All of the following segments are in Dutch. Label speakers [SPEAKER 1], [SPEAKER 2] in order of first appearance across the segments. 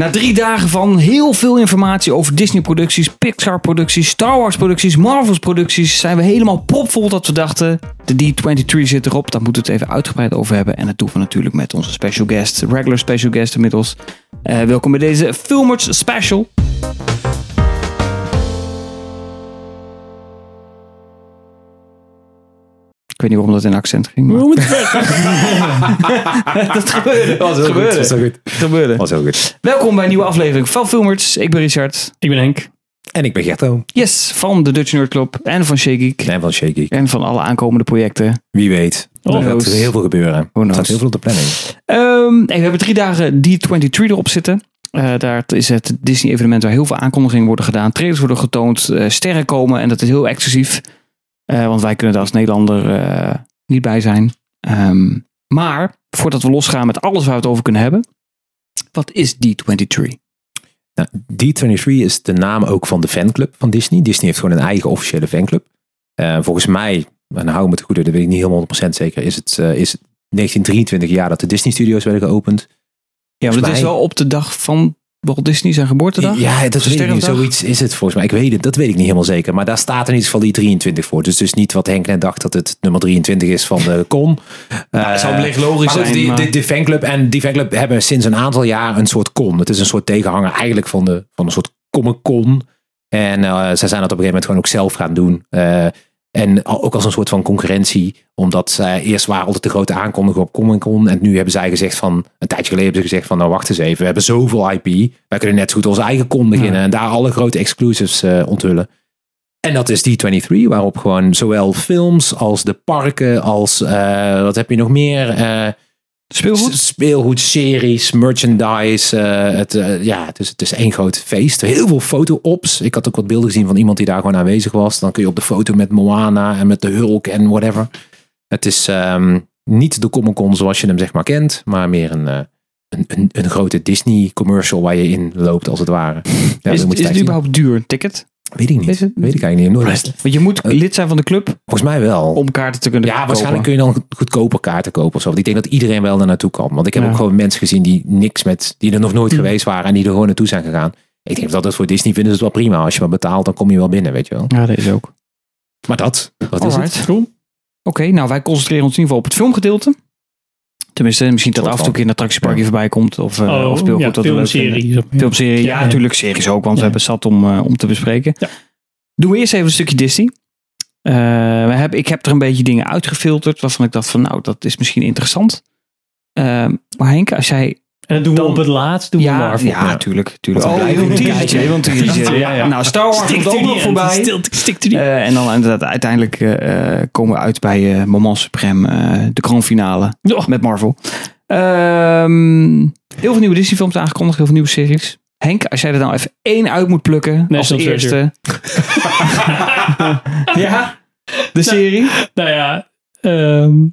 [SPEAKER 1] Na drie dagen van heel veel informatie over Disney-producties, Pixar-producties, Star Wars-producties, Marvels-producties, zijn we helemaal propvol dat we dachten: de D23 zit erop, daar moeten we het even uitgebreid over hebben. En dat doen we natuurlijk met onze special guest, regular special guest inmiddels. Eh, welkom bij deze Filmers Special. Ik weet niet waarom dat in accent ging, maar dat gebeurde.
[SPEAKER 2] Dat was heel goed.
[SPEAKER 1] gebeurde.
[SPEAKER 2] Dat was heel goed.
[SPEAKER 1] Het gebeurde.
[SPEAKER 2] was heel goed.
[SPEAKER 1] Welkom bij een nieuwe aflevering van Filmers. Ik ben Richard.
[SPEAKER 3] Ik ben Henk.
[SPEAKER 2] En ik ben Gerto.
[SPEAKER 1] Yes, van de Dutch Nerd Club en van Shake Geek.
[SPEAKER 2] En van Shaky.
[SPEAKER 1] En van alle aankomende projecten.
[SPEAKER 2] Wie weet.
[SPEAKER 3] Oh,
[SPEAKER 2] er gaat
[SPEAKER 1] knows.
[SPEAKER 2] heel veel gebeuren.
[SPEAKER 1] knows.
[SPEAKER 2] Er staat heel veel op de planning.
[SPEAKER 1] Ehm, hey, we hebben drie dagen D23 erop zitten. Eh, daar is het Disney-evenement waar heel veel aankondigingen worden gedaan. Trailers worden getoond, eh, sterren komen en dat is heel exclusief. Eh, want wij kunnen daar als Nederlander eh, niet bij zijn. Ehm, maar voordat we losgaan met alles waar we het over kunnen hebben. Wat is D23?
[SPEAKER 2] Nou, D23 is de naam ook van de fanclub van Disney. Disney heeft gewoon een eigen officiële fanclub. Eh, volgens mij, en hou me te goede, dat weet ik niet helemaal 100% zeker, is het, eh, is het 1923 jaar dat de Disney Studios werden geopend.
[SPEAKER 1] Ja,
[SPEAKER 2] Volgens
[SPEAKER 1] want het is
[SPEAKER 2] mij-
[SPEAKER 1] wel op de dag van Walt Disney zijn geboortedag.
[SPEAKER 2] Ja, dat weet ik niet.
[SPEAKER 1] Sterrendag?
[SPEAKER 2] Zoiets is het volgens mij. Ik weet het, dat weet ik niet helemaal zeker. Maar daar staat in ieder geval die 23 voor. Dus dus niet wat Henk net dacht dat het nummer 23 is van de con.
[SPEAKER 1] Nou, het zou
[SPEAKER 2] Eh,
[SPEAKER 1] wellicht logisch
[SPEAKER 2] maar goed,
[SPEAKER 1] zijn,
[SPEAKER 2] die,
[SPEAKER 1] maar-
[SPEAKER 2] die, die fanclub en die fanclub hebben sinds een aantal jaar een soort con. Het is een soort tegenhanger eigenlijk van, de, van een soort comic con. En eh, zij zijn dat op een gegeven moment gewoon ook zelf gaan doen. Eh, en al- ook als een soort van concurrentie. Omdat zij eerst waren altijd de grote aankondiger op Comic Con. En nu hebben zij gezegd van, een tijdje geleden hebben ze gezegd van, nou wacht eens even. We hebben zoveel IP. Wij kunnen net zo goed onze eigen con beginnen. En daar alle grote exclusives eh, onthullen. En dat is D23, waarop gewoon zowel films als de parken als, eh, wat heb je nog meer? Eh,
[SPEAKER 1] Speelgoed?
[SPEAKER 2] S- Speelgoedseries, merchandise. eh, het, eh, ja, het is, het is één groot feest. Heel veel foto-ops. Ik had ook wat beelden gezien van iemand die daar gewoon aanwezig was. Dan kun je op de foto met Moana en met de Hulk en whatever. Het is ehm, niet de Comic-Con zoals je hem zeg maar kent, maar meer een, eh, een, een, een grote Disney-commercial waar je in loopt als het ware. Ja, dat
[SPEAKER 1] is,
[SPEAKER 2] moet je
[SPEAKER 1] is het
[SPEAKER 2] tijd zien.
[SPEAKER 1] überhaupt duur, een ticket?
[SPEAKER 2] Weet ik niet.
[SPEAKER 1] Is het-
[SPEAKER 2] Weet ik eigenlijk niet. Nooit-
[SPEAKER 1] Want je moet lid zijn van de club
[SPEAKER 2] Volgens mij wel.
[SPEAKER 1] om kaarten te kunnen
[SPEAKER 2] Ja,
[SPEAKER 1] kopen.
[SPEAKER 2] waarschijnlijk kun je dan goedkoper kaarten kopen of zo. Want ik denk dat iedereen wel daar naartoe kan. Want ik heb
[SPEAKER 1] Ja. Hm.
[SPEAKER 2] ook gewoon mensen gezien die niks met, die er nog nooit geweest waren en die er gewoon naartoe zijn gegaan. Ik denk dat dat voor Disney vinden ze het wel prima. Als je maar betaalt, dan kom je wel binnen, weet je wel.
[SPEAKER 1] Ja, dat is ook. Oké,
[SPEAKER 2] Maar dat, dat is het.
[SPEAKER 1] Alright.
[SPEAKER 3] Cool.
[SPEAKER 1] nou wij concentreren ons in ieder geval op het filmgedeelte. Tenminste, misschien dat
[SPEAKER 2] Soort
[SPEAKER 1] af en toe
[SPEAKER 2] van.
[SPEAKER 1] een keer een attractieparkje
[SPEAKER 2] Ja.
[SPEAKER 1] voorbij komt. Of, eh,
[SPEAKER 3] Oh,
[SPEAKER 1] of speelgoed.
[SPEAKER 3] ja,
[SPEAKER 1] dat we leuk vinden.
[SPEAKER 3] filmserie.
[SPEAKER 1] Filmserie, ja,
[SPEAKER 3] Ja, ja.
[SPEAKER 1] natuurlijk series ook, want we
[SPEAKER 3] Ja.
[SPEAKER 1] hebben zat om, eh, om te bespreken.
[SPEAKER 3] Ja.
[SPEAKER 1] Doen we eerst even een stukje Disney. Eh, we hebben, ik heb er een beetje dingen uitgefilterd waarvan ik dacht van nou, dat is misschien interessant. Eh, maar Henk, als jij...
[SPEAKER 3] En dat doen we
[SPEAKER 1] Dan-
[SPEAKER 3] op het laatst, doen we Marvel.
[SPEAKER 1] ja, tuurlijk. tuurlijk.
[SPEAKER 2] Want we blijven
[SPEAKER 1] een
[SPEAKER 2] nu
[SPEAKER 1] teasertje,
[SPEAKER 2] kijken.
[SPEAKER 1] want een teasertje.
[SPEAKER 3] Ja, ja.
[SPEAKER 1] Nou, Star Wars komt ook nog voorbij.
[SPEAKER 3] Stik er niet.
[SPEAKER 1] Eh, en dan inderdaad, uiteindelijk eh, eh, komen we uit bij eh, Moment Supreme, eh, de kroonfinale
[SPEAKER 3] Oh,
[SPEAKER 1] met Marvel. Ehm, heel veel nieuwe Disney-films aangekondigd, heel veel nieuwe series. Henk, als jij er nou even één uit moet plukken als
[SPEAKER 3] National
[SPEAKER 1] eerste. ja, de serie.
[SPEAKER 3] nou ja, ehm,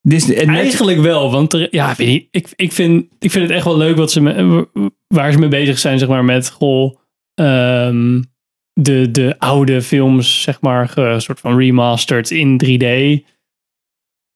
[SPEAKER 1] Disney, en net-
[SPEAKER 3] eigenlijk wel. Want er, ja, weet niet, ik, ik, vind, ik vind het echt wel leuk wat ze me, waar ze mee bezig zijn, zeg maar, met goh, ehm, de, de oude films, zeg maar, ge- soort van remastered in 3D.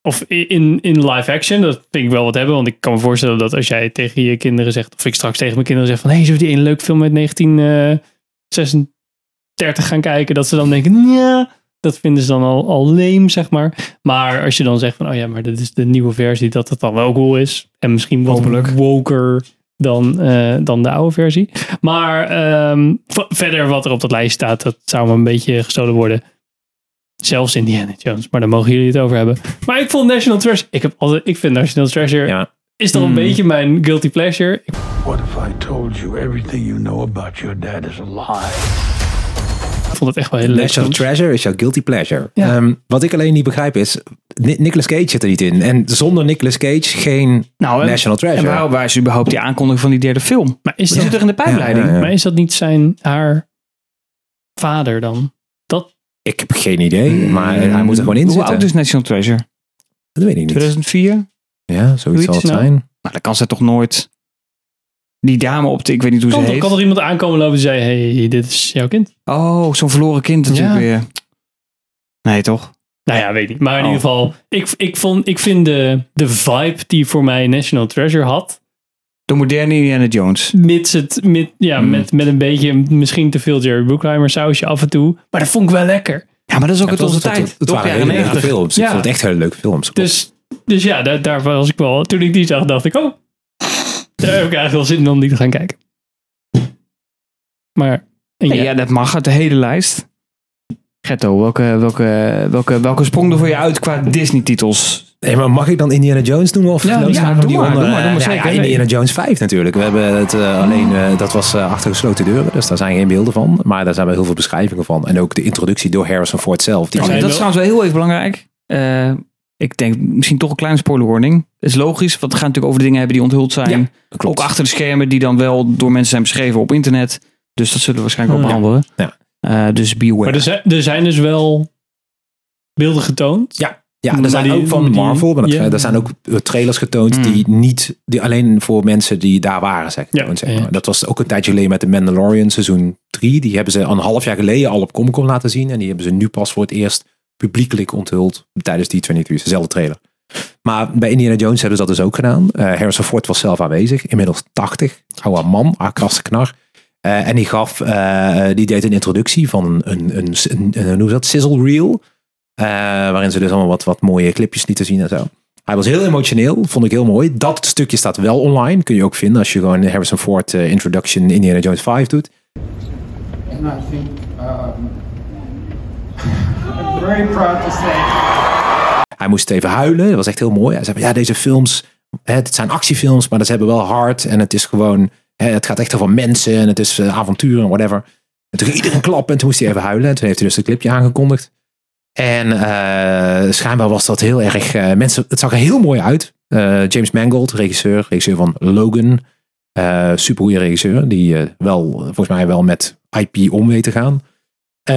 [SPEAKER 3] Of i- in, in live action, dat vind ik wel wat hebben. Want ik kan me voorstellen dat als jij tegen je kinderen zegt, of ik straks tegen mijn kinderen zeg van, hé, hey, zullen we die ene leuke film uit eh, 1936 gaan kijken? Dat ze dan denken, ja, dat vinden ze dan al, al lame, zeg maar. Maar als je dan zegt van, oh ja, maar dit is de nieuwe versie, dat het dan wel cool is. En misschien wat
[SPEAKER 1] Hopelijk.
[SPEAKER 3] woker dan, eh, dan de oude versie. Maar ehm, v- verder wat er op dat lijst staat, dat zou me een beetje gestolen worden. Zelfs Indiana Jones, maar daar mogen jullie het over hebben. Maar ik vond National Treasure, ik, heb altijd, ik vind National Treasure
[SPEAKER 2] Ja.
[SPEAKER 3] is toch een beetje mijn guilty pleasure. Ik
[SPEAKER 4] What if I told you everything you know about your dad is a lie?
[SPEAKER 3] vond het echt wel heel leuk.
[SPEAKER 2] National Treasure is jouw guilty pleasure.
[SPEAKER 3] Ja.
[SPEAKER 2] Ehm, wat ik alleen niet begrijp is, Ni- Nicolas Cage zit er niet in. En zonder Nicolas Cage geen
[SPEAKER 1] nou, en-
[SPEAKER 2] National
[SPEAKER 1] en
[SPEAKER 2] Treasure.
[SPEAKER 1] waar, waar is überhaupt die aankondiging van die derde film?
[SPEAKER 3] maar, is
[SPEAKER 1] Die
[SPEAKER 3] dat,
[SPEAKER 1] zit er in de pijpleiding.
[SPEAKER 2] Ja, ja, ja.
[SPEAKER 3] maar is dat niet zijn, haar vader dan?
[SPEAKER 2] Ik heb geen idee, maar eh, hij moet er gewoon in
[SPEAKER 1] Hoe
[SPEAKER 2] zitten.
[SPEAKER 1] oud is National Treasure?
[SPEAKER 2] Dat weet ik niet.
[SPEAKER 1] 2004?
[SPEAKER 2] Ja, zoiets zal het
[SPEAKER 3] nou?
[SPEAKER 2] zijn.
[SPEAKER 1] Nou, dan kan ze toch nooit... Die dame op de... Ik weet niet hoe
[SPEAKER 3] Kan,
[SPEAKER 1] ze
[SPEAKER 3] toch-
[SPEAKER 1] heet.
[SPEAKER 3] kan er iemand aankomen lopen en zeggen, hey, dit is jouw kind?
[SPEAKER 1] Oh, zo'n verloren kind natuurlijk
[SPEAKER 3] Ja.
[SPEAKER 1] weer. Nee, toch?
[SPEAKER 3] Nou ja, weet niet. Maar in
[SPEAKER 1] Oh.
[SPEAKER 3] ieder geval, ik, ik, vond, ik vind de, de vibe die voor mij National Treasure had,
[SPEAKER 1] De moderne Indiana Jones.
[SPEAKER 3] Mits het, mit, ja,
[SPEAKER 1] Mm.
[SPEAKER 3] met, met een beetje misschien te veel Jerry Bruckheimer sausje af en toe. maar dat vond ik wel lekker.
[SPEAKER 1] Ja, maar dat is ook
[SPEAKER 2] Ja,
[SPEAKER 1] uit onze tijd.
[SPEAKER 2] Het
[SPEAKER 1] toch?
[SPEAKER 2] waren
[SPEAKER 1] jaren
[SPEAKER 2] hele leuke
[SPEAKER 1] 90.
[SPEAKER 2] films.
[SPEAKER 3] Ja.
[SPEAKER 2] Ik vond het echt hele leuke films.
[SPEAKER 3] Dus, dus ja, daar, daar was ik wel. Toen ik die zag, dacht ik, oh, daar heb ik eigenlijk wel zin in om die te gaan kijken. Maar, en
[SPEAKER 1] Ja,
[SPEAKER 3] ja,
[SPEAKER 1] ja, dat mag uit de hele lijst. Getto, welke, welke, welke, welke sprong er voor je uit qua Disney-titels?
[SPEAKER 2] Nee, maar mag ik dan Indiana Jones noemen? Of
[SPEAKER 1] Ja,
[SPEAKER 2] lopen
[SPEAKER 1] ja,
[SPEAKER 2] we
[SPEAKER 1] doe
[SPEAKER 2] die
[SPEAKER 1] maar,
[SPEAKER 2] onder?
[SPEAKER 1] doe maar, doe maar
[SPEAKER 2] Eh, nou
[SPEAKER 1] zeker.
[SPEAKER 2] ja, Indiana Jones 5 natuurlijk. We hebben het eh, alleen, eh, dat was eh, achter gesloten deuren, dus daar zijn geen beelden van. Maar daar zijn wel heel veel beschrijvingen van. En ook de introductie door Harrison Ford zelf. Die
[SPEAKER 3] Oh,
[SPEAKER 1] Oh, dat
[SPEAKER 3] zijn wel-
[SPEAKER 1] is trouwens wel heel even belangrijk. Eh, ik denk misschien toch een kleine spoiler warning. Is logisch, want we gaan natuurlijk over de dingen hebben die onthuld zijn.
[SPEAKER 2] Ja, klopt.
[SPEAKER 1] Ook achter de schermen die dan wel door mensen zijn beschreven op internet. Dus dat zullen we waarschijnlijk ook
[SPEAKER 3] Ja.
[SPEAKER 1] behandelen.
[SPEAKER 2] Ja.
[SPEAKER 1] Eh, dus beware.
[SPEAKER 3] maar er, zijn, er zijn dus wel beelden getoond.
[SPEAKER 2] Ja,
[SPEAKER 3] Maar
[SPEAKER 2] er zijn
[SPEAKER 3] die-
[SPEAKER 2] ook van
[SPEAKER 3] die-
[SPEAKER 2] Marvel, maar dat,
[SPEAKER 3] ja.
[SPEAKER 2] er zijn ook eh, trailers getoond
[SPEAKER 1] Hmm.
[SPEAKER 2] die niet, die alleen voor mensen die daar waren, zeg,
[SPEAKER 3] Ja.
[SPEAKER 2] getoond, zeg maar.
[SPEAKER 3] Ja.
[SPEAKER 2] Dat was ook een tijdje geleden met de Mandalorian seizoen 3. Die hebben ze een half jaar geleden al op Comic-Con laten zien en die hebben ze nu pas voor het eerst publiekelijk onthuld tijdens die 23 dezelfde trailer. Maar bij Indiana Jones hebben ze dat dus ook gedaan. Eh, Harrison Ford was zelf aanwezig, inmiddels 80, oude man, ah, krasse knar. Eh, en die gaf, eh, die deed een introductie van een, een, een, een, een- hoe is dat, sizzle reel. Eh, waarin ze dus allemaal wat, wat mooie clipjes lieten zien en zo. Hij was heel emotioneel, vond ik heel mooi. Dat stukje staat wel online, kun je ook vinden als je gewoon Harrison Ford eh, Introduction Indiana Jones 5 doet.
[SPEAKER 5] And I think um, I'm very proud to say
[SPEAKER 2] Hij moest even huilen, dat was echt heel mooi. Hij zei van ja, deze films, hè, het zijn actiefilms, maar dat hebben wel hard. En het is gewoon, hè, het gaat echt over mensen en het is eh, avontuur en whatever. En toen ging iedereen klappen en toen moest hij even huilen. En toen heeft hij dus een clipje aangekondigd. En eh, schijnbaar was dat heel erg, eh, mensen, het zag er heel mooi uit. Eh, James Mangold, regisseur, regisseur van Logan. eh supergoeie regisseur, die eh, wel, volgens mij wel met IP om weet te gaan. Eh,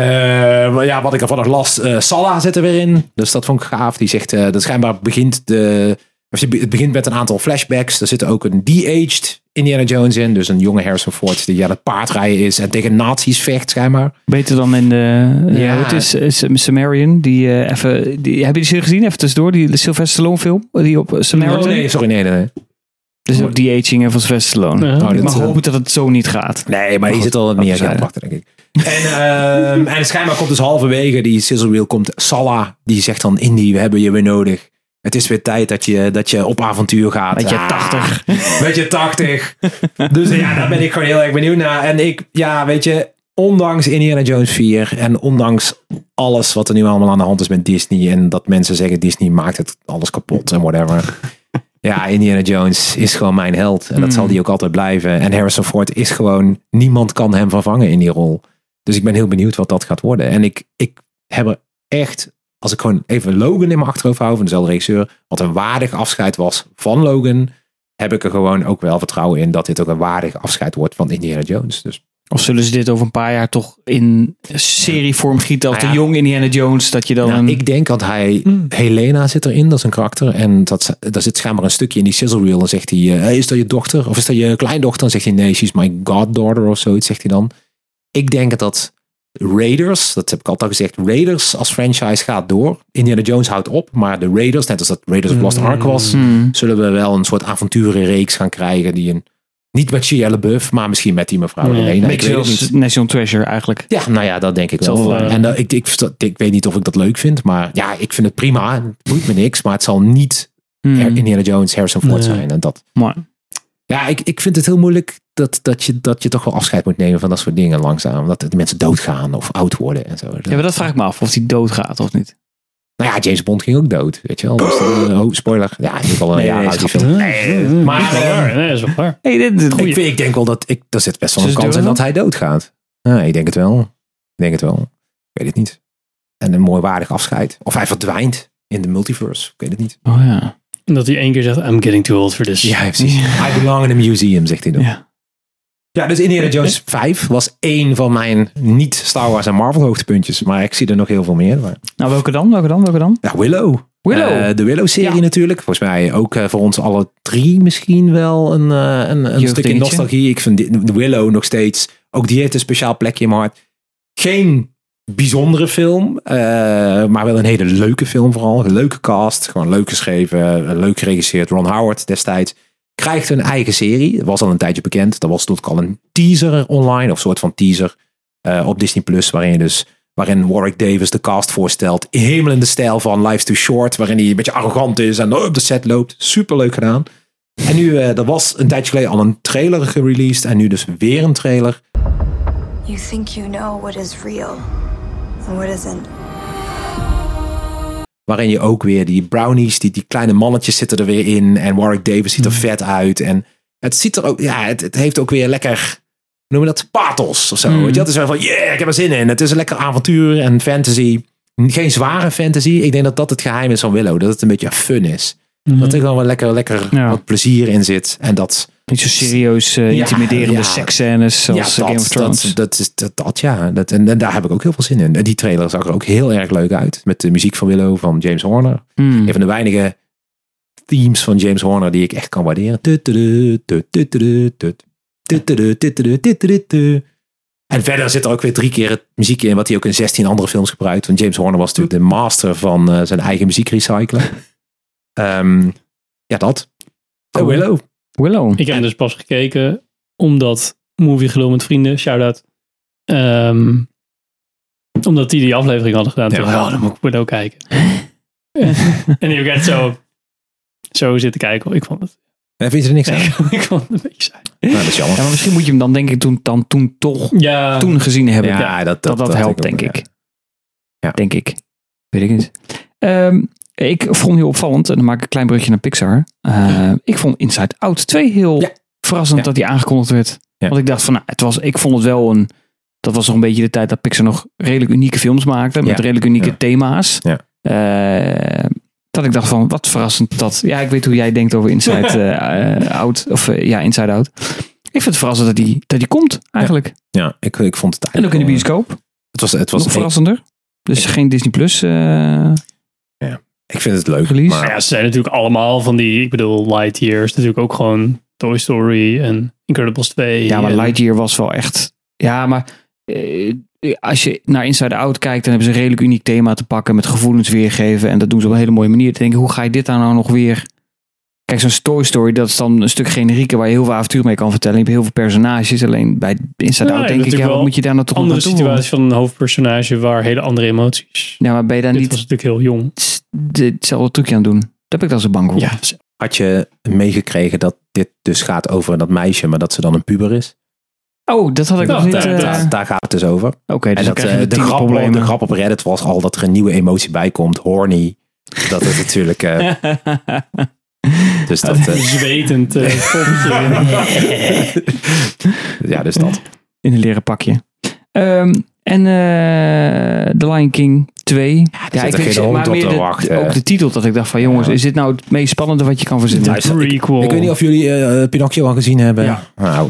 [SPEAKER 2] maar ja, wat ik ervan nog las, eh Salah zit er weer in. Dus dat vond ik gaaf. Die zegt eh, dat schijnbaar begint de. of je- Het begint met een aantal flashbacks. Er zit ook een de-aged Indiana Jones in. Dus een jonge Harrison Ford die aan het paardrijden is en tegen nazi's vecht, schijnbaar.
[SPEAKER 1] Beter dan in de. eh,
[SPEAKER 2] Ja.
[SPEAKER 1] het is, is Sumerian. Die, eh, even, die, heb je die serie gezien? Even tussendoor. Die Sylvester Stallone film. Die op eh, Sumerian.
[SPEAKER 2] Oh, nee, sorry, nee, nee. nee.
[SPEAKER 1] Dus ook die aging van Sylvester Stallone.
[SPEAKER 3] Ja.
[SPEAKER 2] Oh,
[SPEAKER 1] Ik
[SPEAKER 2] dit,
[SPEAKER 1] mag
[SPEAKER 2] eh,
[SPEAKER 1] hopen dat het zo niet gaat.
[SPEAKER 2] Nee, maar die
[SPEAKER 1] goed,
[SPEAKER 2] zit al
[SPEAKER 1] dat
[SPEAKER 2] meer aan
[SPEAKER 1] terzijde.
[SPEAKER 2] te wachten, denk ik. En, ehm, en schijnbaar komt dus halverwege die sizzle reel komt Salah. Die zegt dan, Indy, we hebben je weer nodig. Het is weer tijd dat je, dat je op avontuur gaat.
[SPEAKER 1] Met je
[SPEAKER 2] Ah,
[SPEAKER 1] 80.
[SPEAKER 2] Met je 80. dus ja, daar ben ik gewoon heel erg benieuwd naar. En ik, ja, weet je, ondanks Indiana Jones 4 en ondanks alles wat er nu allemaal aan de hand is met Disney. En dat mensen zeggen, Disney maakt het alles kapot en whatever. Ja, Indiana Jones is gewoon mijn held. En dat zal die ook altijd blijven. En Harrison Ford is gewoon... Niemand kan hem vervangen in die rol. Dus ik ben heel benieuwd wat dat gaat worden. En ik, ik heb er echt... Als ik gewoon even Logan in mijn achterhoofd hou... van dezelfde regisseur... wat een waardig afscheid was van Logan... heb ik er gewoon ook wel vertrouwen in... dat dit ook een waardig afscheid wordt van Indiana Jones. Dus
[SPEAKER 1] Of zullen ze dit over een paar jaar toch in serievorm gieten als
[SPEAKER 2] Nou
[SPEAKER 1] de
[SPEAKER 2] ja.
[SPEAKER 1] jong Indiana Jones? Dat je dan. Hmm.
[SPEAKER 2] Nou,
[SPEAKER 1] een-
[SPEAKER 2] ik denk dat hij...
[SPEAKER 3] Mm.
[SPEAKER 2] Helena zit erin, dat is een karakter. En dat, ze- daar zit schijnbaar een stukje in die sizzle reel. Dan zegt hij, eh, hey, is dat je dochter? Of is dat je kleindochter? Dan zegt hij, nee, she's my goddaughter of zoiets, zegt hij dan. Ik denk dat Raiders, dat heb ik altijd al gezegd, Raiders als franchise gaat door. Indiana Jones houdt op, maar de Raiders, net als dat Raiders of Lost Ark was,
[SPEAKER 1] Hmm.
[SPEAKER 2] zullen we wel een soort avonturenreeks gaan krijgen die een... Niet met Shia LaBeouf, maar misschien met die
[SPEAKER 1] Hmm.
[SPEAKER 2] mevrouw
[SPEAKER 3] Nee,
[SPEAKER 2] Helena. Ik
[SPEAKER 1] Beetje
[SPEAKER 2] weet het
[SPEAKER 1] als
[SPEAKER 2] niet.
[SPEAKER 1] National Treasure eigenlijk.
[SPEAKER 2] Ja, nou ja, dat denk ik wel.
[SPEAKER 3] Zal, eh,
[SPEAKER 2] en dat- ik, ik, versta- ik weet niet of ik dat leuk vind, maar ja, ik vind het prima. Het boeit me niks, maar het zal niet
[SPEAKER 1] Hmm.
[SPEAKER 2] Her- Indiana Jones, Harrison Ford
[SPEAKER 3] Nee.
[SPEAKER 2] zijn. En dat.
[SPEAKER 1] Mooi.
[SPEAKER 2] Ja, ik, ik vind het heel moeilijk dat, dat, je, dat je toch wel afscheid moet nemen van dat soort dingen langzaam. Dat de mensen doodgaan of oud worden en zo.
[SPEAKER 1] Ja, maar dat vraag ik me af. Of die doodgaat of niet.
[SPEAKER 2] Nou ja, James Bond ging ook dood, weet je wel. Dus, eh, oh, spoiler. Ja, in ieder geval een
[SPEAKER 1] Nee,
[SPEAKER 2] jaar
[SPEAKER 1] nee,
[SPEAKER 2] oud die
[SPEAKER 1] schat.
[SPEAKER 2] film.
[SPEAKER 3] Nee,
[SPEAKER 2] maar-
[SPEAKER 3] dat is wel waar. Nee, dat is wel waar.
[SPEAKER 1] Hey, dit, dit-
[SPEAKER 2] Ik, vind- ik denk wel dat ik, er zit best wel een
[SPEAKER 1] Zullen ze
[SPEAKER 2] kans in
[SPEAKER 1] durven?
[SPEAKER 2] dat hij doodgaat. Ja, ik denk het wel. Ik denk het wel. Ik weet het niet. En een mooi waardig afscheid. Of hij verdwijnt in de multiverse. Ik weet het niet.
[SPEAKER 1] Oh ja.
[SPEAKER 3] En dat hij één keer zegt, I'm getting too old for this.
[SPEAKER 1] precies.
[SPEAKER 2] I belong in a museum, zegt hij dan. Ja,
[SPEAKER 1] Ja.
[SPEAKER 2] dus Indiana Jones 5 was één van mijn niet-Star Wars en Marvel hoogtepuntjes. Maar ik zie er nog heel veel meer. Maar...
[SPEAKER 1] Nou, welke dan? Welke dan? Welke dan?
[SPEAKER 2] Ja, Willow.
[SPEAKER 1] Willow.
[SPEAKER 2] Eh, de Willow-serie
[SPEAKER 1] Ja.
[SPEAKER 2] natuurlijk. Volgens mij ook eh, voor ons alle drie misschien wel een, eh, een, een stukje
[SPEAKER 1] Jeugddingetje.
[SPEAKER 2] nostalgie. Ik vind dit- de Willow nog steeds. Ook die heeft een speciaal plekje in mijn hart. Geen bijzondere film, eh, maar wel een hele leuke film vooral. Een leuke cast, gewoon leuk geschreven, eh, leuk geregisseerd. Ron Howard destijds. krijgt een eigen serie. Dat was al een tijdje bekend. Dat was tot al een teaser online, of soort van teaser eh, op Disney Plus, waarin je dus waarin Warwick Davis de cast voorstelt. Helemaal in de stijl van Life's Too Short, waarin hij een beetje arrogant is en op de set loopt. Superleuk gedaan. En nu, eh er was een tijdje geleden al een trailer gereleased en nu dus weer een trailer.
[SPEAKER 6] You think you know what is real and what isn't.
[SPEAKER 2] Waarin je ook weer die brownies, die, die kleine mannetjes zitten er weer in. En Warwick Davis ziet er vet uit. En het ziet er ook, ja, het, het heeft ook weer lekker, hoe noem je dat, pathos of zo. Weet je, dat is wel van, yeah, ik heb er zin in. Het is een lekker avontuur en fantasy. Geen zware fantasy. Ik denk dat dat het geheim is van Willow. Dat het een beetje fun is. Dat er gewoon wel lekker, lekker
[SPEAKER 1] Ja.
[SPEAKER 2] wat plezier in zit. En dat,
[SPEAKER 1] Niet zo serieus eh,
[SPEAKER 2] Ja,
[SPEAKER 1] intimiderende
[SPEAKER 2] ja.
[SPEAKER 1] seksscènes zoals
[SPEAKER 2] ja,
[SPEAKER 1] Game
[SPEAKER 2] dat,
[SPEAKER 1] of Thrones.
[SPEAKER 2] Dat, dat is dat, dat ja. Dat, en, en daar heb ik ook heel veel zin in. En die trailer zag er ook heel erg leuk uit. Met de muziek van Willow van James Horner.
[SPEAKER 1] Hmm.
[SPEAKER 2] Een van de weinige themes van James Horner die ik echt kan waarderen. Tutudu, tut, tutudu, tut. Tutudu, tutudu, tutudu, tu. En verder zit er ook weer drie keer het muziek in, wat hij ook in 16 andere films gebruikt. Want James Horner was natuurlijk de master van eh, zijn eigen muziek recyclen. Ehm, ja, dat. Oh, Willow.
[SPEAKER 1] Willow.
[SPEAKER 3] Ik heb hem dus pas gekeken omdat Movie Gelul met Vrienden, shout-out. ehm, omdat die die aflevering hadden gedaan. Toen dacht ik, oh, dan moet ik Willow kijken. en die ook echt zo, zo zitten kijken. Ik vond het,
[SPEAKER 2] Eh, Vind je er niks aan?
[SPEAKER 3] ik vond het een beetje saai.
[SPEAKER 2] Nou, dat is jammer.
[SPEAKER 1] Ja, maar misschien moet je hem dan denk ik toen, dan toen toch
[SPEAKER 3] Ja,
[SPEAKER 1] toen gezien hebben.
[SPEAKER 2] Ja, Ah, dat,
[SPEAKER 1] dat, dat, helpt, denk ik.
[SPEAKER 2] Ja.
[SPEAKER 1] Denk ik. Weet ik niet. Ehm, ik vond heel opvallend, en dan maak ik een klein brugje naar Pixar. Eh, ik vond Inside Out 2 heel
[SPEAKER 2] Ja.
[SPEAKER 1] verrassend
[SPEAKER 2] Ja.
[SPEAKER 1] dat die aangekondigd werd.
[SPEAKER 2] Ja.
[SPEAKER 1] Want ik dacht van, nou, het was, ik vond het wel een... Dat was nog een beetje de tijd dat Pixar nog redelijk unieke films maakte. Met
[SPEAKER 2] Ja.
[SPEAKER 1] redelijk unieke
[SPEAKER 2] Ja.
[SPEAKER 1] thema's.
[SPEAKER 2] Ja.
[SPEAKER 1] Eh, dat ik dacht van, wat verrassend dat... Ja, ik weet hoe jij denkt over Inside eh, eh, Out. Of eh, ja, Inside Out. Ik vind het verrassend dat die, dat die komt, eigenlijk.
[SPEAKER 2] Ja, Eh, ik, ik vond het
[SPEAKER 1] En ook in de
[SPEAKER 2] wel-
[SPEAKER 1] bioscoop.
[SPEAKER 2] Het was, het
[SPEAKER 1] Nog
[SPEAKER 2] was een-
[SPEAKER 1] verrassender. Dus geen Disney Plus. eh,
[SPEAKER 2] ik vind het leuk.
[SPEAKER 1] Release.
[SPEAKER 2] Maar,
[SPEAKER 3] nou ja, ze zijn natuurlijk allemaal van die, ik bedoel, Lightyear is natuurlijk ook gewoon Toy Story en Incredibles 2.
[SPEAKER 1] ja, maar
[SPEAKER 3] en-
[SPEAKER 1] Lightyear was wel echt. Ja, maar eh, als je naar Inside Out kijkt, dan hebben ze een redelijk uniek thema te pakken met gevoelens weergeven. En dat doen ze op een hele mooie manier. Te denken, hoe ga je dit nou nog weer? Kijk, zo'n Toy Story, dat is dan een stuk generieker waar je heel veel avontuur mee kan vertellen. Je hebt heel veel personages. Alleen bij Inside
[SPEAKER 3] Ja,
[SPEAKER 1] Out denk
[SPEAKER 3] je
[SPEAKER 1] ik,
[SPEAKER 3] hebt
[SPEAKER 1] ja,
[SPEAKER 3] natuurlijk
[SPEAKER 1] wat
[SPEAKER 3] wel
[SPEAKER 1] moet je daar nou toch nog
[SPEAKER 3] andere
[SPEAKER 1] naartoe?
[SPEAKER 3] situatie van een hoofdpersonage waar hele andere emoties.
[SPEAKER 1] Ja, maar ben je daar
[SPEAKER 3] Dit
[SPEAKER 1] niet
[SPEAKER 3] was natuurlijk heel jong.
[SPEAKER 1] s- de- hetzelfde trucje aan het doen? Daar ben ik dan zo bang voor.
[SPEAKER 3] Ja,
[SPEAKER 2] had je meegekregen dat dit dus gaat over dat meisje, maar dat ze dan een puber is?
[SPEAKER 1] Oh, dat had ik
[SPEAKER 3] Nou,
[SPEAKER 1] nog niet.
[SPEAKER 3] daar-
[SPEAKER 1] eh,
[SPEAKER 2] Daar, daar gaat het dus over.
[SPEAKER 1] Oké, dus
[SPEAKER 2] en
[SPEAKER 1] dan
[SPEAKER 2] dat,
[SPEAKER 1] krijg je
[SPEAKER 2] eh, de, grap,
[SPEAKER 1] problemen.
[SPEAKER 2] de grap op Reddit was al dat er een nieuwe emotie bij komt. Horny. Dat het natuurlijk... eh, dus dat...
[SPEAKER 3] een
[SPEAKER 2] eh,
[SPEAKER 3] zwetend eh, poppetje.
[SPEAKER 2] ja, dus dat.
[SPEAKER 1] In een leren pakje. Ehm, en eh The Lion King 2.
[SPEAKER 2] zit er geen hond op te
[SPEAKER 1] de,
[SPEAKER 2] wachten.
[SPEAKER 1] ook de titel dat ik dacht van jongens,
[SPEAKER 2] Ja.
[SPEAKER 1] is dit nou het meest spannende wat je kan verzinnen?
[SPEAKER 2] Ja,
[SPEAKER 3] De prequel.
[SPEAKER 2] Ik weet niet of jullie eh, Pinocchio al gezien hebben.
[SPEAKER 1] Ja.
[SPEAKER 2] Nou,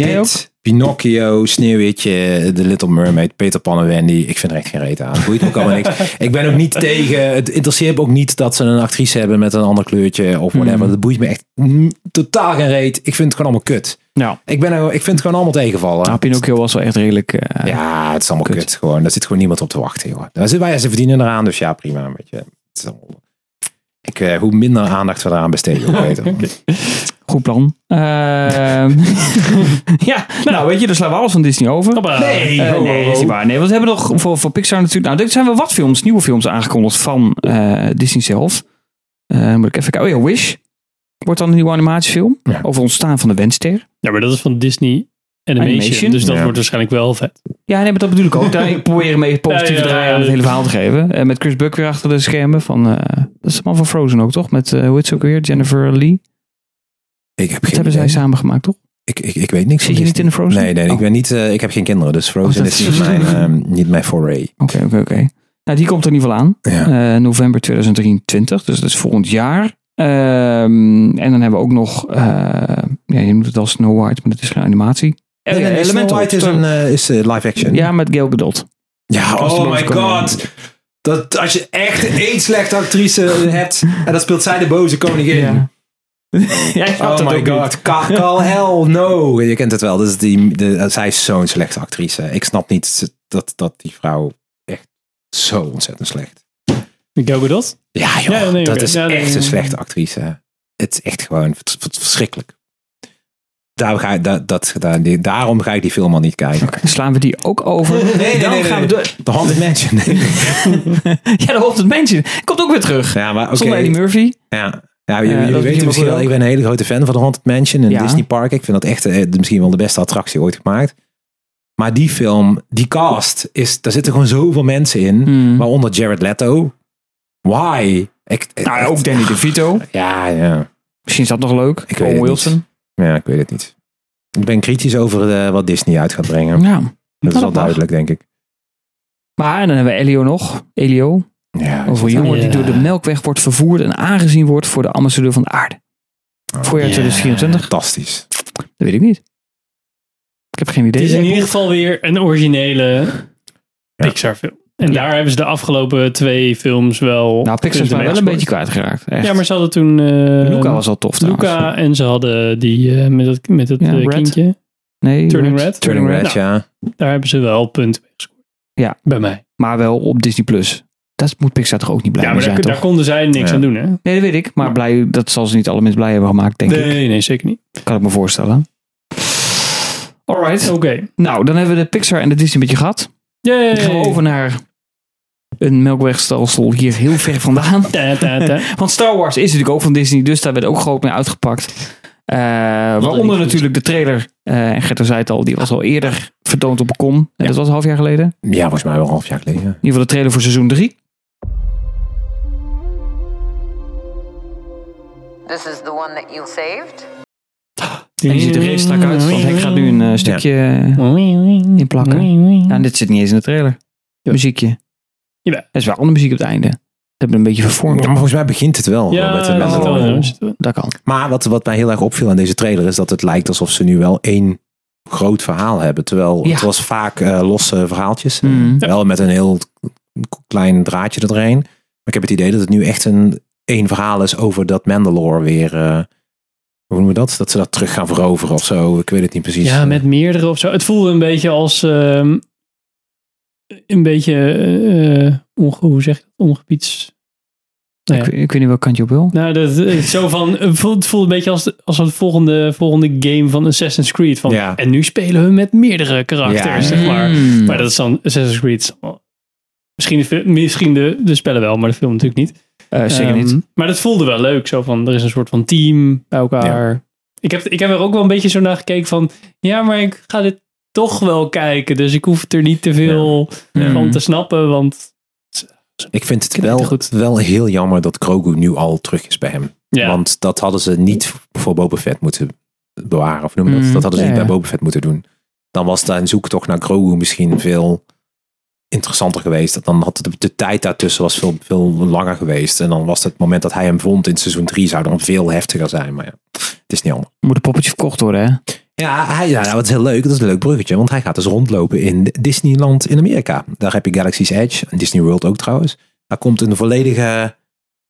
[SPEAKER 1] Jij ook?
[SPEAKER 2] dit, Pinocchio, Sneeuwwitje, The Little Mermaid, Peter Pan en Wendy. Ik vind er echt geen reet aan. Boeit me ook allemaal niks. Ik ben ook niet tegen. Het interesseert me ook niet dat ze een actrice hebben met een ander kleurtje of whatever.
[SPEAKER 1] Hmm.
[SPEAKER 2] Dat boeit me echt mm, totaal geen reet. Ik vind het gewoon allemaal kut.
[SPEAKER 1] Nou,
[SPEAKER 2] Ik, ben, er- ik vind het gewoon allemaal tegenvallen.
[SPEAKER 1] nou, Pinocchio was wel echt redelijk... eh,
[SPEAKER 2] Ja, het is allemaal
[SPEAKER 1] Kut.
[SPEAKER 2] kut. gewoon. Daar zit gewoon niemand op te wachten, joh. Daar zitten wij, ze verdienen eraan, dus ja, prima. Weet je. Het is allemaal- Ik, eh, hoe minder aandacht we eraan besteden, hoe beter.
[SPEAKER 1] Goed plan. Ehm, ja, nou weet je, daar slaan we alles van Disney over.
[SPEAKER 3] Hoppa.
[SPEAKER 1] Nee, oh,
[SPEAKER 3] Eh,
[SPEAKER 1] nee, is niet waar. Nee, want we hebben nog voor, voor Pixar natuurlijk... Nou, er zijn wel wat films, nieuwe films aangekondigd van eh, Disney zelf. Eh, moet ik even kijken. Oh ja, Wish. Wordt dan een nieuwe animatiefilm.
[SPEAKER 2] Ja.
[SPEAKER 1] Over ontstaan van de wenster.
[SPEAKER 3] Ja, maar dat is van Disney Animation.
[SPEAKER 1] Animation?
[SPEAKER 3] Dus dat
[SPEAKER 2] Ja.
[SPEAKER 3] wordt waarschijnlijk wel vet.
[SPEAKER 1] Ja, nee, maar dat bedoel ik ook. Daar, ik probeer een beetje positieve
[SPEAKER 3] Ja, ja, ja.
[SPEAKER 1] draai aan het hele verhaal te geven. Eh, met Chris Buck weer achter de schermen. Van, eh, dat is de man van Frozen ook, toch? Met, eh hoe heet ze ook weer? Jennifer Lee.
[SPEAKER 2] Ik heb
[SPEAKER 1] Dat
[SPEAKER 2] geen
[SPEAKER 1] hebben zij
[SPEAKER 2] idee.
[SPEAKER 1] samen gemaakt, toch?
[SPEAKER 2] Ik, ik, ik weet niks
[SPEAKER 1] Zit je
[SPEAKER 2] van
[SPEAKER 1] niet in de Frozen?
[SPEAKER 2] Nee, nee
[SPEAKER 1] Oh.
[SPEAKER 2] ik, ben niet, eh, ik heb geen kinderen, dus Frozen
[SPEAKER 1] Oh, dat
[SPEAKER 2] is
[SPEAKER 1] is-
[SPEAKER 2] niet mijn, ehm, niet mijn foray.
[SPEAKER 1] Oké, oké, oké. Nou, die komt er in ieder geval aan.
[SPEAKER 2] Ja.
[SPEAKER 1] Eh, november 2023, dus dat is volgend jaar. Ehm, en dan hebben we ook nog, eh, ja, je noemt het al Snow White, maar dat is geen animatie. Eh, Elemental.
[SPEAKER 2] White is, een, eh, is eh, live action.
[SPEAKER 1] Ja, met Gail Gadot.
[SPEAKER 2] Ja,
[SPEAKER 1] Als de
[SPEAKER 2] oh
[SPEAKER 1] boze
[SPEAKER 2] my
[SPEAKER 1] koningin.
[SPEAKER 2] god. Dat, als je echt één slechte actrice hebt en dan speelt zij de boze koningin.
[SPEAKER 1] Jij snapt
[SPEAKER 2] Oh
[SPEAKER 1] het
[SPEAKER 2] my
[SPEAKER 1] ook niet.
[SPEAKER 2] god. Ka- Kal hell no. Je kent het wel. Dus die, de, zij is zo'n slechte actrice. Ik snap niet dat, dat die vrouw echt zo ontzettend slecht.
[SPEAKER 3] Gail Gadot?
[SPEAKER 2] Ja joh,
[SPEAKER 3] Ja, nee,
[SPEAKER 2] dat
[SPEAKER 3] oké.
[SPEAKER 2] is
[SPEAKER 3] Ja, nee,
[SPEAKER 2] echt
[SPEAKER 3] nee.
[SPEAKER 2] een slechte actrice. het is echt gewoon vers- vers- verschrikkelijk. Daar ga, ik- dat, dat, daar- die- daarom ga ik die film al niet kijken.
[SPEAKER 1] Slaan we die ook over?
[SPEAKER 2] nee,
[SPEAKER 1] Dan
[SPEAKER 2] nee, nee,
[SPEAKER 1] gaan we
[SPEAKER 2] nee.
[SPEAKER 1] door.
[SPEAKER 2] The Haunted Mansion.
[SPEAKER 1] Ja, de Haunted Mansion. Komt ook weer terug.
[SPEAKER 2] ja, maar oké.
[SPEAKER 1] Zonder Eddie Murphy.
[SPEAKER 2] Ja. Ja, jullie-
[SPEAKER 1] Eh, dat
[SPEAKER 2] jullie
[SPEAKER 1] begint
[SPEAKER 2] weten
[SPEAKER 1] me
[SPEAKER 2] misschien
[SPEAKER 1] ook
[SPEAKER 2] wel,
[SPEAKER 1] wel.
[SPEAKER 2] ik ben een hele grote fan van de Haunted Mansion en
[SPEAKER 1] Ja.
[SPEAKER 2] Disney Park. Ik vind dat echt eh, misschien wel de beste attractie ooit gemaakt. Maar die film, die cast, is, daar zitten gewoon zoveel mensen in.
[SPEAKER 1] Hmm.
[SPEAKER 2] Waaronder Jared Leto. Why? Ik,
[SPEAKER 1] Nou,
[SPEAKER 2] echt-
[SPEAKER 1] ook Danny DeVito.
[SPEAKER 2] Ja, ja.
[SPEAKER 1] Misschien is dat nog leuk.
[SPEAKER 2] Ik weet
[SPEAKER 1] Owen
[SPEAKER 2] het
[SPEAKER 1] Wilson.
[SPEAKER 2] Ja, ik weet het niet. Ik ben kritisch over eh, wat Disney uit gaat brengen.
[SPEAKER 1] Ja.
[SPEAKER 2] Dat
[SPEAKER 1] dat
[SPEAKER 2] is wel
[SPEAKER 1] mag.
[SPEAKER 2] duidelijk, denk ik.
[SPEAKER 1] Maar en dan hebben we Elio nog. Elio.
[SPEAKER 2] Ja,
[SPEAKER 1] Over een
[SPEAKER 2] ik- eh,
[SPEAKER 1] jongen die
[SPEAKER 3] Ja.
[SPEAKER 1] door de melkweg wordt vervoerd en aangezien wordt voor de ambassadeur van de aarde.
[SPEAKER 2] Oh,
[SPEAKER 1] Voorjaar
[SPEAKER 3] Ja.
[SPEAKER 1] 2024?
[SPEAKER 2] Fantastisch.
[SPEAKER 1] Dat weet ik niet. Ik heb geen idee.
[SPEAKER 3] Het is in
[SPEAKER 1] Jij,
[SPEAKER 3] ieder
[SPEAKER 1] Bob?
[SPEAKER 3] geval weer een originele Pixar film. En daar hebben ze de afgelopen twee films wel...
[SPEAKER 1] Nou, Pixar is
[SPEAKER 3] punten
[SPEAKER 1] mij wel een
[SPEAKER 3] mee
[SPEAKER 1] beetje
[SPEAKER 3] gescoord.
[SPEAKER 1] kwijtgeraakt. Echt.
[SPEAKER 3] Ja, maar ze hadden toen... eh,
[SPEAKER 1] Luca was al tof trouwens.
[SPEAKER 3] Luca en ze hadden die eh, met dat, met dat
[SPEAKER 1] Ja,
[SPEAKER 3] eh,
[SPEAKER 1] Red.
[SPEAKER 3] kindje.
[SPEAKER 1] nee,
[SPEAKER 3] Turning Red.
[SPEAKER 1] Turning Red.
[SPEAKER 3] Nou.
[SPEAKER 2] ja.
[SPEAKER 3] Daar hebben ze wel punten mee gescoord.
[SPEAKER 1] Ja.
[SPEAKER 3] Bij mij.
[SPEAKER 1] Maar wel op Disney+. Plus. Dat moet Pixar toch ook niet blij
[SPEAKER 3] ja,
[SPEAKER 1] mee
[SPEAKER 3] maar daar,
[SPEAKER 1] zijn,
[SPEAKER 3] daar
[SPEAKER 1] toch?
[SPEAKER 3] konden zij niks
[SPEAKER 2] Ja.
[SPEAKER 3] aan doen, hè?
[SPEAKER 1] Nee, dat weet ik. Maar blij, dat zal ze niet alle mensen blij hebben gemaakt, denk ik.
[SPEAKER 3] Nee, nee, zeker niet.
[SPEAKER 1] Kan ik me voorstellen. Alright.
[SPEAKER 3] Oké.
[SPEAKER 1] Nou, dan hebben we de Pixar en de Disney een beetje gehad.
[SPEAKER 3] Yay.
[SPEAKER 1] Dan gaan we over naar een melkwegstelsel hier heel ver vandaan.
[SPEAKER 3] Ta, ta, ta.
[SPEAKER 1] Want Star Wars is natuurlijk ook van Disney, dus daar werd ook groot mee uitgepakt. Eh, waaronder
[SPEAKER 3] niet goed.
[SPEAKER 1] natuurlijk de trailer. Eh, en Gerto zei het al, die was al eerder vertoond op een con. En dat was een half jaar geleden. In
[SPEAKER 2] Ja, volgens mij wel een half jaar geleden.
[SPEAKER 1] ieder geval de trailer voor seizoen 3.
[SPEAKER 7] This is the one that you saved?
[SPEAKER 1] En die ziet er heel strak uit, want ik ga nu een eh, stukje in plakken. Ja, en dit zit niet eens in de trailer. Muziekje.
[SPEAKER 3] Jawel.
[SPEAKER 1] Er is wel andere muziek op het einde. Dat hebben we een beetje
[SPEAKER 2] Ja, maar
[SPEAKER 1] vervormd.
[SPEAKER 2] volgens mij begint het wel.
[SPEAKER 3] Ja,
[SPEAKER 2] gewoon met
[SPEAKER 3] dat
[SPEAKER 2] met
[SPEAKER 3] is het wel, eh,
[SPEAKER 1] Oh.
[SPEAKER 3] dat is het wel.
[SPEAKER 1] Dat kan.
[SPEAKER 2] Maar wat, wat mij heel erg opviel aan deze trailer is dat het lijkt alsof ze nu wel één groot verhaal hebben. Terwijl
[SPEAKER 1] Ja.
[SPEAKER 2] het was vaak eh, losse verhaaltjes.
[SPEAKER 1] Mm.
[SPEAKER 2] Wel met een heel k- klein draadje erheen. Maar ik heb het idee dat het nu echt een één verhaal is over dat Mandalore weer. eh, hoe noemen we dat? Dat ze dat terug gaan veroveren of zo. Ik weet het niet precies.
[SPEAKER 3] Ja, met meerdere of zo. Het voelde een beetje als ehm, een beetje eh onge, hoe zeg je dat? ongebieds. Nou ja.
[SPEAKER 1] Ik, ik weet niet welk kant je op wil.
[SPEAKER 3] Nou, dat is zo van. Het voelt, het voelt een beetje als, de- als het volgende, volgende game van Assassin's Creed. Van,
[SPEAKER 2] Ja.
[SPEAKER 3] En nu spelen we met meerdere karakters,
[SPEAKER 2] Ja,
[SPEAKER 3] zeg maar.
[SPEAKER 1] Mm.
[SPEAKER 3] Maar dat is dan Assassin's Creed. is allemaal- Misschien, de, fil- misschien de, de spellen wel, maar de film natuurlijk niet.
[SPEAKER 1] Eh, zeker
[SPEAKER 3] Ehm,
[SPEAKER 1] niet.
[SPEAKER 3] Maar dat voelde wel leuk. Zo van, er is een soort van team bij elkaar. Ik, heb, ik heb er ook wel een beetje zo naar gekeken van... Ja, maar ik ga dit toch wel kijken. Dus ik hoef het er niet te veel
[SPEAKER 1] Ja.
[SPEAKER 3] van
[SPEAKER 1] Mm.
[SPEAKER 3] te snappen. Want
[SPEAKER 2] Ik vind het
[SPEAKER 3] Ik vind het
[SPEAKER 2] wel,
[SPEAKER 3] goed.
[SPEAKER 2] wel heel jammer dat Grogu nu al terug is bij hem.
[SPEAKER 3] ja,
[SPEAKER 2] Want dat hadden ze niet voor Boba Fett moeten bewaren. Of noem je dat.
[SPEAKER 1] Mm,
[SPEAKER 2] dat hadden ze
[SPEAKER 1] ja,
[SPEAKER 2] niet
[SPEAKER 1] ja.
[SPEAKER 2] bij Boba Fett moeten doen. Dan was daar een zoektocht naar Grogu misschien veel interessanter geweest. Dan had de, de tijd daartussen was veel, veel langer geweest. En dan was het moment dat hij hem vond in seizoen 3 zou dan veel heftiger zijn. Maar ja, het is niet allemaal.
[SPEAKER 1] Moet een poppetje verkocht worden, hè?
[SPEAKER 2] Ja, hij, ja, nou, het is heel leuk. Dat is een leuk bruggetje. Want hij gaat dus rondlopen in Disneyland in Amerika. Daar heb je Galaxy's Edge. En Disney World ook trouwens. Daar komt een volledige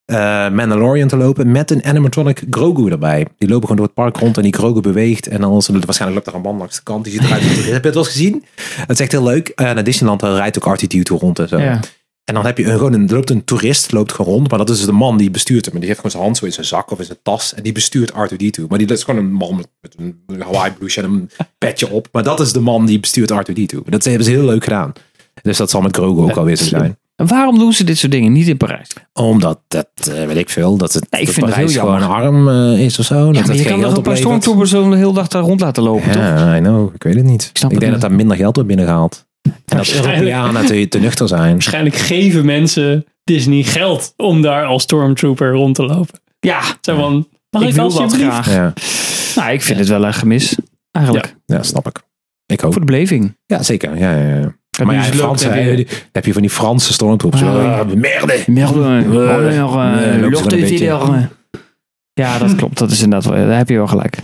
[SPEAKER 2] eh, Mandalorian te lopen met een animatronic Grogu erbij. Die lopen gewoon door het park rond en die Grogu beweegt. En dan is er- waarschijnlijk loopt er een man langs de kant. Die ziet eruit. Heb je het wel eens gezien? Dat is echt heel leuk. Eh, naar Disneyland daar rijdt ook R2D2 rond en zo.
[SPEAKER 1] Ja.
[SPEAKER 2] En dan heb je een, gewoon een, loopt een toerist, loopt gewoon rond. Maar dat is dus de man die bestuurt hem. En die heeft gewoon zijn hand zo in zijn zak of in zijn tas. En die bestuurt R2-D2. Maar die dat is gewoon een man met, met een Hawaii bluesje en een petje op. Maar dat is de man die bestuurt R2-D2. Dat hebben ze heel leuk gedaan. Dus dat zal met Grogu ook alweer zo zijn.
[SPEAKER 1] En waarom doen ze dit soort dingen niet in Parijs?
[SPEAKER 2] Omdat, dat eh, weet ik veel, dat het
[SPEAKER 1] Ja, ik
[SPEAKER 2] dat
[SPEAKER 1] vind dat
[SPEAKER 2] Parijs
[SPEAKER 1] heel
[SPEAKER 2] gewoon arm eh, is of zo. dat
[SPEAKER 1] Ja, maar
[SPEAKER 2] het
[SPEAKER 1] je
[SPEAKER 2] geen
[SPEAKER 1] kan toch een
[SPEAKER 2] geld
[SPEAKER 1] paar
[SPEAKER 2] oplevert.
[SPEAKER 1] stormtroopers zo de hele dag daar rond laten lopen, toch?
[SPEAKER 2] Ja, I know. Ik weet het niet. Ik,
[SPEAKER 1] snap het
[SPEAKER 2] denk
[SPEAKER 1] niet.
[SPEAKER 2] dat daar minder geld wordt binnengehaald. En dat
[SPEAKER 3] Waarschijnlijk.
[SPEAKER 2] Europeanen te, te nuchter zijn.
[SPEAKER 3] waarschijnlijk geven mensen Disney geld... om daar als stormtrooper rond te lopen.
[SPEAKER 1] Ja,
[SPEAKER 3] Zo van, mag
[SPEAKER 1] ik
[SPEAKER 3] ik,
[SPEAKER 1] wil dat
[SPEAKER 3] alsjeblieft?
[SPEAKER 1] graag.
[SPEAKER 2] Ja,
[SPEAKER 1] Nou, ik vind het wel een gemis. Eigenlijk.
[SPEAKER 2] ja, snap ik. Ik hoop.
[SPEAKER 1] Voor de beleving.
[SPEAKER 2] Ja, zeker. Ja, ja, ja.
[SPEAKER 1] En
[SPEAKER 2] maar
[SPEAKER 1] nu
[SPEAKER 2] ja,
[SPEAKER 1] is
[SPEAKER 2] in
[SPEAKER 1] het leuk,
[SPEAKER 2] Frankrijk
[SPEAKER 1] heb je-
[SPEAKER 2] heb, je- heb je van die Franse stormtroepers.
[SPEAKER 1] Ah.
[SPEAKER 2] Ah, merde!
[SPEAKER 1] Merde.
[SPEAKER 2] Eh, eh, loopt
[SPEAKER 1] Lort
[SPEAKER 2] er een
[SPEAKER 1] is
[SPEAKER 2] beetje.
[SPEAKER 1] hier, eh. Ja, dat klopt. Dat is inderdaad wel, daar heb je wel gelijk.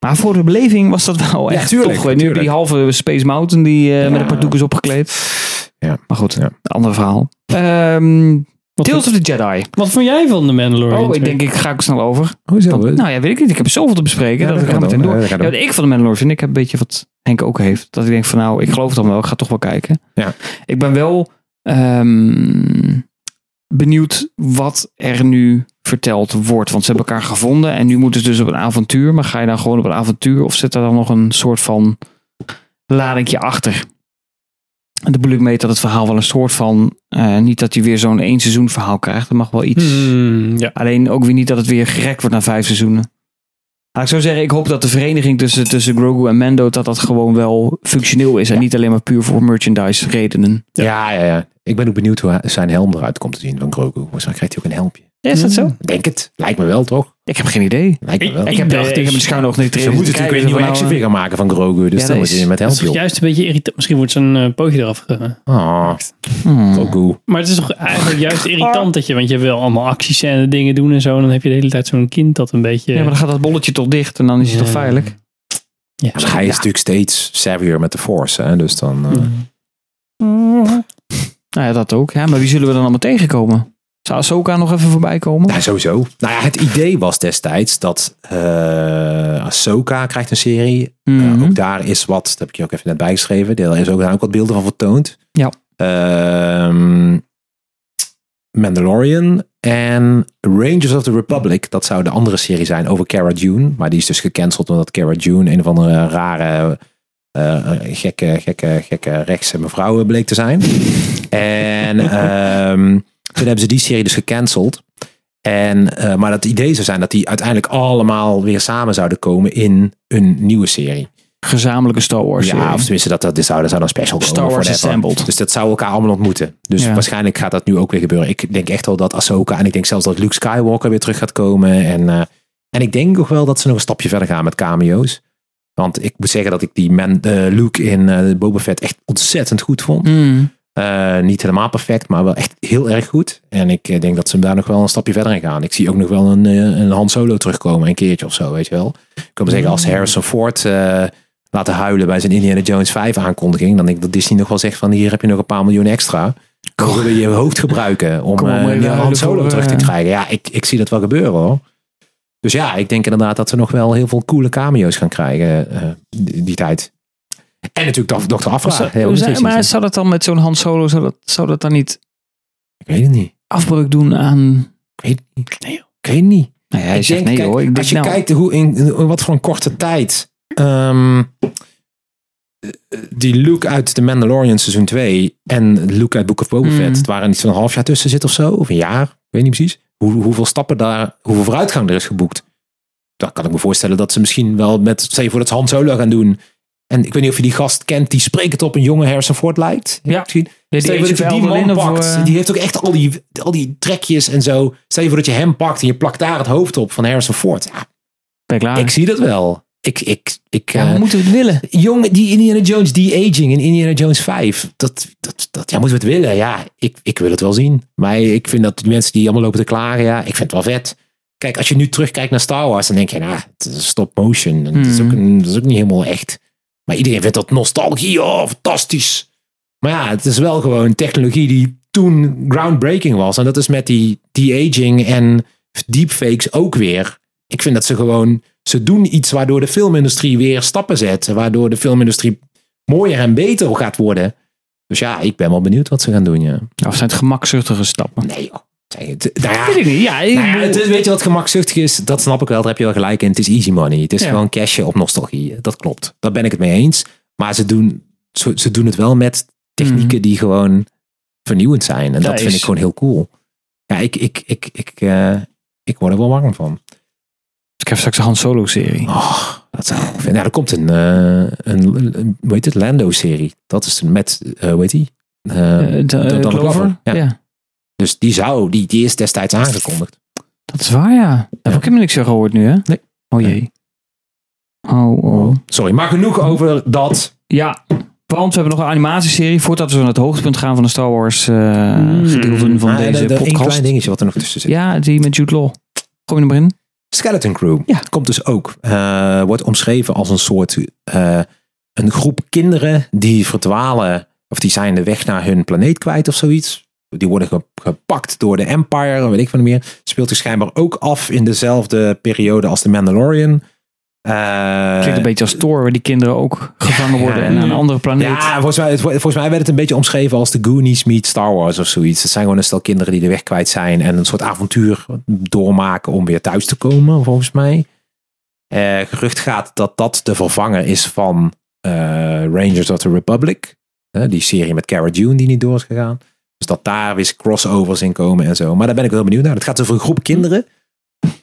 [SPEAKER 1] Maar voor de beleving was dat wel
[SPEAKER 2] Ja,
[SPEAKER 1] echt
[SPEAKER 2] tuurlijk,
[SPEAKER 1] tof. Nu heb je die halve Space Mountain die eh, met een paar doekjes opgekleed.
[SPEAKER 2] Ja.
[SPEAKER 1] Maar goed,
[SPEAKER 2] Ja.
[SPEAKER 1] een ander verhaal. Ehm,
[SPEAKER 3] Wat,
[SPEAKER 1] Tales of the Jedi.
[SPEAKER 3] wat vond jij van de Mandalorian?
[SPEAKER 1] Oh, ik denk ik ga ik snel over.
[SPEAKER 2] Hoezo?
[SPEAKER 1] Want, nou ja, weet ik niet. Ik heb zoveel te bespreken.
[SPEAKER 2] Ja,
[SPEAKER 1] dat
[SPEAKER 2] dat
[SPEAKER 1] ik ga
[SPEAKER 2] gaat
[SPEAKER 1] meteen
[SPEAKER 2] ook.
[SPEAKER 1] door.
[SPEAKER 2] Ja, dat
[SPEAKER 1] Ja,
[SPEAKER 2] gaat
[SPEAKER 1] wat ik van de Mandalorian vind, ik heb een beetje wat Henk ook heeft. Dat ik denk van nou, ik geloof het dan wel. Ik ga toch wel kijken.
[SPEAKER 2] Ja.
[SPEAKER 1] Ik ben wel ehm, benieuwd wat er nu verteld wordt. Want ze hebben elkaar gevonden en nu moeten ze dus op een avontuur. Maar ga je dan gewoon op een avontuur of zit daar dan nog een soort van ladingje achter? En dat bedoel ik mee dat het verhaal wel een soort van... eh, niet dat je weer zo'n één seizoen verhaal krijgt. Er mag wel iets...
[SPEAKER 3] Hmm, ja.
[SPEAKER 1] Alleen ook weer niet dat het weer gerekt wordt na vijf seizoenen. Laat ik zo zeggen, ik hoop dat de vereniging tussen, tussen Grogu en Mando... dat dat gewoon wel functioneel is. En niet alleen maar puur voor merchandise redenen.
[SPEAKER 2] Ja, ja, ja. Ik ben ook benieuwd hoe hij- zijn helm eruit komt te zien van Grogu. Waarschijnlijk krijgt hij ook een helmpje.
[SPEAKER 1] is dat zo?
[SPEAKER 2] Denk het. Lijkt me wel, toch?
[SPEAKER 1] Mm. Ik heb geen idee.
[SPEAKER 2] Lijkt me wel.
[SPEAKER 1] Ik heb,
[SPEAKER 3] Nee.
[SPEAKER 1] echt, ik heb een schuin oog niet
[SPEAKER 2] Ze moeten natuurlijk weer een nieuwe
[SPEAKER 1] nou,
[SPEAKER 2] actiefigure
[SPEAKER 1] eh,
[SPEAKER 2] maken van Grogu. Dus
[SPEAKER 1] Ja,
[SPEAKER 2] dan
[SPEAKER 1] dat
[SPEAKER 2] moet
[SPEAKER 1] is-
[SPEAKER 2] je met
[SPEAKER 3] Dat is
[SPEAKER 2] helmpje
[SPEAKER 3] toch
[SPEAKER 2] op.
[SPEAKER 3] juist een beetje irritant. Misschien wordt zijn eh, pootje eraf ge...
[SPEAKER 2] Ah,
[SPEAKER 1] Mm.
[SPEAKER 2] Grogu.
[SPEAKER 3] Maar het is toch eigenlijk juist irritant dat je... Want je wil allemaal acties en dingen doen en zo. En dan heb je de hele tijd zo'n kind dat een beetje...
[SPEAKER 1] Ja, maar dan gaat dat bolletje toch dicht en dan is het
[SPEAKER 3] Ja.
[SPEAKER 1] toch veilig?
[SPEAKER 3] Ja.
[SPEAKER 2] Dus hij is natuurlijk steeds savvier met de Force. Hè? Dus dan... eh,
[SPEAKER 1] Nou ja, dat ook. Ja, maar wie zullen we dan allemaal tegenkomen? Zou Ahsoka nog even voorbij komen?
[SPEAKER 2] Nou, sowieso. Nou ja, het idee was destijds dat eh Ahsoka krijgt een serie. Eh,
[SPEAKER 1] Mhm.
[SPEAKER 2] ook daar is wat, dat heb ik je ook even net bijgeschreven. Daar is ook, daar ook wat beelden van vertoond.
[SPEAKER 1] Ja.
[SPEAKER 2] Ehm, Mandalorian en Rangers of the Republic. Dat zou de andere serie zijn over Cara Dune. Maar die is dus gecanceld omdat Cara Dune een of andere rare, eh, gekke, gekke, gekke rechtse mevrouw eh, bleek te zijn. en ehm, toen hebben ze die serie dus gecanceld. En, eh, maar dat idee zou zijn dat die uiteindelijk allemaal weer samen zouden komen in een nieuwe serie.
[SPEAKER 1] Gezamenlijke Star Wars.
[SPEAKER 2] Ja,
[SPEAKER 1] serie.
[SPEAKER 2] of tenminste, dat, dat, dit zou, dat zou dan special
[SPEAKER 1] Star
[SPEAKER 2] komen,
[SPEAKER 1] Wars
[SPEAKER 2] whatever.
[SPEAKER 1] Assembled.
[SPEAKER 2] Dus dat zou elkaar allemaal ontmoeten. Dus
[SPEAKER 1] Ja.
[SPEAKER 2] waarschijnlijk gaat dat nu ook weer gebeuren. Ik denk echt wel dat Ahsoka en ik denk zelfs dat Luke Skywalker weer terug gaat komen. En, eh, en ik denk ook wel dat ze nog een stapje verder gaan met cameo's. Want ik moet zeggen dat ik die man, eh, Luke in eh, Boba Fett echt ontzettend goed vond.
[SPEAKER 1] Mm.
[SPEAKER 2] Eh, niet helemaal perfect, maar wel echt heel erg goed. En ik eh, denk dat ze hem daar nog wel een stapje verder in gaan. Ik zie ook nog wel een, eh, een Han Solo terugkomen, een keertje of zo, weet je wel. Ik kan maar zeggen,
[SPEAKER 1] Mm.
[SPEAKER 2] als ze Harrison Ford eh, laten huilen bij zijn Indiana Jones 5 aankondiging, dan denk ik dat Disney nog wel zegt van hier heb je nog een paar miljoen extra. Dan wil je je hoofd gebruiken om
[SPEAKER 1] Kom maar
[SPEAKER 2] eh,
[SPEAKER 1] even
[SPEAKER 2] die Han
[SPEAKER 1] huilen
[SPEAKER 2] Solo
[SPEAKER 1] voor,
[SPEAKER 2] terug te
[SPEAKER 1] eh,
[SPEAKER 2] krijgen. Ja, ik, ik zie dat wel gebeuren hoor. Dus ja, ik denk inderdaad dat we nog wel heel veel coole cameo's gaan krijgen eh, die, die tijd. En natuurlijk Dr. Afra.
[SPEAKER 1] Zou-
[SPEAKER 2] Heel
[SPEAKER 1] zou-
[SPEAKER 2] interessant.
[SPEAKER 1] maar zou dat dan met zo'n Han Solo, zou dat, zou dat dan niet
[SPEAKER 2] Ik weet het niet.
[SPEAKER 1] afbreuk doen aan...
[SPEAKER 2] Ik weet het niet. Ik weet het niet.
[SPEAKER 1] Nou ja, hij
[SPEAKER 2] Ik
[SPEAKER 1] zegt
[SPEAKER 2] denk,
[SPEAKER 1] nee
[SPEAKER 2] kijk,
[SPEAKER 1] hoor. Ik denk,
[SPEAKER 2] als je
[SPEAKER 1] nou,
[SPEAKER 2] kijkt hoe in, in wat voor een korte tijd ehm, die Luke uit The Mandalorian seizoen 2 en Luke uit Book of Boba
[SPEAKER 1] Mm.
[SPEAKER 2] Fett, het waren iets van een half jaar tussen zit of zo, of een jaar, ik weet niet precies. Hoe, hoeveel stappen daar, hoeveel vooruitgang er is geboekt. Dan kan ik me voorstellen dat ze misschien wel met, stel je voor dat ze Han Solo gaan doen. En ik weet niet of je die gast kent, die sprekend op een jonge Harrison Ford lijkt.
[SPEAKER 1] Ja.
[SPEAKER 2] Misschien.
[SPEAKER 1] Ja,
[SPEAKER 2] Stel je voor dat je
[SPEAKER 1] HFL
[SPEAKER 2] die
[SPEAKER 1] Berlin
[SPEAKER 2] man
[SPEAKER 1] of,
[SPEAKER 2] pakt.
[SPEAKER 1] eh,
[SPEAKER 2] Die heeft ook echt al die, al die trekjes en zo. Stel je voor dat je hem pakt en je plakt daar het hoofd op van Harrison Ford. Ja,
[SPEAKER 1] ben ik klaar.
[SPEAKER 2] Ik zie dat wel. Ik, ik, ik,
[SPEAKER 1] Ah. Ja,
[SPEAKER 2] eh,
[SPEAKER 1] we moeten het willen.
[SPEAKER 2] jong, die Indiana Jones, die aging in Indiana Jones 5. Dat, dat, dat, ja, moeten we het willen? Ja, ik, ik wil het wel zien. Maar ik vind dat die mensen die allemaal lopen te klagen, ja, ik vind het wel vet. Kijk, als je nu terugkijkt naar Star Wars, dan denk je, nou, het is stop motion. En Het is
[SPEAKER 1] Mhm.
[SPEAKER 2] ook, een, dat is ook niet helemaal echt. Maar iedereen vindt dat nostalgie, oh, fantastisch. Maar ja, het is wel gewoon technologie die toen groundbreaking was. En dat is met die de-aging en deepfakes ook weer. Ik vind dat ze gewoon, ze doen iets waardoor de filmindustrie weer stappen zet. Waardoor de filmindustrie mooier en beter gaat worden. Dus ja, ik ben wel benieuwd wat ze gaan doen, ja.
[SPEAKER 1] Ja, Of zijn het gemakzuchtige stappen?
[SPEAKER 2] Nee joh. Zeg het- Nou ja,
[SPEAKER 1] Weet ik niet. Ja, ik
[SPEAKER 2] nou ja,
[SPEAKER 1] bedoel-
[SPEAKER 2] het is- weet je wat gemakzuchtig is? Dat snap ik wel, daar heb je wel gelijk in. Het is easy money. Het is
[SPEAKER 1] Ja.
[SPEAKER 2] gewoon cashje op nostalgie. Dat klopt. Daar ben ik het mee eens. Maar ze doen, ze, ze doen het wel met technieken die gewoon vernieuwend zijn. En
[SPEAKER 1] Mhm. Ja,
[SPEAKER 2] dat vind
[SPEAKER 1] is-
[SPEAKER 2] ik gewoon heel cool. Ja, ik, ik, ik, ik, eh, ik word er wel warm van.
[SPEAKER 1] ik heb straks een Han Solo serie.
[SPEAKER 2] Oh, dat zou ik vinden. Nou, er komt een, eh, een, een hoe heet het, Lando-serie. Dat is met, eh hoe heet die? Eh,
[SPEAKER 1] Eh, de- eh,
[SPEAKER 2] Donald
[SPEAKER 1] Clover?
[SPEAKER 2] Glover. Ja.
[SPEAKER 1] Ja.
[SPEAKER 2] Dus die zou, die, die is destijds aangekondigd.
[SPEAKER 1] dat is waar ja. Daar heb ik helemaal niks van gehoord nu hè?
[SPEAKER 2] Nee.
[SPEAKER 1] Oh jee. Oh, oh.
[SPEAKER 2] Sorry, maar genoeg over dat.
[SPEAKER 1] Ja, want we hebben nog een animatieserie voordat we naar het hoogtepunt gaan van de Star Wars eh,
[SPEAKER 3] Mm.
[SPEAKER 1] gedeelten van
[SPEAKER 2] Ah, en
[SPEAKER 1] deze
[SPEAKER 2] de- de- één
[SPEAKER 1] podcast.
[SPEAKER 2] klein dingetje wat er nog tussen zit.
[SPEAKER 1] Ja, die met Jude Law. Gooi hem erin.
[SPEAKER 2] Skeleton Crew
[SPEAKER 1] Ja.
[SPEAKER 2] komt dus ook. eh, wordt omschreven als een soort eh, een groep kinderen die verdwalen. Of die zijn de weg naar hun planeet kwijt of zoiets. Die worden ge- gepakt door de Empire, weet ik van meer. Speelt zich schijnbaar ook af in dezelfde periode als de Mandalorian. Eh,
[SPEAKER 1] Klinkt een beetje als Thor, waar die kinderen ook gevangen
[SPEAKER 2] ja,
[SPEAKER 1] worden en naar een
[SPEAKER 3] ja.
[SPEAKER 1] andere planeet.
[SPEAKER 2] ja, volgens mij, het- volgens mij werd het een beetje omschreven als de Goonies meet Star Wars of zoiets. Het zijn gewoon een stel kinderen die de weg kwijt zijn en een soort avontuur doormaken om weer thuis te komen, volgens mij. Eh, gerucht gaat dat dat de vervanger is van eh, Rangers of the Republic. Eh, die serie met Cara Dune die niet door is gegaan. Dus dat daar weer crossovers in komen en zo. Maar daar ben ik wel heel benieuwd naar. Het gaat over een groep kinderen.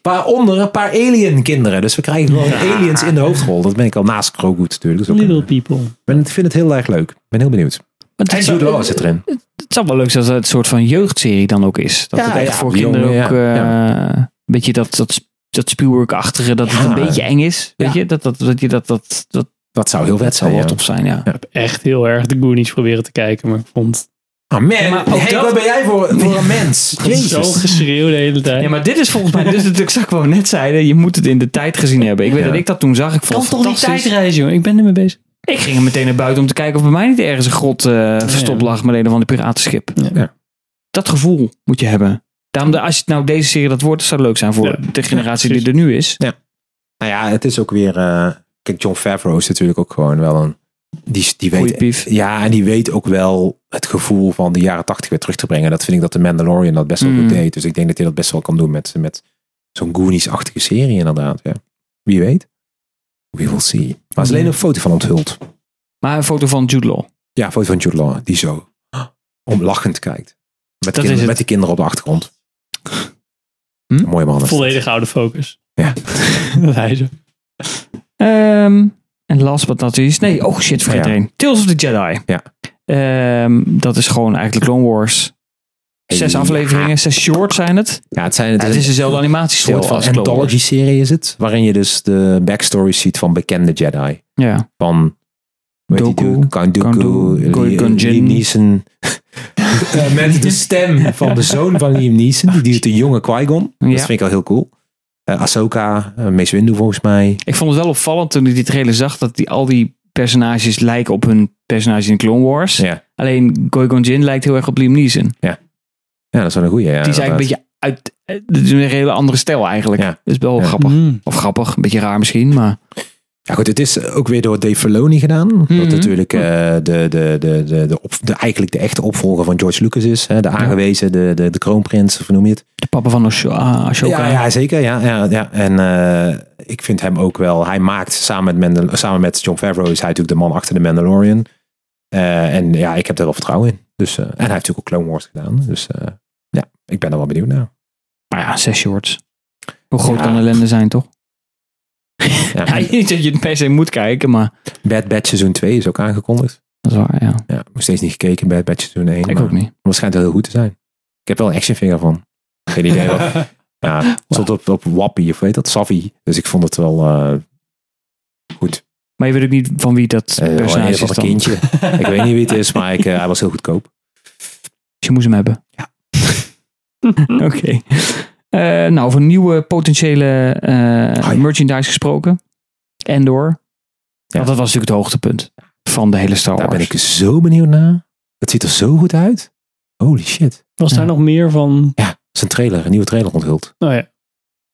[SPEAKER 2] Waaronder een paar alien kinderen. Dus we krijgen gewoon aliens in de hoofdrol. Dat ben ik al naast Grogu natuurlijk. Dat is ook een-
[SPEAKER 3] Little people.
[SPEAKER 2] ik ben- vind het heel erg leuk. Ik ben heel benieuwd.
[SPEAKER 1] Want
[SPEAKER 2] En
[SPEAKER 1] het,
[SPEAKER 2] Jude
[SPEAKER 1] zou,
[SPEAKER 2] Law zit erin.
[SPEAKER 1] het zou wel leuk zijn als het een soort van jeugdserie dan ook is. Dat
[SPEAKER 2] Ja,
[SPEAKER 1] het echt
[SPEAKER 2] ja,
[SPEAKER 1] voor
[SPEAKER 2] die
[SPEAKER 1] kinderen
[SPEAKER 2] jongen,
[SPEAKER 1] ook
[SPEAKER 2] ja,
[SPEAKER 1] eh, een beetje dat, dat, dat spuurwerkachtige, dat het
[SPEAKER 2] Ja.
[SPEAKER 1] een beetje eng is. Weet
[SPEAKER 2] Ja.
[SPEAKER 1] je, dat dat, dat, je dat, dat, dat
[SPEAKER 2] Dat zou heel vet zijn.
[SPEAKER 1] zou
[SPEAKER 2] Ja.
[SPEAKER 1] wel top zijn, ja.
[SPEAKER 3] Ik heb echt heel erg de Goonies proberen te kijken, maar ik vond het
[SPEAKER 2] Ah, man,
[SPEAKER 1] maar ook
[SPEAKER 2] Henk,
[SPEAKER 1] dat-
[SPEAKER 2] wat ben jij voor, voor een mens?
[SPEAKER 3] zo
[SPEAKER 2] Jezus.
[SPEAKER 3] geschreeuw de hele tijd.
[SPEAKER 1] Ja, maar dit is volgens mij, dit is natuurlijk wat ik gewoon net zeiden, je moet het in de tijd gezien hebben. Ik weet
[SPEAKER 2] Ja.
[SPEAKER 1] dat ik dat toen zag, ik vond
[SPEAKER 3] kan
[SPEAKER 1] het
[SPEAKER 3] toch niet
[SPEAKER 1] fantastisch.
[SPEAKER 3] tijdreizen, joh. Ik ben ermee bezig.
[SPEAKER 1] Ik ging er meteen naar buiten om te kijken of bij mij niet ergens een grot eh, verstopt lag met een van de piratenschip.
[SPEAKER 3] Ja.
[SPEAKER 2] Ja.
[SPEAKER 1] Dat gevoel moet je hebben. Daarom, de, als het nou deze serie dat wordt, dat zou leuk zijn voor
[SPEAKER 3] Ja.
[SPEAKER 1] de generatie
[SPEAKER 3] Ja,
[SPEAKER 1] die er nu is.
[SPEAKER 2] Nou ja, het is ook weer... eh, kijk, John Favreau is natuurlijk ook gewoon wel een... Die, die
[SPEAKER 1] Goeie
[SPEAKER 2] weet,
[SPEAKER 1] pief.
[SPEAKER 2] ja, en die weet ook wel het gevoel van de jaren tachtig weer terug te brengen. Dat vind ik dat de Mandalorian dat best wel
[SPEAKER 1] Mm.
[SPEAKER 2] goed deed. Dus ik denk dat hij dat best wel kan doen met, met zo'n Goonies-achtige serie inderdaad. Ja. Wie weet. We will see. Maar er is alleen een foto van onthuld.
[SPEAKER 1] Maar een foto van Jude Law.
[SPEAKER 2] Ja, een foto van Jude Law, die zo omlachend kijkt. Met, de
[SPEAKER 1] is
[SPEAKER 2] kinderen,
[SPEAKER 1] het.
[SPEAKER 2] met die kinderen op de achtergrond.
[SPEAKER 1] Hm?
[SPEAKER 2] Mooie man. is dat.
[SPEAKER 3] Volledig oude focus.
[SPEAKER 2] Ja.
[SPEAKER 3] dat hij zo.
[SPEAKER 1] Ehm, en last but not least, nee, oh shit, vergeet
[SPEAKER 2] Ja.
[SPEAKER 1] er één. Tales of the Jedi.
[SPEAKER 2] Ja.
[SPEAKER 1] Ehm, dat is gewoon eigenlijk Clone Wars. Zes
[SPEAKER 2] Ja.
[SPEAKER 1] afleveringen, zes shorts zijn het.
[SPEAKER 2] Ja, het, zijn,
[SPEAKER 1] Ja, het is dezelfde animatiestijl
[SPEAKER 2] soort van
[SPEAKER 1] als Clone Wars.
[SPEAKER 2] anthology-serie is het. Waarin je dus de backstories ziet van bekende Jedi.
[SPEAKER 1] Ja.
[SPEAKER 2] Van hoe heet die
[SPEAKER 1] Doku,
[SPEAKER 2] dude? Count
[SPEAKER 1] Count Dooku,
[SPEAKER 2] Dooku, Li-
[SPEAKER 1] Qui-Gon Jinn.
[SPEAKER 2] Liam Neeson. Eh, Met de stem van de zoon van Liam Neeson. Die duurt een jonge Qui-Gon.
[SPEAKER 1] Ja.
[SPEAKER 2] Dat vind ik al heel cool. Eh, Ahsoka, eh, Mace Windu volgens mij.
[SPEAKER 1] Ik vond het wel opvallend toen ik die trailer zag dat die, al die personages lijken op hun personage in Clone Wars.
[SPEAKER 2] Ja.
[SPEAKER 1] Alleen Goi-Gon Jinn lijkt heel erg op Liam Neeson.
[SPEAKER 2] Ja, dat is wel een goeie. Ja,
[SPEAKER 1] die is
[SPEAKER 2] inderdaad.
[SPEAKER 1] eigenlijk een beetje uit... eh, Dat is een hele andere stijl eigenlijk.
[SPEAKER 2] Ja.
[SPEAKER 1] Dat is wel
[SPEAKER 2] Ja.
[SPEAKER 1] grappig.
[SPEAKER 3] Mm.
[SPEAKER 1] Of grappig, een beetje raar misschien, maar...
[SPEAKER 2] Ja goed, het is ook weer door Dave Filoni gedaan.
[SPEAKER 1] Mhm.
[SPEAKER 2] Dat natuurlijk eh, de, de, de, de, de, op, de, eigenlijk de echte opvolger van George Lucas is. Hè, de aangewezen, de, de, de kroonprins, of hoe noem je het?
[SPEAKER 1] De papa van Asho- ah, Ashoka.
[SPEAKER 2] Ja, ja, zeker. Ja, ja, ja. En eh, ik vind hem ook wel... Hij maakt samen met, Mandal- samen met John Favreau is hij natuurlijk de man achter de Mandalorian. Eh, en ja, ik heb daar wel vertrouwen in. Dus, eh, en hij heeft natuurlijk ook Clone Wars gedaan. Dus eh, ja, ik ben er wel benieuwd naar.
[SPEAKER 1] Maar ja, zes shorts. Hoe groot
[SPEAKER 2] Ja.
[SPEAKER 1] kan ellende zijn, toch?
[SPEAKER 2] Ja,
[SPEAKER 1] Ja, niet dat je het per se moet kijken, maar...
[SPEAKER 2] Bad Batch seizoen 2 is ook aangekondigd.
[SPEAKER 1] Dat is waar, ja.
[SPEAKER 2] Ja, nog steeds niet gekeken Bad Batch seizoen 1.
[SPEAKER 1] Ik ook niet.
[SPEAKER 2] Maar het schijnt wel heel goed te zijn. Ik heb wel een actionfinger van. Geen idee wat. Ja, het stond op, op Wappie of weet dat, Savvy. Dus ik vond het wel eh,
[SPEAKER 1] Maar je weet ook niet van wie dat
[SPEAKER 2] eh, wel een
[SPEAKER 1] personage
[SPEAKER 2] heel
[SPEAKER 1] is dan.
[SPEAKER 2] van een kindje. ik weet niet wie het is, maar ik, eh, hij was heel goedkoop.
[SPEAKER 1] Dus je moest hem hebben. Ja. Oké. Eh, nou, over nieuwe potentiële eh,
[SPEAKER 2] Ah, ja.
[SPEAKER 1] merchandise gesproken. Endor. Want dat was natuurlijk het hoogtepunt van de hele Star
[SPEAKER 2] Daar
[SPEAKER 1] Wars.
[SPEAKER 2] ben ik zo benieuwd naar. Het ziet er zo goed uit. Holy shit.
[SPEAKER 3] Was daar
[SPEAKER 1] Ja.
[SPEAKER 3] nog meer van?
[SPEAKER 2] Ja, het is een trailer, een nieuwe trailer onthuld.
[SPEAKER 3] Oh ja.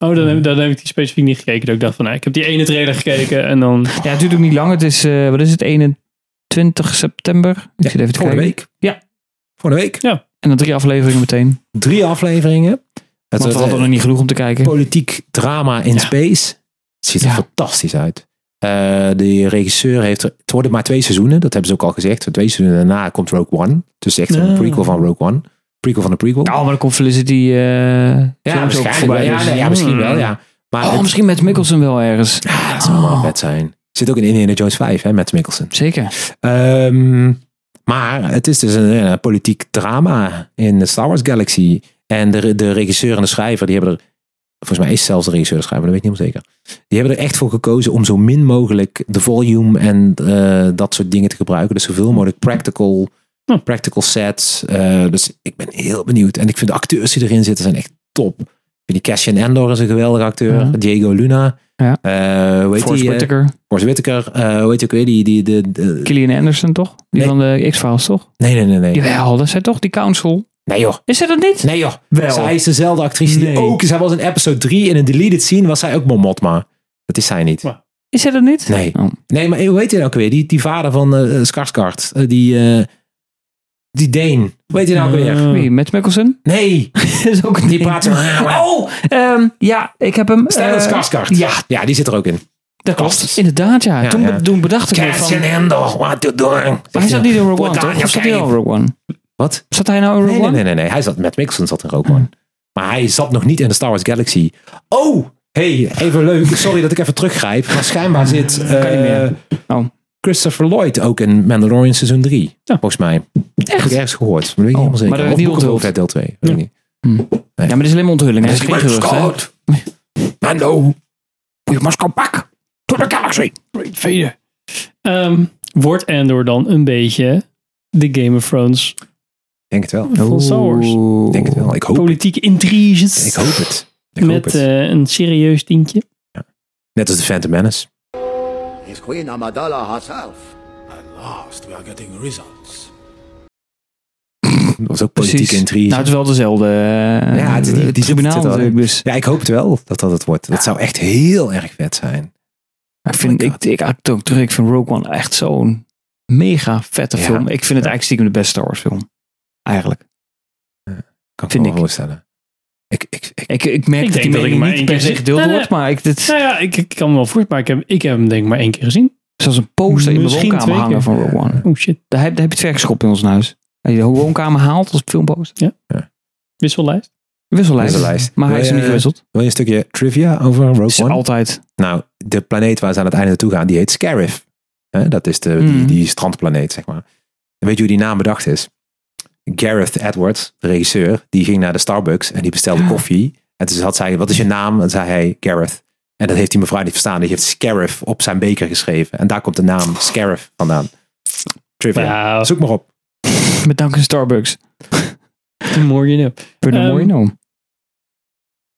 [SPEAKER 3] Oh, dan heb, dan heb ik die specifiek niet gekeken. Dat ik dacht van, nou, ik heb die ene trailer gekeken en dan...
[SPEAKER 1] Ja, het duurt ook niet lang. Het is, eh, wat is het, 21 september? Ik zit even te
[SPEAKER 2] Volgende
[SPEAKER 1] kijken.
[SPEAKER 2] week.
[SPEAKER 1] Ja.
[SPEAKER 2] Volgende week.
[SPEAKER 1] En dan drie afleveringen meteen.
[SPEAKER 2] Drie afleveringen. Het
[SPEAKER 1] Want
[SPEAKER 2] wordt eh,
[SPEAKER 1] we hadden
[SPEAKER 2] een
[SPEAKER 1] nog niet genoeg om te kijken.
[SPEAKER 2] politiek drama in
[SPEAKER 3] Ja.
[SPEAKER 2] space. Het ziet er
[SPEAKER 1] Ja.
[SPEAKER 2] fantastisch uit. Eh, de regisseur heeft er... Het worden maar twee seizoenen, dat hebben ze ook al gezegd. Twee seizoenen daarna komt Rogue One. Dus echt een
[SPEAKER 1] Ah.
[SPEAKER 3] Ja.
[SPEAKER 2] prequel van Rogue One. Prequel van de prequel.
[SPEAKER 1] Nou, maar dan komt Felicity eh
[SPEAKER 2] ja,
[SPEAKER 1] Jones ook
[SPEAKER 2] waarschijnlijk
[SPEAKER 1] voorbij.
[SPEAKER 2] wel. Ja,
[SPEAKER 1] dus-
[SPEAKER 2] nee, ja, misschien wel, ja. Maar
[SPEAKER 1] Oh,
[SPEAKER 2] het-
[SPEAKER 1] misschien met Mickelson wel ergens.
[SPEAKER 2] ja, het zou wel
[SPEAKER 1] Oh.
[SPEAKER 2] vet zijn. Zit ook in Indiana Jones 5, hè, met Mikkelsen.
[SPEAKER 1] Zeker.
[SPEAKER 2] Ehm, maar het is dus een, eh, politiek drama in de Star Wars Galaxy. En de, de regisseur en de schrijver, die hebben er... Volgens mij is zelfs de regisseur en de schrijver, dat weet ik niet helemaal zeker. Die hebben er echt voor gekozen om zo min mogelijk de volume en eh, dat soort dingen te gebruiken. Dus zoveel mogelijk practical,
[SPEAKER 3] Hm.
[SPEAKER 2] practical sets. Eh, dus ik ben heel benieuwd. En ik vind de acteurs die erin zitten zijn echt top. Ik vind die Cassian Endor is een geweldige acteur.
[SPEAKER 1] Ja.
[SPEAKER 2] Diego Luna.
[SPEAKER 1] Mhm. Ja.
[SPEAKER 2] Eh, hoe heet
[SPEAKER 1] Forrest
[SPEAKER 2] die? eh,
[SPEAKER 1] Whitaker.
[SPEAKER 2] Forrest Whitaker. Eh, hoe heet die ook weer? Die, die, de- de,
[SPEAKER 1] Killian Anderson, toch? Die
[SPEAKER 2] Nee.
[SPEAKER 1] van de X-Files, toch?
[SPEAKER 2] Nee, nee, nee, nee.
[SPEAKER 1] Jawel, dat zijn toch die council?
[SPEAKER 2] Nee joh.
[SPEAKER 1] Is zij dat niet?
[SPEAKER 2] Nee joh.
[SPEAKER 1] Wel.
[SPEAKER 2] Zij is dezelfde actrice die
[SPEAKER 1] Nee.
[SPEAKER 2] ook... Zij was in episode 3 in een deleted scene was zij ook Momotma. Dat is zij niet.
[SPEAKER 3] Wow.
[SPEAKER 1] Is hij dat niet?
[SPEAKER 2] Nee.
[SPEAKER 1] Oh.
[SPEAKER 2] Nee, maar hoe heet hij nou ook weer? Die, die vader van eh Skarsgård. Eh, die, eh, die Deen. Hoe heet hij nou ook weer?
[SPEAKER 3] Eh,
[SPEAKER 1] Wie, Matt Mickelson?
[SPEAKER 2] Nee,
[SPEAKER 1] is ook een
[SPEAKER 2] die praat zo.
[SPEAKER 1] Oh, ehm, ja, ik heb hem.
[SPEAKER 2] Stellan
[SPEAKER 1] eh,
[SPEAKER 2] Skarsgård.
[SPEAKER 1] ja.
[SPEAKER 2] ja, die zit er ook in.
[SPEAKER 1] Dat
[SPEAKER 2] Klopt.
[SPEAKER 1] klopt. Inderdaad, ja.
[SPEAKER 2] Ja,
[SPEAKER 1] toen,
[SPEAKER 2] ja.
[SPEAKER 1] toen bedacht ik me van...
[SPEAKER 2] Cassian Endor, what you doing?
[SPEAKER 1] Maar hij zat niet in Rogue One,
[SPEAKER 2] Put on
[SPEAKER 1] toch?
[SPEAKER 2] your
[SPEAKER 1] Of zat hij
[SPEAKER 2] cape.
[SPEAKER 1] al in Rogue One?
[SPEAKER 2] Wat?
[SPEAKER 1] Zat hij nou in Rogue
[SPEAKER 2] Nee, nee,
[SPEAKER 1] One?
[SPEAKER 2] nee, nee, nee. Hij zat, Matt Mixon zat in Rogue One. Maar hij zat nog niet in de Star Wars Galaxy. Oh, hey, even leuk. Sorry dat ik even teruggrijp. Maar schijnbaar zit eh,
[SPEAKER 1] Kan niet meer. Oh.
[SPEAKER 2] Christopher Lloyd ook in Mandalorian seizoen 3. Volgens mij. Echt? Heb ik ergens gehoord. Maar
[SPEAKER 1] Oh,
[SPEAKER 2] dat weet ik niet helemaal zeker.
[SPEAKER 1] maar dat werd niet
[SPEAKER 2] Of Book of
[SPEAKER 1] onthuld.
[SPEAKER 2] Boba Fett deel 2. Weet ik
[SPEAKER 1] Ja,
[SPEAKER 2] niet.
[SPEAKER 1] maar dit is alleen maar onthulling. hè? Het is geen gerucht, hè?
[SPEAKER 2] Mando, you must come back to the galaxy.
[SPEAKER 3] Vader. Ehm, wordt Andor dan een beetje de Game of Thrones
[SPEAKER 2] Denk het wel.
[SPEAKER 3] van Star Wars?
[SPEAKER 1] Oeh.
[SPEAKER 2] Denk het wel. Ik hoop,
[SPEAKER 3] Politieke intriges
[SPEAKER 2] ik hoop het. Ik hoop
[SPEAKER 3] met
[SPEAKER 2] het.
[SPEAKER 3] eh, een serieus tientje.
[SPEAKER 2] Net als de Phantom Menace.
[SPEAKER 8] It's Queen Amidala herself.
[SPEAKER 2] Dat was ook
[SPEAKER 1] Precies.
[SPEAKER 2] politieke intrige.
[SPEAKER 1] Nou, het is wel dezelfde eh,
[SPEAKER 2] Ja, het is die- die
[SPEAKER 1] tribunaal
[SPEAKER 2] zit er al in.
[SPEAKER 1] natuurlijk. Dus
[SPEAKER 2] Ja, ik hoop het wel dat dat het wordt. Dat zou echt heel erg vet zijn.
[SPEAKER 1] ik vind,
[SPEAKER 2] my
[SPEAKER 1] ik,
[SPEAKER 2] God.
[SPEAKER 1] ik, haak het ook terug. Ik vind Rogue One echt zo'n mega vette
[SPEAKER 2] Ja.
[SPEAKER 1] film. Ik vind het eigenlijk stiekem de beste Star Wars film. Eigenlijk.
[SPEAKER 2] Kan
[SPEAKER 1] Vind
[SPEAKER 2] ik me
[SPEAKER 1] ik.
[SPEAKER 2] wel voorstellen. Ik, ik, ik,
[SPEAKER 1] Ik, ik merk
[SPEAKER 3] Ik
[SPEAKER 1] dat die
[SPEAKER 3] denk dat ik
[SPEAKER 1] mening
[SPEAKER 3] maar
[SPEAKER 1] niet
[SPEAKER 3] één
[SPEAKER 1] per
[SPEAKER 3] keer
[SPEAKER 1] se
[SPEAKER 3] zie-
[SPEAKER 1] gedeeld
[SPEAKER 3] Nou ja,
[SPEAKER 1] wordt, maar ik, dit is
[SPEAKER 3] Nou ja, ik, ik kan me wel voort, maar ik heb, ik heb hem denk ik maar één keer gezien.
[SPEAKER 1] zoals een poster in mijn
[SPEAKER 3] Misschien
[SPEAKER 1] woonkamer
[SPEAKER 3] twee
[SPEAKER 1] hangen
[SPEAKER 3] keer.
[SPEAKER 1] van Rogue One.
[SPEAKER 3] Oh shit,
[SPEAKER 1] Daar heb, daar heb je het vergeschopt in ons huis. Als je de woonkamer haalt als filmposter.
[SPEAKER 3] wissellijst.
[SPEAKER 1] Wissellijst.
[SPEAKER 2] Wissellijst.
[SPEAKER 1] Maar hij is hem niet
[SPEAKER 2] Eh,
[SPEAKER 1] gewisseld.
[SPEAKER 2] wil je een stukje trivia over Rogue
[SPEAKER 1] Het is
[SPEAKER 2] One?
[SPEAKER 1] altijd.
[SPEAKER 2] Nou, de planeet waar ze aan het einde naartoe gaan, die heet Scarif. Hè, dat is de, die,
[SPEAKER 1] Mhm.
[SPEAKER 2] die strandplaneet, zeg maar. En weet je hoe die naam bedacht is? Gareth Edwards, de regisseur, die ging naar de Starbucks en die bestelde koffie. En toen had zij, wat is je naam? En zei hij, Gareth. En dat heeft die mevrouw niet verstaan. Die heeft Scarif op zijn beker geschreven. En daar komt de naam Scarif vandaan. Trivia.
[SPEAKER 3] Nou,
[SPEAKER 2] Zoek maar op.
[SPEAKER 1] Met dank aan Starbucks.
[SPEAKER 3] the more you know.
[SPEAKER 1] Voor de
[SPEAKER 3] Ehm,
[SPEAKER 1] mooie noem.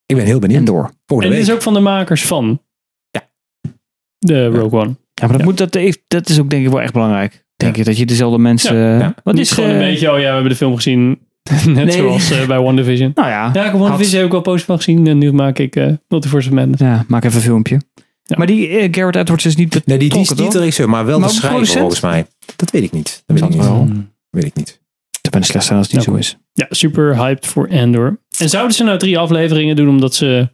[SPEAKER 2] Ik ben heel benieuwd.
[SPEAKER 1] En door.
[SPEAKER 2] Volgende
[SPEAKER 3] En dit
[SPEAKER 2] week.
[SPEAKER 3] is ook van de makers van
[SPEAKER 2] Ja.
[SPEAKER 3] de Rogue One.
[SPEAKER 1] Ja, maar dat, Moet, dat, heeft- dat is ook denk ik wel echt belangrijk. Denk ik dat je dezelfde mensen.
[SPEAKER 3] Ja,
[SPEAKER 2] ja.
[SPEAKER 1] Wat
[SPEAKER 3] Niet
[SPEAKER 1] is
[SPEAKER 3] gewoon
[SPEAKER 1] eh,
[SPEAKER 3] een beetje, oh ja, we hebben de film gezien. Net
[SPEAKER 1] Nee.
[SPEAKER 3] zoals eh, bij One Division.
[SPEAKER 1] Nou ja.
[SPEAKER 3] Ja, ik heb One
[SPEAKER 1] Had-
[SPEAKER 3] Division heb ik wel post van gezien. En nu maak ik eh Multiverse of Madness.
[SPEAKER 1] ja, maak even een filmpje.
[SPEAKER 3] Ja.
[SPEAKER 1] Maar die eh, Garrett Edwards is niet.
[SPEAKER 2] Nee, die, die is
[SPEAKER 1] betrokken,
[SPEAKER 2] niet de
[SPEAKER 1] toch?
[SPEAKER 2] regisseur, maar wel
[SPEAKER 1] Maar
[SPEAKER 2] de
[SPEAKER 1] ook de
[SPEAKER 2] schrijver
[SPEAKER 1] producent?
[SPEAKER 2] volgens mij. Dat weet ik niet. Dat weet ik
[SPEAKER 1] Zal
[SPEAKER 2] niet.
[SPEAKER 1] wel.
[SPEAKER 2] Weet ik niet.
[SPEAKER 1] Het ben slecht zijn als het niet
[SPEAKER 3] Ja,
[SPEAKER 1] zo is.
[SPEAKER 3] Ja, super hyped voor Andor. En zouden ze nou drie afleveringen doen omdat ze...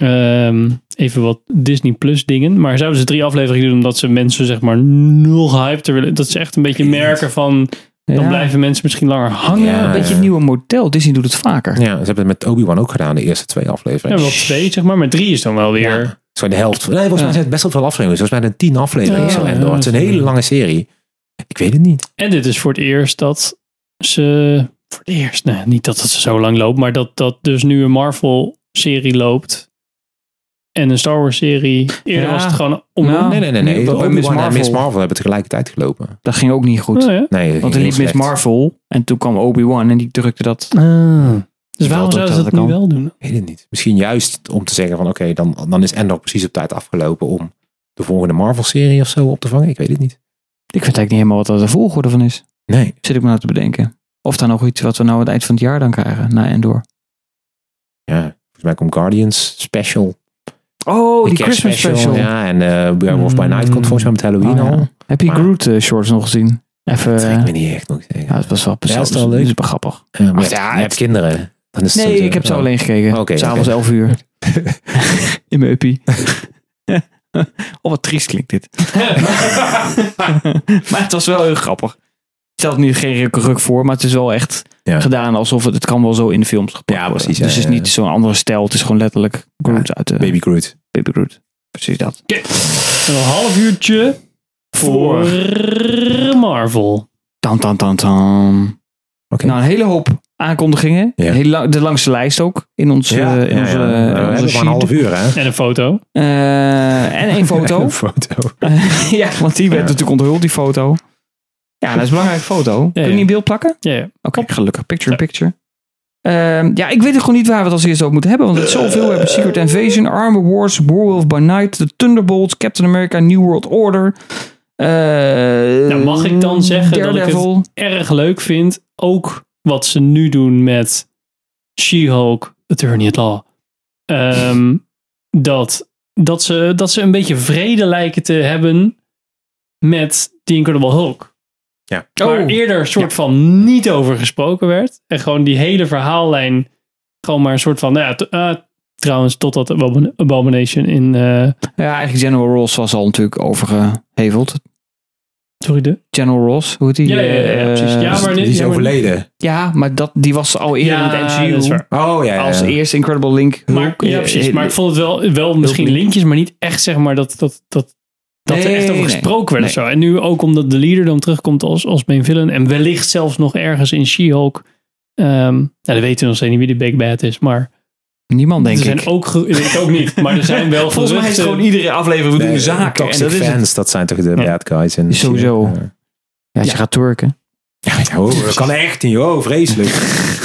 [SPEAKER 3] ehm, even wat Disney Plus dingen. Maar zouden ze drie afleveringen doen omdat ze mensen zeg maar nul hyped willen? Dat ze echt een beetje merken van... Dan
[SPEAKER 1] Ja.
[SPEAKER 3] blijven mensen misschien langer hangen.
[SPEAKER 2] Ja,
[SPEAKER 1] Ja, een
[SPEAKER 2] ja,
[SPEAKER 1] beetje
[SPEAKER 2] ja.
[SPEAKER 1] het nieuwe model. Disney doet het vaker.
[SPEAKER 2] Ja, ze hebben het met Obi-Wan ook gedaan, de eerste twee
[SPEAKER 3] Ja,
[SPEAKER 2] afleveringen.
[SPEAKER 3] wel twee zeg maar. Maar drie is dan wel weer...
[SPEAKER 2] Ja. Zo de helft. Nee, volgens mij
[SPEAKER 1] Ja.
[SPEAKER 2] zijn het best wel veel afleveringen. Volgens mij zijn het tien afleveringen.
[SPEAKER 3] Ja,
[SPEAKER 2] zo. en
[SPEAKER 3] ja,
[SPEAKER 2] door. het is een
[SPEAKER 3] dat is
[SPEAKER 2] hele
[SPEAKER 3] wel-
[SPEAKER 2] lange serie. Ik weet het niet.
[SPEAKER 3] En dit is voor het eerst dat ze. Voor het eerst, nee, niet dat het zo lang loopt, maar dat, dat dus nu een Marvel-serie loopt. En een Star Wars-serie. Eerder
[SPEAKER 1] Ja.
[SPEAKER 3] was het gewoon om.
[SPEAKER 1] Nou,
[SPEAKER 2] Nee, nee, nee. nee.
[SPEAKER 1] Nee, bij
[SPEAKER 2] Obi-Wan
[SPEAKER 1] Miss
[SPEAKER 2] en
[SPEAKER 1] Marvel.
[SPEAKER 2] Miss Marvel hebben tegelijkertijd gelopen.
[SPEAKER 1] Dat ging ook niet goed.
[SPEAKER 3] Oh, ja.
[SPEAKER 2] Nee,
[SPEAKER 1] Want er liep Miss
[SPEAKER 2] Marvel.
[SPEAKER 1] Marvel en toen kwam Obi-Wan en die drukte dat. Ah.
[SPEAKER 3] Dus waarom
[SPEAKER 1] dat
[SPEAKER 3] zouden ze
[SPEAKER 1] dat
[SPEAKER 3] dat nu
[SPEAKER 1] kan.
[SPEAKER 3] wel doen?
[SPEAKER 2] Ik weet het niet. Misschien juist om te zeggen van oké, dan, dan is Endor precies op tijd afgelopen om de volgende Marvel-serie of zo op te vangen. Ik weet het niet.
[SPEAKER 1] Ik weet eigenlijk niet helemaal wat dat de volgorde van is.
[SPEAKER 2] Nee.
[SPEAKER 1] Zit ik me nou te bedenken. Of dan nog iets wat we nou aan het eind van het jaar dan krijgen. Na en door.
[SPEAKER 2] Ja. Volgens mij komt Guardians Special.
[SPEAKER 1] Oh, die
[SPEAKER 2] de
[SPEAKER 1] Christmas special.
[SPEAKER 2] Ja, en eh Werewolf by
[SPEAKER 3] Mm.
[SPEAKER 2] Night komt volgens mij met Halloween
[SPEAKER 1] Oh, ja.
[SPEAKER 2] al.
[SPEAKER 1] Heb je
[SPEAKER 2] Maar-
[SPEAKER 1] Groot eh, shorts nog gezien? Even.
[SPEAKER 2] Dat
[SPEAKER 1] eh,
[SPEAKER 2] trekt me niet echt, moet ik zeggen.
[SPEAKER 1] Ja, het was wel
[SPEAKER 2] Ja, dat is
[SPEAKER 1] persoonlijk.
[SPEAKER 2] wel leuk.
[SPEAKER 1] Dat is wel grappig.
[SPEAKER 2] Ja, Eh, maar
[SPEAKER 1] Ach,
[SPEAKER 2] je hebt-
[SPEAKER 1] ja,
[SPEAKER 2] je hebt
[SPEAKER 1] het-
[SPEAKER 2] kinderen. Dan is het
[SPEAKER 1] Nee,
[SPEAKER 2] soms,
[SPEAKER 1] ik heb
[SPEAKER 2] eh,
[SPEAKER 1] ze
[SPEAKER 2] oh.
[SPEAKER 1] alleen gekeken.
[SPEAKER 2] Oké,
[SPEAKER 1] S'avonds
[SPEAKER 2] oké.
[SPEAKER 1] 11 uur. In mijn uppie. oh, wat triest klinkt dit. maar het was wel heel grappig. Het stelt nu geen ruk voor, maar het is wel echt
[SPEAKER 2] Ja.
[SPEAKER 1] gedaan alsof het, het kan wel zo in de films gepakt
[SPEAKER 2] Ja, precies,
[SPEAKER 1] worden.
[SPEAKER 2] ja,
[SPEAKER 1] Dus het
[SPEAKER 2] ja,
[SPEAKER 1] is niet zo'n andere stijl. Het is gewoon letterlijk Groot uit de
[SPEAKER 2] Baby Groot.
[SPEAKER 1] Baby Groot. Precies dat.
[SPEAKER 3] Een half uurtje voor Marvel.
[SPEAKER 1] Tam, tam, tam, tam.
[SPEAKER 2] Oké.
[SPEAKER 1] Nou, een hele hoop aankondigingen.
[SPEAKER 2] Ja.
[SPEAKER 1] Heel lang, de langste lijst ook in onze,
[SPEAKER 2] Ja,
[SPEAKER 1] in
[SPEAKER 2] ja,
[SPEAKER 1] onze,
[SPEAKER 2] ja. Nou, we
[SPEAKER 1] in
[SPEAKER 2] hebben
[SPEAKER 1] onze
[SPEAKER 2] maar een
[SPEAKER 1] sheet.
[SPEAKER 2] half uur, hè?
[SPEAKER 3] En een foto.
[SPEAKER 1] Eh, en één foto.
[SPEAKER 2] Een foto.
[SPEAKER 1] ja, want die werd
[SPEAKER 2] Ja.
[SPEAKER 1] natuurlijk onthuld, die foto. Ja, dat is een belangrijke foto. Kun je
[SPEAKER 3] ja.
[SPEAKER 1] niet in beeld plakken? Oké,
[SPEAKER 3] Ja, ja.
[SPEAKER 1] gelukkig. Picture in picture. Ehm, ja, ik weet gewoon niet waar we het als eerste over moeten hebben. Want het is zoveel. We hebben Secret Invasion, Armor Wars, Werewolf by Night, The Thunderbolts, Captain America, New World Order. Eh,
[SPEAKER 3] Nou, mag ik dan zeggen dat ik het-
[SPEAKER 1] Daredevil.
[SPEAKER 3] Erg leuk vind. Ook wat ze nu doen met She-Hulk, Attorney at Law. Ehm, dat dat ze, dat ze een beetje vrede lijken te hebben met die Incredible Hulk.
[SPEAKER 2] Ja.
[SPEAKER 1] Oh.
[SPEAKER 3] Waar eerder een soort van niet over gesproken werd. En gewoon die hele verhaallijn gewoon maar een soort van, nou ja, t- eh, trouwens, totdat Abomin- Abomination in, eh,
[SPEAKER 1] Ja, eigenlijk General Ross was al natuurlijk overgeheveld.
[SPEAKER 3] sorry, de...
[SPEAKER 1] General Ross, hoe heet die?
[SPEAKER 3] Ja, ja, ja, ja, precies. Ja,
[SPEAKER 1] Eh,
[SPEAKER 3] maar
[SPEAKER 2] Die
[SPEAKER 3] niet,
[SPEAKER 2] is
[SPEAKER 3] ja, maar-
[SPEAKER 2] overleden.
[SPEAKER 1] ja, maar dat, die was al eerder
[SPEAKER 3] Ja,
[SPEAKER 1] in het MCU.
[SPEAKER 3] dat is waar.
[SPEAKER 2] Oh ja, ja.
[SPEAKER 1] Als eerste Incredible Link.
[SPEAKER 3] Maar,
[SPEAKER 1] Hulk.
[SPEAKER 3] ja, precies.
[SPEAKER 1] Eh,
[SPEAKER 3] Maar ik vond het wel, wel misschien
[SPEAKER 1] Hulk.
[SPEAKER 3] linkjes, maar niet echt zeg maar dat, dat, dat, dat er
[SPEAKER 1] Nee,
[SPEAKER 3] echt over
[SPEAKER 1] nee,
[SPEAKER 3] gesproken werd. of
[SPEAKER 1] nee.
[SPEAKER 3] Zo. En nu ook omdat de leader dan terugkomt als, als main villain en wellicht zelfs nog ergens in She-Hulk. Ehm, nou, dan weten we nog steeds niet wie de Big Bad is, maar
[SPEAKER 1] Niemand, denk
[SPEAKER 3] er zijn
[SPEAKER 1] ik.
[SPEAKER 3] ook... ge- Ik ook niet, maar er zijn wel
[SPEAKER 1] Volgens mij is het
[SPEAKER 3] geruchten-
[SPEAKER 1] gewoon iedere aflevering, we doen
[SPEAKER 2] Nee,
[SPEAKER 1] de zaken. En
[SPEAKER 2] Toxic
[SPEAKER 1] dat is het.
[SPEAKER 2] fans, dat zijn toch de bad guys. En
[SPEAKER 1] Sowieso. Ja, als je gaat turken.
[SPEAKER 2] Ja, ja, hoor, dat kan echt niet. Oh, vreselijk.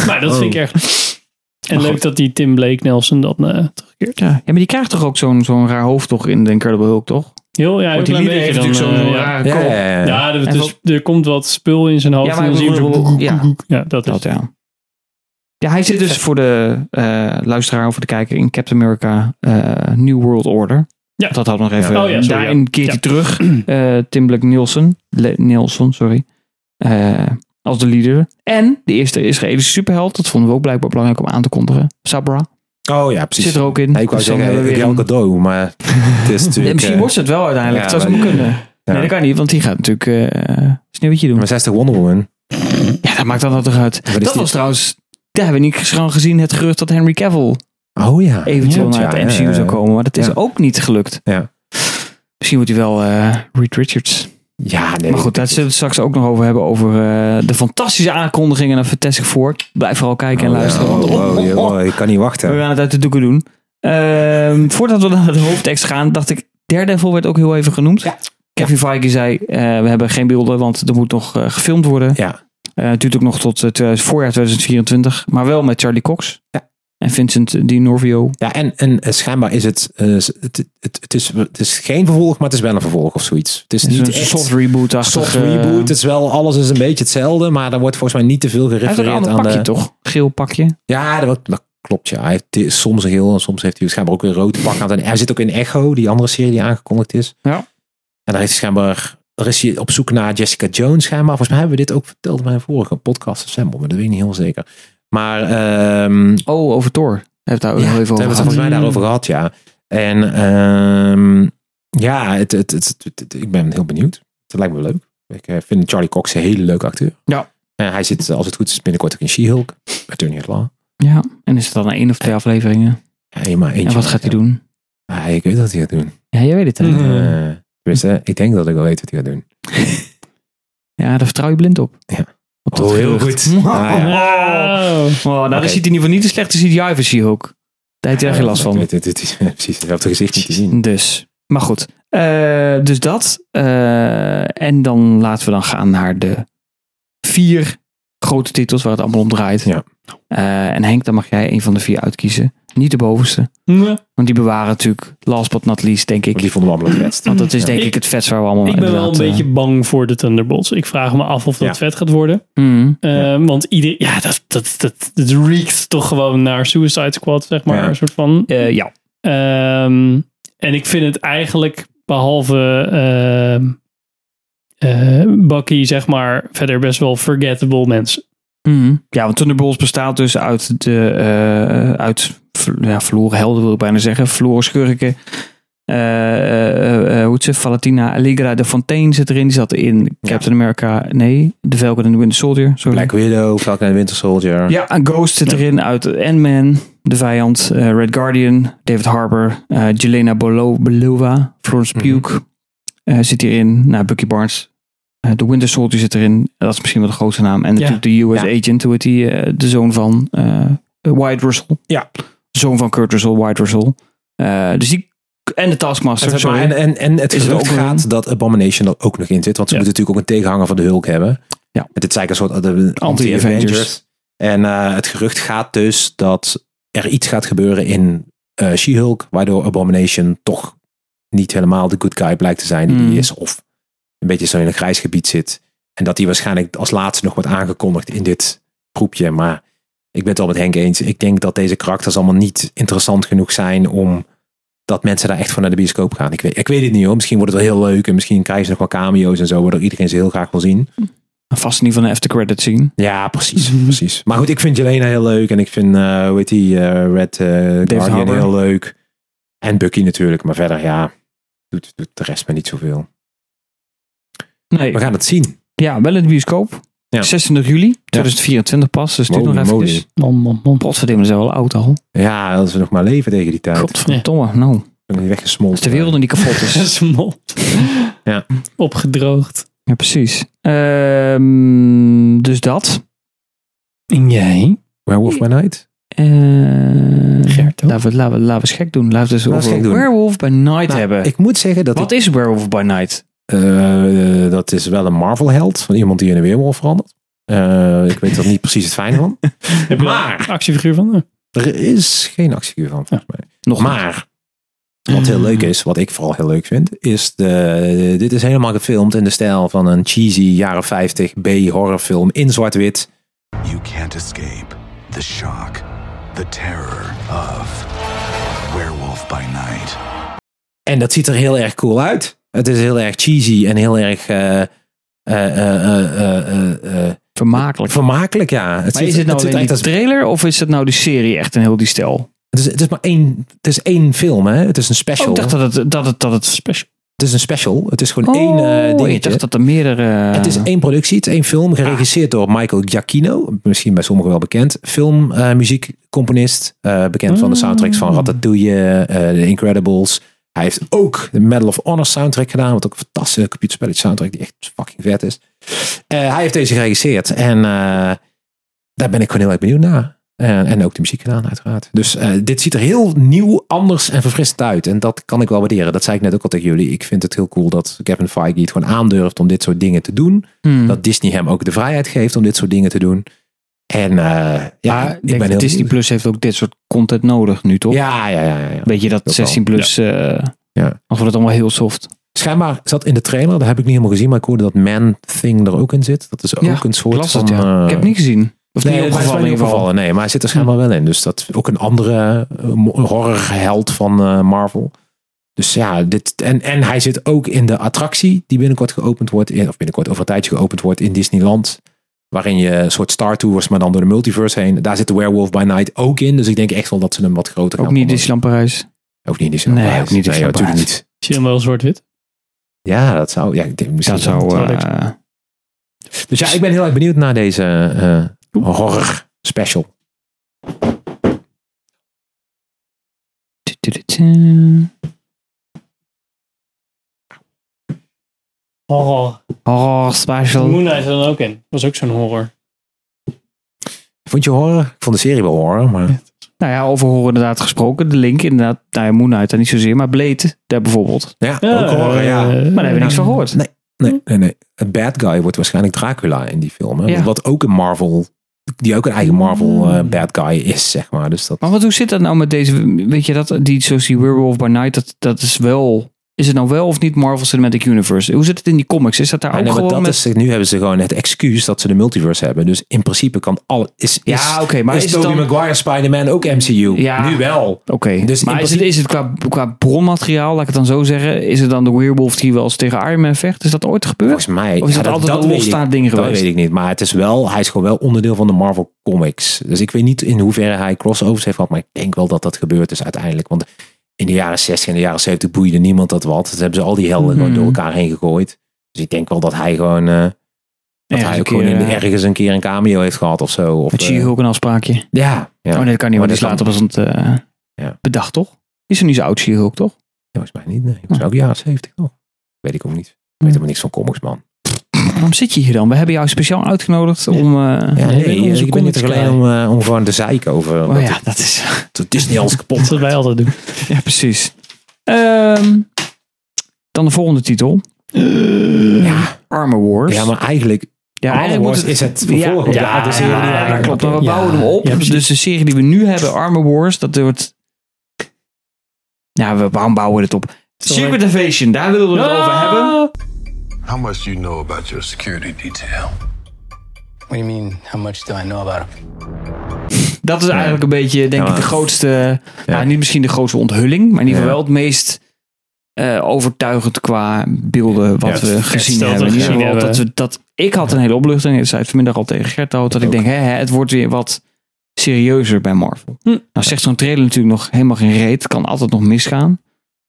[SPEAKER 3] Maar dat
[SPEAKER 1] Oh.
[SPEAKER 3] vind ik echt... En leuk dat die Tim Blake Nelson dat eh, terugkeert.
[SPEAKER 1] Ja. ja, maar die krijgt toch ook zo'n zo'n raar hoofd toch in de Incredible Hulk, toch?
[SPEAKER 3] Heel, ja, een
[SPEAKER 1] Want die
[SPEAKER 3] klein
[SPEAKER 1] leader
[SPEAKER 3] beetje
[SPEAKER 1] heeft
[SPEAKER 3] dan,
[SPEAKER 1] natuurlijk zo'n
[SPEAKER 3] eh,
[SPEAKER 1] zo'n
[SPEAKER 3] ja.
[SPEAKER 1] rare
[SPEAKER 2] Ja,
[SPEAKER 1] kop.
[SPEAKER 2] ja, ja.
[SPEAKER 3] Ja, er,
[SPEAKER 1] En
[SPEAKER 3] dus, er komt wat spul in zijn hoofd.
[SPEAKER 1] Ja,
[SPEAKER 3] en
[SPEAKER 1] maar
[SPEAKER 3] dan zie je hem zo-
[SPEAKER 1] ja,
[SPEAKER 3] Ja, dat is
[SPEAKER 1] dat ja. Dus- Ja, hij zit dus voor de eh, luisteraar of voor de kijker in Captain America eh, New World Order.
[SPEAKER 3] Ja.
[SPEAKER 1] Dat had nog even.
[SPEAKER 3] Oh ja, sorry,
[SPEAKER 1] daarin
[SPEAKER 3] ja.
[SPEAKER 1] keert hij
[SPEAKER 3] Ja.
[SPEAKER 1] terug. eh Tim Blake Nielsen. Le- Nielsen, sorry. Eh, als de leader. En de eerste Israëlische superheld. Dat vonden we ook blijkbaar belangrijk om aan te kondigen. Sabra.
[SPEAKER 2] Oh ja, precies.
[SPEAKER 1] Zit er ook in.
[SPEAKER 2] Nee, ik wou
[SPEAKER 1] Dus dan
[SPEAKER 2] zeggen,
[SPEAKER 1] hebben we
[SPEAKER 2] ik
[SPEAKER 1] weer
[SPEAKER 2] elke
[SPEAKER 1] een-
[SPEAKER 2] cadeau, maar het is natuurlijk...
[SPEAKER 1] Nee, misschien
[SPEAKER 2] eh,
[SPEAKER 1] wordt ze het wel uiteindelijk.
[SPEAKER 2] ja,
[SPEAKER 1] dat zou
[SPEAKER 2] maar-
[SPEAKER 1] ze maar kunnen.
[SPEAKER 2] ja.
[SPEAKER 1] Nee, dat kan niet, want die gaat natuurlijk eh sneeuwtje doen.
[SPEAKER 2] Maar 60 Wonder Woman.
[SPEAKER 1] Ja, dat maakt dan dat toch uit.
[SPEAKER 2] is
[SPEAKER 1] Dat
[SPEAKER 2] Dus die-
[SPEAKER 1] was trouwens... Daar hebben we niet gewoon gezien het gerucht dat Henry Cavill
[SPEAKER 2] Oh ja.
[SPEAKER 1] eventueel
[SPEAKER 2] Ja,
[SPEAKER 1] naar
[SPEAKER 2] ja,
[SPEAKER 1] het MCU
[SPEAKER 2] ja,
[SPEAKER 1] zou
[SPEAKER 2] ja.
[SPEAKER 1] komen. Maar dat is
[SPEAKER 2] Ja.
[SPEAKER 1] ook niet gelukt.
[SPEAKER 2] Ja.
[SPEAKER 1] Misschien wordt hij wel eh, Reed Richards.
[SPEAKER 2] Ja, nee.
[SPEAKER 1] maar goed, eh, daar zullen we het straks ook nog over hebben. Over eh, de fantastische aankondigingen naar Fantastic Four. Blijf vooral kijken en
[SPEAKER 2] Oh, ja.
[SPEAKER 1] luisteren.
[SPEAKER 2] Oh,
[SPEAKER 1] want-
[SPEAKER 2] wow, ja, wow, ik kan niet wachten.
[SPEAKER 1] We gaan het uit de doeken doen. Ehm, voordat we naar de hoofdtekst gaan, dacht ik, Daredevil werd ook heel even genoemd. Kevin Feige zei, eh, we hebben geen beelden, want er moet nog eh, gefilmd worden.
[SPEAKER 2] Ja.
[SPEAKER 1] Eh, het duurt ook nog tot het voorjaar 2024, maar wel met Charlie Cox. En Vincent Di Norvio.
[SPEAKER 2] Ja, en, en eh, schijnbaar is het, eh, het, het, het, is, het is geen vervolg, maar het is wel een vervolg of zoiets. Het is
[SPEAKER 1] Het is
[SPEAKER 2] niet
[SPEAKER 1] een
[SPEAKER 2] echt
[SPEAKER 1] soft eh, reboot achter.
[SPEAKER 2] soft reboot. Het is wel, alles is een beetje hetzelfde, maar er wordt volgens mij niet te veel
[SPEAKER 1] hij heeft een
[SPEAKER 2] gerefereerd
[SPEAKER 1] ander
[SPEAKER 2] aan
[SPEAKER 1] pakje,
[SPEAKER 2] de...
[SPEAKER 1] toch? Geel pakje.
[SPEAKER 2] Ja, dat, wordt- dat klopt. Ja. Hij heeft di- soms een geel en soms heeft hij schijnbaar ook weer rood pak aan. En hij zit ook in Echo, die andere serie die aangekondigd is.
[SPEAKER 1] Ja.
[SPEAKER 2] En daar heeft hij schijnbaar... Er is hij op zoek naar Jessica Jones schijnbaar. Volgens mij hebben we dit ook verteld bij een vorige podcast of Sample, maar dat weet ik niet heel zeker. Maar ehm,
[SPEAKER 1] Oh, over Thor. Heb Oh, daar ook
[SPEAKER 2] ja,
[SPEAKER 1] heel even
[SPEAKER 2] daar
[SPEAKER 1] over
[SPEAKER 2] hebben we
[SPEAKER 1] gehad.
[SPEAKER 2] het volgens mij daarover gehad, ja. En ehm, ja, het, het, het, het- het- ik ben heel benieuwd. Het lijkt me wel leuk. Ik eh, vind Charlie Cox een hele leuke acteur.
[SPEAKER 1] Ja.
[SPEAKER 2] En hij zit, als het goed is, binnenkort ook in She-Hulk. Attorney at Law.
[SPEAKER 1] Ja, en is het dan één of twee afleveringen?
[SPEAKER 2] Ja, één maar eentje.
[SPEAKER 1] En wat gaat hij Hmm. doen?
[SPEAKER 2] Ja, Ah, ik weet wat hij gaat doen.
[SPEAKER 1] Ja, jij weet het hè?
[SPEAKER 3] Mhm.
[SPEAKER 2] Eh, tenminste, ik denk dat ik wel weet wat hij gaat doen.
[SPEAKER 1] Ja, daar vertrouw je blind op.
[SPEAKER 2] Ja.
[SPEAKER 1] Op dat
[SPEAKER 2] Oh, heel
[SPEAKER 1] gerucht.
[SPEAKER 2] goed. Ah,
[SPEAKER 3] Wow.
[SPEAKER 1] Oh, nou,
[SPEAKER 2] Oké.
[SPEAKER 1] dan ziet hij in ieder geval niet de slechte CGI van She-Hulk. Daar heeft hij echt geen last van.
[SPEAKER 2] Het, het, het is precies hetzelfde gezicht niet te zien.
[SPEAKER 1] Dus, maar goed. Eh, dus dat. Eh, en dan laten we dan gaan naar de vier grote titels waar het allemaal om draait.
[SPEAKER 2] Ja.
[SPEAKER 1] Eh, en Henk, dan mag jij een van de vier uitkiezen. Niet de bovenste. Want die bewaren natuurlijk, last but not least, denk
[SPEAKER 2] Want
[SPEAKER 1] ik.
[SPEAKER 2] die vonden we allemaal het best.
[SPEAKER 1] Want dat is denk ik,
[SPEAKER 3] Ik-
[SPEAKER 1] het vetst waar we allemaal
[SPEAKER 3] Ik ben wel een
[SPEAKER 1] inderdaad, eh,
[SPEAKER 3] beetje bang voor de Thunderbolts. Ik vraag me af of dat
[SPEAKER 2] Ja.
[SPEAKER 3] vet gaat worden.
[SPEAKER 1] eh, mm.
[SPEAKER 3] Eh, Want ieder, ja, dat, dat, dat, dat reekt toch gewoon naar Suicide Squad, zeg maar.
[SPEAKER 2] Ja.
[SPEAKER 3] Een soort van.
[SPEAKER 1] Eh, ja.
[SPEAKER 3] Ehm, en ik vind het eigenlijk, behalve ehm, eh, Bucky, zeg maar, verder best wel forgettable mensen.
[SPEAKER 1] Mhm. Ja, want Thunderbolts bestaat dus uit de eh, uit ver- ja, verloren helden wil ik bijna zeggen, verloren schurken. Eh, eh, eh, eh, hoe heet ze? Valentina Allegra de Fontaine zit erin. Die zat in Captain America. Nee, The Falcon and the Winter Soldier. Sorry.
[SPEAKER 2] Black Widow, Falcon and the Winter Soldier.
[SPEAKER 1] Ja, en Ghost zit erin uit Ant-Man, de vijand, eh, Red Guardian, David Harbour, eh Jelena Bolo- Belova, Florence
[SPEAKER 2] Mhm.
[SPEAKER 1] Pugh eh, zit hierin. Nou, Bucky Barnes. Eh, De Winter Soldier zit erin. Dat is misschien wel de grootste naam. En natuurlijk de US Agent, hoe heet die? eh, de zoon van eh Wyatt Russell.
[SPEAKER 2] Ja.
[SPEAKER 1] Zoon van Kurt Russell, Wyatt Russell. Eh, dus die... En de Taskmaster,
[SPEAKER 2] En,
[SPEAKER 1] sorry.
[SPEAKER 2] en, en, en het
[SPEAKER 1] Is er
[SPEAKER 2] gerucht
[SPEAKER 1] ook een-
[SPEAKER 2] gaat dat Abomination er ook nog in zit. Want ze
[SPEAKER 3] Ja.
[SPEAKER 2] moeten natuurlijk ook een tegenhanger van de Hulk hebben.
[SPEAKER 1] Ja.
[SPEAKER 2] Het is eigenlijk een soort eh, de-
[SPEAKER 1] Anti-Avengers.
[SPEAKER 2] anti-Avengers. En eh, het gerucht gaat dus dat er iets gaat gebeuren in eh She-Hulk. Waardoor Abomination toch niet helemaal de good guy blijkt te zijn die
[SPEAKER 1] Mm.
[SPEAKER 2] die is. Of een beetje zo in een grijs gebied zit. En dat die waarschijnlijk als laatste nog wordt aangekondigd in dit groepje. Maar ik ben het al met Henk eens. Ik denk dat deze karakters allemaal niet interessant genoeg zijn om dat mensen daar echt voor naar de bioscoop gaan. Ik weet, ik weet het niet hoor. Misschien wordt het wel heel leuk. En misschien krijgen ze nog wel cameo's en zo. Waardoor iedereen ze heel graag wil zien.
[SPEAKER 1] Vast in ieder geval een aftercredit zien.
[SPEAKER 2] Ja, precies.
[SPEAKER 1] Mhm.
[SPEAKER 2] precies. Maar goed, ik vind Jelena heel leuk. En ik vind, eh hoe heet die, eh, Red eh, Guardian
[SPEAKER 1] Harbour.
[SPEAKER 2] heel leuk. En Bucky natuurlijk. Maar verder, ja, doet, doet de rest me niet zoveel.
[SPEAKER 1] Nee.
[SPEAKER 2] We gaan het zien.
[SPEAKER 1] Ja, wel in de bioscoop.
[SPEAKER 2] Ja.
[SPEAKER 1] 26 juli 2024 pas. Dus dit
[SPEAKER 2] Moly
[SPEAKER 1] nog
[SPEAKER 2] moly.
[SPEAKER 1] even.
[SPEAKER 3] Man, man, man.
[SPEAKER 1] Potverdimme, we zijn wel oud al.
[SPEAKER 2] Ja, als we nog maar leven tegen die tijd. Ik
[SPEAKER 1] Godverdomme, nou.
[SPEAKER 2] ben niet
[SPEAKER 1] Als
[SPEAKER 2] weggesmolten.
[SPEAKER 1] de wereld nog niet kapot is.
[SPEAKER 3] Gesmolten.
[SPEAKER 2] Ja.
[SPEAKER 3] Opgedroogd.
[SPEAKER 1] Ja, precies. Ehm, dus dat.
[SPEAKER 3] En jij?
[SPEAKER 2] Werewolf by Night.
[SPEAKER 1] Eh,
[SPEAKER 3] Gert
[SPEAKER 1] Ehm,
[SPEAKER 3] ook?
[SPEAKER 1] laten, we, laten, we, laten we eens gek doen. Laten we eens
[SPEAKER 2] Laten we eens
[SPEAKER 1] over
[SPEAKER 2] gek doen.
[SPEAKER 1] Werewolf by Night
[SPEAKER 2] Nou,
[SPEAKER 1] hebben.
[SPEAKER 2] Ik moet zeggen dat ik
[SPEAKER 1] Wat is Werewolf by Night?
[SPEAKER 2] Eh, eh, dat is wel een Marvel-held. Van iemand die in een weerwolf verandert. Eh, ik weet er niet precies het fijne van.
[SPEAKER 3] Heb je daar een actiefiguur van? Eh,
[SPEAKER 2] Er is geen actiefiguur van, volgens mij.
[SPEAKER 1] Nog Mm.
[SPEAKER 2] Maar, wat heel leuk is, wat ik vooral heel leuk vind, is de, dit is helemaal gefilmd in de stijl van een cheesy jaren 50 B-horrorfilm in zwart-wit.
[SPEAKER 9] You can't escape the shock, the terror of Werewolf by Night.
[SPEAKER 2] En dat ziet er heel erg cool uit. Het is heel erg cheesy en heel erg... eh, eh, eh, eh, eh, eh,
[SPEAKER 1] vermakelijk.
[SPEAKER 2] vermakelijk, ja. Het
[SPEAKER 1] Maar is
[SPEAKER 2] ziet-
[SPEAKER 1] het nou
[SPEAKER 2] ziet
[SPEAKER 1] alleen
[SPEAKER 2] eruit
[SPEAKER 1] die
[SPEAKER 2] als Oh,
[SPEAKER 1] trailer of is het nou die serie echt een heel die stijl?
[SPEAKER 2] Het is, het is maar één, het is één film, hè? Het is een
[SPEAKER 1] Oh,
[SPEAKER 2] special.
[SPEAKER 1] ik dacht dat het, dat het, dat het special...
[SPEAKER 2] Het is een special. Het is gewoon
[SPEAKER 1] Oh,
[SPEAKER 2] één eh,
[SPEAKER 1] ik
[SPEAKER 2] dingetje.
[SPEAKER 1] dacht dat er meerdere...
[SPEAKER 2] Het
[SPEAKER 1] Eh.
[SPEAKER 2] is één productie, het is één film, geregisseerd door Michael Giacchino. Misschien bij sommigen wel bekend. Film, eh, muziekcomponist. eh, bekend van de soundtracks van Ratatouille, eh The Incredibles. Hij heeft ook de Medal of Honor soundtrack gedaan. Wat ook een fantastische computerspelletje soundtrack die echt fucking vet is. Eh, hij heeft deze geregisseerd. En eh, daar ben ik gewoon heel erg benieuwd naar. En, Eh, en ook de muziek gedaan, uiteraard. Dus eh, dit ziet er heel nieuw, anders en verfrissend uit. En dat kan ik wel waarderen. Dat zei ik net ook al tegen jullie. Ik vind het heel cool dat Kevin Feige het gewoon aandurft om dit soort dingen te doen.
[SPEAKER 1] Hmm.
[SPEAKER 2] Dat Disney hem ook de vrijheid geeft om dit soort dingen te doen. En eh, ja,
[SPEAKER 1] Maar
[SPEAKER 2] ik
[SPEAKER 1] Ah, denk
[SPEAKER 2] ben heel
[SPEAKER 1] Disney
[SPEAKER 2] benieuwd.
[SPEAKER 1] Plus heeft ook dit soort content nodig nu, toch?
[SPEAKER 2] Ja, ja, ja, ja, ja.
[SPEAKER 1] Weet je dat
[SPEAKER 2] wel.
[SPEAKER 1] 16 plus... eh
[SPEAKER 2] Ja.
[SPEAKER 1] Of wordt het allemaal heel soft?
[SPEAKER 2] Schijnbaar zat in de trailer, daar heb ik niet helemaal gezien, maar ik hoorde dat Man Thing er ook in zit. Dat is ook
[SPEAKER 1] Ja,
[SPEAKER 2] een soort
[SPEAKER 1] Ik las
[SPEAKER 2] van...
[SPEAKER 1] dat, ja.
[SPEAKER 2] eh,
[SPEAKER 1] Ik heb niet gezien. Of
[SPEAKER 2] Nee,
[SPEAKER 1] niet
[SPEAKER 2] dat is mij
[SPEAKER 1] opgevallen Hm. in
[SPEAKER 2] niet
[SPEAKER 1] ieder geval.
[SPEAKER 2] opgevallen. Nee, maar hij zit er schijnbaar wel in. Dus dat ook een andere eh, mo- horrorheld van eh, Marvel. Dus ja, dit, en, en hij zit ook in de attractie die binnenkort geopend wordt. In, of binnenkort over een tijdje geopend wordt in Disneyland. Waarin je een soort Star Tours, maar dan door de multiverse heen. Daar zit de Werewolf by Night ook in. Dus ik denk echt wel dat ze hem wat groter
[SPEAKER 1] Ook
[SPEAKER 2] gaan
[SPEAKER 1] niet in
[SPEAKER 2] maken.
[SPEAKER 1] Disneyland Parijs.
[SPEAKER 2] Ook niet in Disneyland.
[SPEAKER 1] Nee,
[SPEAKER 2] Parijs.
[SPEAKER 1] ook niet in
[SPEAKER 2] Nee, joh,
[SPEAKER 1] Disneyland
[SPEAKER 2] natuurlijk niet.
[SPEAKER 3] Zie je hem wel zwart-wit?
[SPEAKER 2] Ja, dat zou... Ja, ik denk misschien
[SPEAKER 1] Dat zou...
[SPEAKER 3] zou
[SPEAKER 1] eh,
[SPEAKER 2] Dus ja, ik ben heel erg benieuwd naar deze eh, horror special.
[SPEAKER 1] tudutudu.
[SPEAKER 3] Horror.
[SPEAKER 1] Horror Oh, special.
[SPEAKER 3] Oh, Moon Knight zat er dan ook in. Was ook zo'n horror.
[SPEAKER 2] Vond je horror? Ik vond de serie wel horror, maar...
[SPEAKER 1] Nou ja, over horen inderdaad gesproken. De link inderdaad. Nou ja, Moon Knight daar niet zozeer. Maar Blade daar bijvoorbeeld.
[SPEAKER 2] Ja, ook horror, ja.
[SPEAKER 3] eh,
[SPEAKER 1] Maar daar hebben we niks van gehoord.
[SPEAKER 2] Nee, nee, nee, nee. Een bad guy wordt waarschijnlijk Dracula in die film. Hè?
[SPEAKER 1] Ja.
[SPEAKER 2] Wat ook een Marvel, die ook een eigen Marvel eh, bad guy is, zeg maar. Dus dat,
[SPEAKER 1] Maar wat, hoe zit dat nou met deze, weet je dat, die, zoals die Werewolf by Night, dat, dat is wel, is het nou wel of niet Marvel Cinematic Universe? Hoe zit het in die comics? Is dat daar
[SPEAKER 2] Ah,
[SPEAKER 1] ook
[SPEAKER 2] nee, maar
[SPEAKER 1] gewoon
[SPEAKER 2] dat
[SPEAKER 1] met...
[SPEAKER 2] is, nu hebben ze gewoon het excuus dat ze de multiverse hebben. Dus in principe kan al... Is, is,
[SPEAKER 1] Ja, oké, maar
[SPEAKER 2] is,
[SPEAKER 1] is het
[SPEAKER 2] Tobey
[SPEAKER 1] dan-
[SPEAKER 2] Maguire Spider-Man ook MCU?
[SPEAKER 1] Ja.
[SPEAKER 2] Nu wel.
[SPEAKER 1] Oké,
[SPEAKER 2] Dus
[SPEAKER 1] maar
[SPEAKER 2] in
[SPEAKER 1] is het, is het qua, qua bronmateriaal, laat ik het dan zo zeggen, is het dan de Werewolf die wel eens tegen Iron Man vecht? Is dat ooit gebeurd?
[SPEAKER 2] Volgens mij...
[SPEAKER 1] Of is dat altijd een
[SPEAKER 2] weet ik-
[SPEAKER 1] losstaand ding
[SPEAKER 2] Dat
[SPEAKER 1] geweest?
[SPEAKER 2] weet ik niet. Maar het is wel, hij is gewoon wel onderdeel van de Marvel Comics. Dus ik weet niet in hoeverre hij crossovers heeft gehad. Maar ik denk wel dat dat gebeurd is uiteindelijk. Want in de jaren 60 en de jaren 70 boeide niemand dat wat. Dus hebben ze al die helden gewoon
[SPEAKER 1] Hmm.
[SPEAKER 2] door elkaar heen gegooid. Dus ik denk wel dat hij gewoon... eh, dat
[SPEAKER 1] Ergens
[SPEAKER 2] hij
[SPEAKER 1] een
[SPEAKER 2] ook gewoon
[SPEAKER 1] keer,
[SPEAKER 2] in-
[SPEAKER 1] eh,
[SPEAKER 2] ergens een keer een cameo heeft gehad of zo. Of,
[SPEAKER 1] Met
[SPEAKER 2] eh,
[SPEAKER 1] She-Hulk een afspraakje.
[SPEAKER 2] ja, ja.
[SPEAKER 1] Oh nee, dat kan niet,
[SPEAKER 2] Maar
[SPEAKER 1] want die is later
[SPEAKER 2] dat
[SPEAKER 1] pas ont, eh,
[SPEAKER 2] Ja.
[SPEAKER 1] bedacht, toch? Is er niet zo oud She-Hulk, toch?
[SPEAKER 2] Volgens mij niet. Nee, het was ook
[SPEAKER 1] Oh.
[SPEAKER 2] jaren 70 toch? Weet ik ook niet. Ik
[SPEAKER 1] Hm.
[SPEAKER 2] weet helemaal niks van comics, man.
[SPEAKER 1] Waarom zit je hier dan? We hebben jou speciaal uitgenodigd om... eh,
[SPEAKER 2] Ja,
[SPEAKER 1] om
[SPEAKER 2] nee,
[SPEAKER 1] onze
[SPEAKER 2] ik ben niet
[SPEAKER 1] comics te
[SPEAKER 2] alleen
[SPEAKER 1] krijgen.
[SPEAKER 2] om, eh, om gewoon te zeiken over
[SPEAKER 1] Oh
[SPEAKER 2] dat,
[SPEAKER 1] ja, dat is...
[SPEAKER 2] dat Disney alles kapot
[SPEAKER 3] Dat is wat wij altijd doen.
[SPEAKER 1] Ja, precies. Ehm, dan de volgende titel. ja. Armor Wars.
[SPEAKER 2] Ja, maar eigenlijk,
[SPEAKER 1] Ja,
[SPEAKER 2] Armor Wars is het vervolg op de
[SPEAKER 1] ja,
[SPEAKER 2] oude
[SPEAKER 1] Ah, dus ja,
[SPEAKER 2] serie die
[SPEAKER 1] ja,
[SPEAKER 2] we
[SPEAKER 1] dat
[SPEAKER 2] eigenlijk
[SPEAKER 1] klopt. Maar we
[SPEAKER 2] hadden.
[SPEAKER 1] bouwen hem op.
[SPEAKER 3] ja, precies.
[SPEAKER 1] dus de serie die we nu hebben, Armor Wars, dat wordt... Ja, we waarom bouwen we dit op? Secret Invasion, daar willen we het over hebben.
[SPEAKER 9] How much do you know about your security detail?
[SPEAKER 10] What do you mean, how much do I know about him?
[SPEAKER 1] Dat is eigenlijk een beetje, denk
[SPEAKER 2] Ja,
[SPEAKER 1] ik, de
[SPEAKER 2] maar-
[SPEAKER 1] grootste.
[SPEAKER 2] Ja.
[SPEAKER 1] Nou, niet misschien de grootste onthulling, maar in ieder geval
[SPEAKER 2] Ja.
[SPEAKER 1] wel het meest eh, overtuigend qua beelden wat
[SPEAKER 2] het
[SPEAKER 1] we
[SPEAKER 2] vetste
[SPEAKER 1] gezien
[SPEAKER 3] wat we
[SPEAKER 1] hebben. In ieder
[SPEAKER 3] gezien
[SPEAKER 1] geval dat,
[SPEAKER 3] hebben.
[SPEAKER 1] we, dat ik had een hele opluchting. Ik zei het vanmiddag al tegen Gert ook, dat ik
[SPEAKER 2] Ook.
[SPEAKER 1] denk, hè, hè, het wordt weer wat serieuzer bij Marvel.
[SPEAKER 3] Hm.
[SPEAKER 1] Nou zegt zo'n trailer natuurlijk nog helemaal geen reet. Het kan altijd nog misgaan.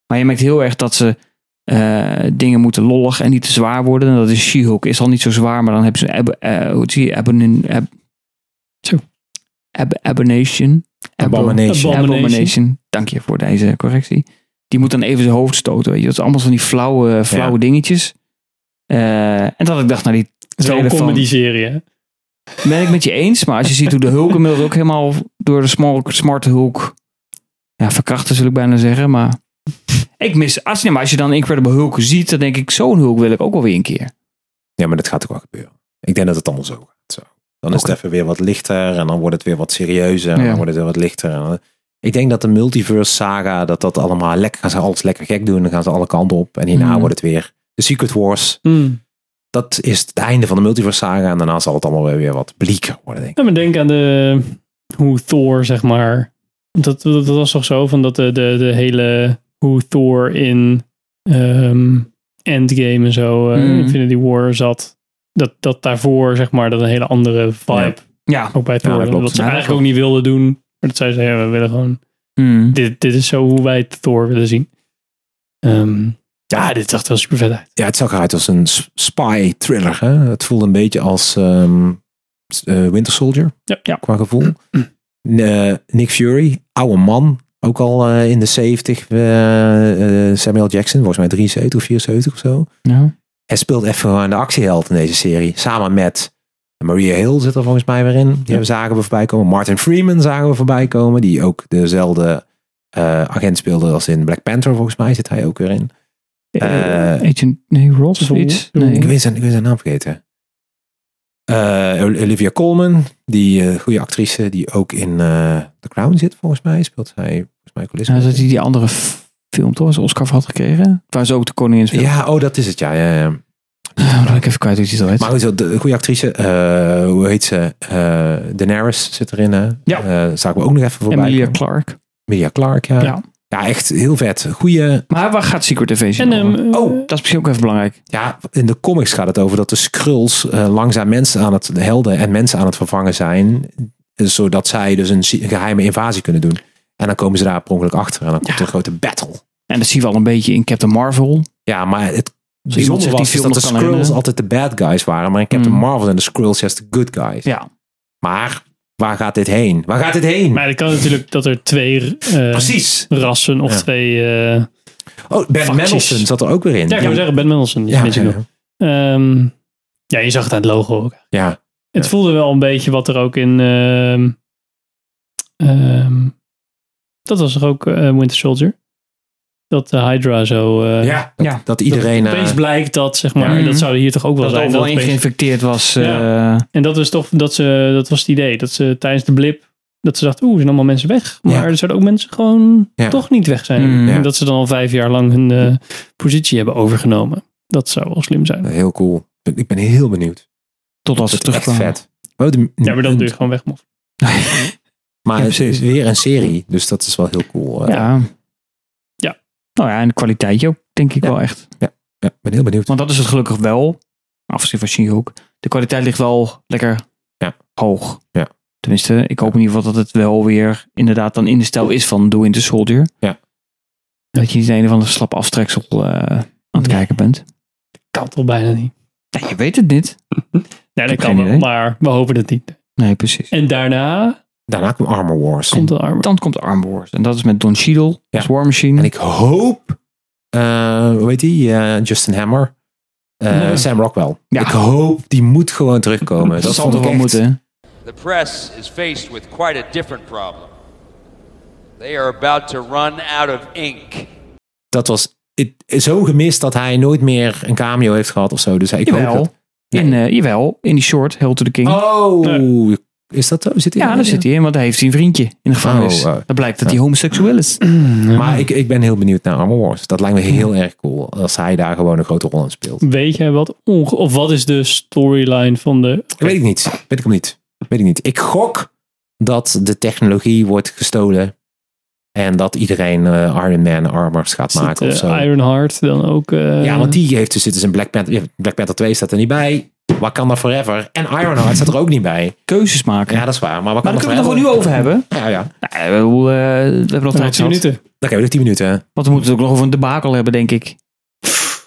[SPEAKER 1] Maar je merkt heel erg dat ze eh, dingen moeten lollig en niet te zwaar worden. En dat is She-Hulk. Is al niet zo zwaar, maar dan hebben ze... Ab, eh, hoe zie je? Abonin, ab,
[SPEAKER 3] Zo.
[SPEAKER 1] Ab- Abomination. Abo-
[SPEAKER 2] Abomination.
[SPEAKER 3] Abomination.
[SPEAKER 1] Abomination. Dank je voor deze correctie. Die moet dan even zijn hoofd stoten. Weet je. Dat is allemaal van die flauwe, flauwe
[SPEAKER 2] Ja.
[SPEAKER 1] dingetjes. Eh, en dat ik dacht, nou die
[SPEAKER 3] Het is wel een
[SPEAKER 1] trailer van-
[SPEAKER 3] comedy serie. hè?
[SPEAKER 1] ben ik met je eens. Maar als je ziet hoe de Hulk inmiddels ook helemaal door de small, smarte Hulk... Ja, verkrachten zul ik bijna zeggen, maar... Ik mis... Als, nee, maar als je dan Incredible Hulk ziet, dan denk ik... Zo'n Hulk wil ik ook wel weer een keer.
[SPEAKER 2] Ja, maar dat gaat ook wel gebeuren. Ik denk dat het allemaal zo gaat. Zo. Dan is
[SPEAKER 1] Oké.
[SPEAKER 2] het even weer wat lichter en dan wordt het weer wat serieuzer en
[SPEAKER 1] Ja.
[SPEAKER 2] dan wordt het weer wat lichter. En dan- ik denk dat de multiverse saga, dat dat allemaal lekker, gaan ze alles lekker gek doen. Dan gaan ze alle kanten op en hierna
[SPEAKER 1] Mhm.
[SPEAKER 2] wordt het weer de Secret Wars. Dat is het einde van de multiverse saga en daarna zal het allemaal weer, weer wat blieker worden, denk ik.
[SPEAKER 3] Ja, maar denk aan de, hoe Thor, zeg maar. Dat, dat, dat was toch zo van dat de, de, de hele hoe Thor in ehm, Endgame en zo, eh,
[SPEAKER 1] Mm.
[SPEAKER 3] Infinity War zat. Dat, dat daarvoor, zeg maar, dat een hele andere vibe
[SPEAKER 2] Ja.
[SPEAKER 1] Ja.
[SPEAKER 3] ook bij Thor.
[SPEAKER 2] dat klopt.
[SPEAKER 3] wat ze
[SPEAKER 1] Ja, dat
[SPEAKER 3] eigenlijk
[SPEAKER 1] klopt.
[SPEAKER 3] ook niet wilden doen. Maar dat zij zeiden, ja, we willen gewoon,
[SPEAKER 1] Hmm.
[SPEAKER 3] dit, dit is zo hoe wij het Thor willen zien. Ehm, ja, dit zag er wel super vet uit.
[SPEAKER 2] Ja, het zag eruit als een s- spy thriller. Hè? Het voelde een beetje als ehm, s- eh, Winter Soldier.
[SPEAKER 3] Ja. Ja.
[SPEAKER 2] Qua gevoel. N- eh, Nick Fury, oude man. Ook al eh, in de 70. eh, eh, Samuel Jackson, volgens mij 73 of 74 of zo.
[SPEAKER 1] Nou.
[SPEAKER 2] Hij speelt even gewoon de actieheld in deze serie. Samen met Maria Hill zit er volgens mij weer in. Die zagen we voorbij komen. Martin Freeman zagen we voorbij komen. Die ook dezelfde eh, agent speelde als in Black Panther volgens mij. Zit hij ook weer in. Eh,
[SPEAKER 1] Agent, nee, Ross of
[SPEAKER 3] Zool.
[SPEAKER 1] iets?
[SPEAKER 3] Zool.
[SPEAKER 1] Nee.
[SPEAKER 2] ik weet zijn, ik weet zijn naam vergeten. Eh, Olivia Colman, die eh, goede actrice die ook in eh, The Crown zit, volgens mij. Speelt zij, volgens mij,
[SPEAKER 1] Nou,
[SPEAKER 2] Colissa.
[SPEAKER 1] dat hij die andere f- film toch als Oscar voor had gekregen? Waar ze ook de koningin speelde.
[SPEAKER 2] ja, oh, dat is het, ja. ja, ja.
[SPEAKER 1] Ja. ben ik even kwijt hoe die dat heet.
[SPEAKER 2] Maar goed, zo, de goede actrice, eh, hoe heet ze? Eh, Daenerys zit erin, hè?
[SPEAKER 1] Ja.
[SPEAKER 2] Eh, zagen we ook nog even voorbij.
[SPEAKER 1] Emilia
[SPEAKER 2] komen.
[SPEAKER 1] Clarke.
[SPEAKER 2] Emilia Clark, ja. ja.
[SPEAKER 1] Ja.
[SPEAKER 2] echt heel vet. Goeie,
[SPEAKER 1] Maar waar gaat Secret Invasion
[SPEAKER 3] En
[SPEAKER 1] over?
[SPEAKER 3] ehm,
[SPEAKER 2] Oh.
[SPEAKER 1] Dat is misschien ook even belangrijk.
[SPEAKER 2] ja, in de comics gaat het over dat de Skrulls eh, langzaam mensen aan het, de helden en mensen aan het vervangen zijn, eh, zodat zij dus een zie- geheime invasie kunnen doen. En dan komen ze daar per ongeluk achter en dan komt er een grote battle.
[SPEAKER 1] En dat zien we al een beetje in Captain Marvel.
[SPEAKER 2] Ja, maar het bijzonder
[SPEAKER 1] zich die
[SPEAKER 2] was is
[SPEAKER 1] film
[SPEAKER 2] dat de
[SPEAKER 1] nog kan
[SPEAKER 2] Skrulls
[SPEAKER 1] herinneren.
[SPEAKER 2] altijd de bad guys waren, maar ik heb de
[SPEAKER 1] Mm.
[SPEAKER 2] Marvel en de Skrulls juist de good guys.
[SPEAKER 1] Ja.
[SPEAKER 2] Maar waar gaat dit heen? Waar gaat dit heen?
[SPEAKER 3] Maar dat kan natuurlijk dat er twee eh,
[SPEAKER 2] Precies.
[SPEAKER 3] rassen of
[SPEAKER 2] Ja.
[SPEAKER 3] twee... eh,
[SPEAKER 2] Oh, Ben
[SPEAKER 3] Facties.
[SPEAKER 2] Mendelsohn zat er ook weer in.
[SPEAKER 3] ja, ik zou zeggen, Ben Mendelsohn. die
[SPEAKER 2] ja,
[SPEAKER 3] weet je nog.
[SPEAKER 2] ja,
[SPEAKER 3] Ehm, ja, je zag het aan het logo ook.
[SPEAKER 2] ja.
[SPEAKER 3] Het
[SPEAKER 2] Ja.
[SPEAKER 3] voelde wel een beetje wat er ook in. ehm, ehm, dat was er ook eh, Winter Soldier. Dat de Hydra zo. eh,
[SPEAKER 2] Ja, Mhm. dat,
[SPEAKER 1] ja.
[SPEAKER 2] dat iedereen...
[SPEAKER 3] dat opeens
[SPEAKER 2] eh,
[SPEAKER 3] blijkt dat, zeg maar.
[SPEAKER 1] Ja.
[SPEAKER 3] Dat zou hier toch ook wel
[SPEAKER 1] Dat er
[SPEAKER 3] zijn.
[SPEAKER 1] overal
[SPEAKER 3] dat
[SPEAKER 1] één
[SPEAKER 3] opeens-
[SPEAKER 1] geïnfecteerd was.
[SPEAKER 3] Ja.
[SPEAKER 1] eh,
[SPEAKER 3] en dat is toch. Dat, ze, dat was het idee. Dat ze tijdens de blip. Dat ze dachten, oeh, er zijn allemaal mensen weg. Maar
[SPEAKER 2] Ja.
[SPEAKER 3] er zouden ook mensen gewoon
[SPEAKER 2] Ja.
[SPEAKER 3] toch niet weg zijn.
[SPEAKER 1] Mm.
[SPEAKER 2] Ja.
[SPEAKER 3] En dat ze dan al vijf jaar lang hun eh, positie hebben overgenomen. Dat zou wel slim zijn.
[SPEAKER 2] heel cool. Ik ben heel benieuwd.
[SPEAKER 1] totdat ze
[SPEAKER 2] Dat is echt
[SPEAKER 1] terugkwamen.
[SPEAKER 2] vet. Maar, ook de-
[SPEAKER 3] Ja, maar dan doe je gewoon weg. mof.
[SPEAKER 2] maar
[SPEAKER 1] Ja,
[SPEAKER 2] het is
[SPEAKER 1] precies.
[SPEAKER 2] weer een serie, dus dat is wel heel cool. Eh,
[SPEAKER 1] Ja.
[SPEAKER 3] Ja.
[SPEAKER 1] Nou ja, en de kwaliteit ook, denk ik
[SPEAKER 2] Ja.
[SPEAKER 1] wel echt.
[SPEAKER 2] ja, ik ben heel benieuwd.
[SPEAKER 1] Want dat is het gelukkig wel. Afgezien van She-Hulk. De kwaliteit ligt wel lekker
[SPEAKER 2] Ja.
[SPEAKER 1] hoog.
[SPEAKER 2] Ja.
[SPEAKER 1] Tenminste, ik hoop in ieder geval dat het wel weer inderdaad dan in de stijl is van The Winter Soldier.
[SPEAKER 2] Ja.
[SPEAKER 1] Dat je niet een of ander slap aftreksel eh, aan het
[SPEAKER 3] Nee.
[SPEAKER 1] kijken bent.
[SPEAKER 3] Kan toch bijna niet.
[SPEAKER 1] Ja, je weet het niet.
[SPEAKER 3] Nee, dat
[SPEAKER 1] heb
[SPEAKER 3] kan
[SPEAKER 1] geen
[SPEAKER 3] wel.
[SPEAKER 1] idee.
[SPEAKER 3] Maar we hopen het niet.
[SPEAKER 1] Nee, precies.
[SPEAKER 3] En daarna
[SPEAKER 2] Daarna kwam Armor Wars.
[SPEAKER 3] komt de armor.
[SPEAKER 1] Dan komt Arm Wars. En dat is met Don Cheadle
[SPEAKER 2] Ja.
[SPEAKER 1] als War Machine.
[SPEAKER 2] En ik hoop, eh, hoe heet die? Eh, Justin Hammer. Eh,
[SPEAKER 1] Ja.
[SPEAKER 2] Sam Rockwell.
[SPEAKER 1] Ja.
[SPEAKER 2] Ik hoop, die moet gewoon terugkomen. Dat,
[SPEAKER 1] dat zal
[SPEAKER 2] vond
[SPEAKER 1] toch
[SPEAKER 2] ik
[SPEAKER 1] wel
[SPEAKER 2] echt-
[SPEAKER 1] moeten.
[SPEAKER 10] The press is faced with quite a different problem. They are about to run out of ink.
[SPEAKER 2] Dat was het- zo gemist dat hij nooit meer een cameo heeft gehad of zo. Dus ik hoop
[SPEAKER 1] Jawel.
[SPEAKER 2] dat- Nee.
[SPEAKER 1] In, eh, jawel, in die short, Hell to the King.
[SPEAKER 2] Oh, is dat zo? Zit hij
[SPEAKER 1] ja, daar zit hij in, want hij heeft zijn vriendje in de gevangenis.
[SPEAKER 2] Oh, oh.
[SPEAKER 1] Dan blijkt dat hij homoseksueel is.
[SPEAKER 2] Maar ik, ik ben heel benieuwd naar Armor Wars. Dat lijkt me heel erg cool als hij daar gewoon een grote rol in speelt.
[SPEAKER 3] Weet jij wat onge- of wat is de storyline van de
[SPEAKER 2] Weet ik niet. Weet ik hem niet. Weet ik niet. Ik gok dat de technologie wordt gestolen. En dat iedereen eh, Iron Man armors gaat
[SPEAKER 3] Is het,
[SPEAKER 2] maken of
[SPEAKER 3] eh,
[SPEAKER 2] zo.
[SPEAKER 3] Ironheart dan ook. eh,
[SPEAKER 2] ja, want die heeft dus, dit is een Black Panther, ja, Black Panther 2 staat er niet bij. Wakanda Forever. En Ironheart staat er ook niet bij.
[SPEAKER 1] Keuzes maken.
[SPEAKER 2] Ja, dat is waar. Maar,
[SPEAKER 1] maar
[SPEAKER 2] Wakanda
[SPEAKER 1] daar kunnen we het nog
[SPEAKER 2] Forever-
[SPEAKER 1] nu over hebben.
[SPEAKER 2] Ja, ja. Dan
[SPEAKER 1] Nee, Eh, we, we, we hebben nog tijd
[SPEAKER 3] 10
[SPEAKER 1] gehad.
[SPEAKER 3] nou, minuten.
[SPEAKER 2] hebben we nog 10 minuten.
[SPEAKER 1] Want we moeten het ook nog over een debakel hebben, denk ik.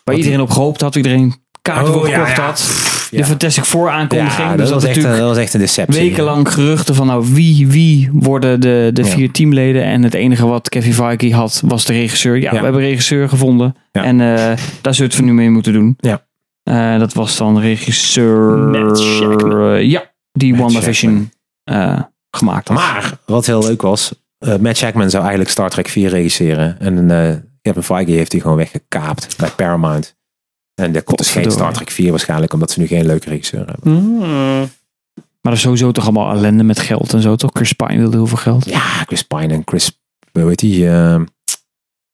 [SPEAKER 1] Waar iedereen op gehoopt had, iedereen kaarten
[SPEAKER 2] Oh,
[SPEAKER 1] voor
[SPEAKER 2] ja,
[SPEAKER 1] gekocht
[SPEAKER 2] ja.
[SPEAKER 1] had.
[SPEAKER 2] Ja.
[SPEAKER 1] De Fantastic Four aankondiging.
[SPEAKER 2] Ja,
[SPEAKER 1] dus
[SPEAKER 2] dat
[SPEAKER 1] dat
[SPEAKER 2] was, echt, een-
[SPEAKER 1] natuurlijk
[SPEAKER 2] dat was echt een deceptie.
[SPEAKER 1] wekenlang geruchten van nou wie, wie worden de, de
[SPEAKER 2] Ja.
[SPEAKER 1] vier teamleden. En het enige wat Kevin Feige had, was de regisseur. Ja,
[SPEAKER 2] Ja.
[SPEAKER 1] we hebben een regisseur gevonden.
[SPEAKER 2] Ja.
[SPEAKER 1] En eh, daar zullen we het nu mee moeten doen.
[SPEAKER 2] Ja.
[SPEAKER 1] Eh, dat was dan regisseur...
[SPEAKER 3] Matt Shackman.
[SPEAKER 1] eh, ja, die
[SPEAKER 2] Matt
[SPEAKER 1] WandaVision eh gemaakt had.
[SPEAKER 2] Maar wat heel leuk was, eh, Matt Shackman zou eigenlijk Star Trek 4 regisseren. En eh Kevin Feige heeft die gewoon weggekaapt bij Paramount. En er komt dus geen
[SPEAKER 1] Godverdorie.
[SPEAKER 2] Star Trek 4 waarschijnlijk, omdat ze nu geen leuke regisseur hebben.
[SPEAKER 3] Mm.
[SPEAKER 1] Maar dat is sowieso toch allemaal ellende met geld en zo, toch? Chris Pine wilde heel veel geld.
[SPEAKER 2] Ja, Chris Pine en Chris, hoe heet die? eh,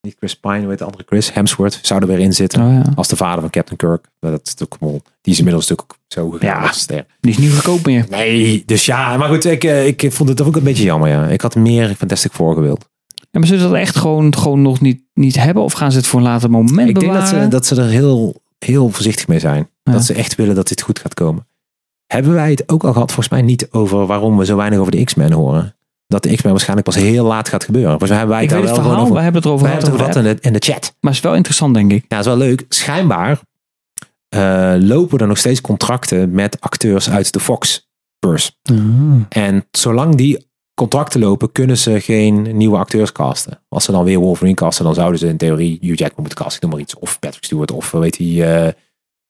[SPEAKER 2] niet Chris Pine, hoe heet de andere Chris? Hemsworth zou er weer in zitten.
[SPEAKER 1] Oh, ja.
[SPEAKER 2] Als de vader van Captain Kirk. Maar Dat is natuurlijk allemaal- Die is inmiddels natuurlijk ook zo gegaan.
[SPEAKER 1] Ja.
[SPEAKER 2] als ster.
[SPEAKER 1] Die is niet goedkoop meer.
[SPEAKER 2] Nee, dus ja. Maar goed, ik, eh, ik vond het ook een beetje jammer. Ja. Ik had meer Fantastic Four gewild.
[SPEAKER 1] Ja, maar zullen ze dat echt gewoon, gewoon nog niet, niet hebben? Of gaan ze het voor een later moment
[SPEAKER 2] Ik denk dat ze,
[SPEAKER 1] bewaren?
[SPEAKER 2] dat ze er heel, heel voorzichtig mee zijn.
[SPEAKER 1] Ja.
[SPEAKER 2] Dat ze echt willen dat dit goed gaat komen. Hebben wij het ook al gehad, volgens mij niet, over waarom we zo weinig over de X-Men horen? Dat de X-Men waarschijnlijk pas heel laat gaat gebeuren. Volgens mij hebben wij
[SPEAKER 1] ik
[SPEAKER 2] het daar
[SPEAKER 1] weet het
[SPEAKER 2] wel
[SPEAKER 1] verhaal,
[SPEAKER 2] gewoon
[SPEAKER 1] we hebben
[SPEAKER 2] over.
[SPEAKER 1] het erover
[SPEAKER 2] Wij hebben
[SPEAKER 1] gehad.
[SPEAKER 2] het
[SPEAKER 1] over
[SPEAKER 2] over
[SPEAKER 1] de
[SPEAKER 2] gehad
[SPEAKER 1] app.
[SPEAKER 2] in de, in de chat.
[SPEAKER 1] Maar het is wel interessant, denk ik.
[SPEAKER 2] Ja, dat is wel leuk. Schijnbaar eh, lopen er nog steeds contracten met acteurs uit de Fox-pers.
[SPEAKER 1] Ah.
[SPEAKER 2] En zolang die contracten lopen, kunnen ze geen nieuwe acteurs casten. Als ze dan weer Wolverine casten, dan zouden ze in theorie Hugh Jackman moeten casten, ik noem maar iets. Of Patrick Stewart, of eh, weet hij... eh,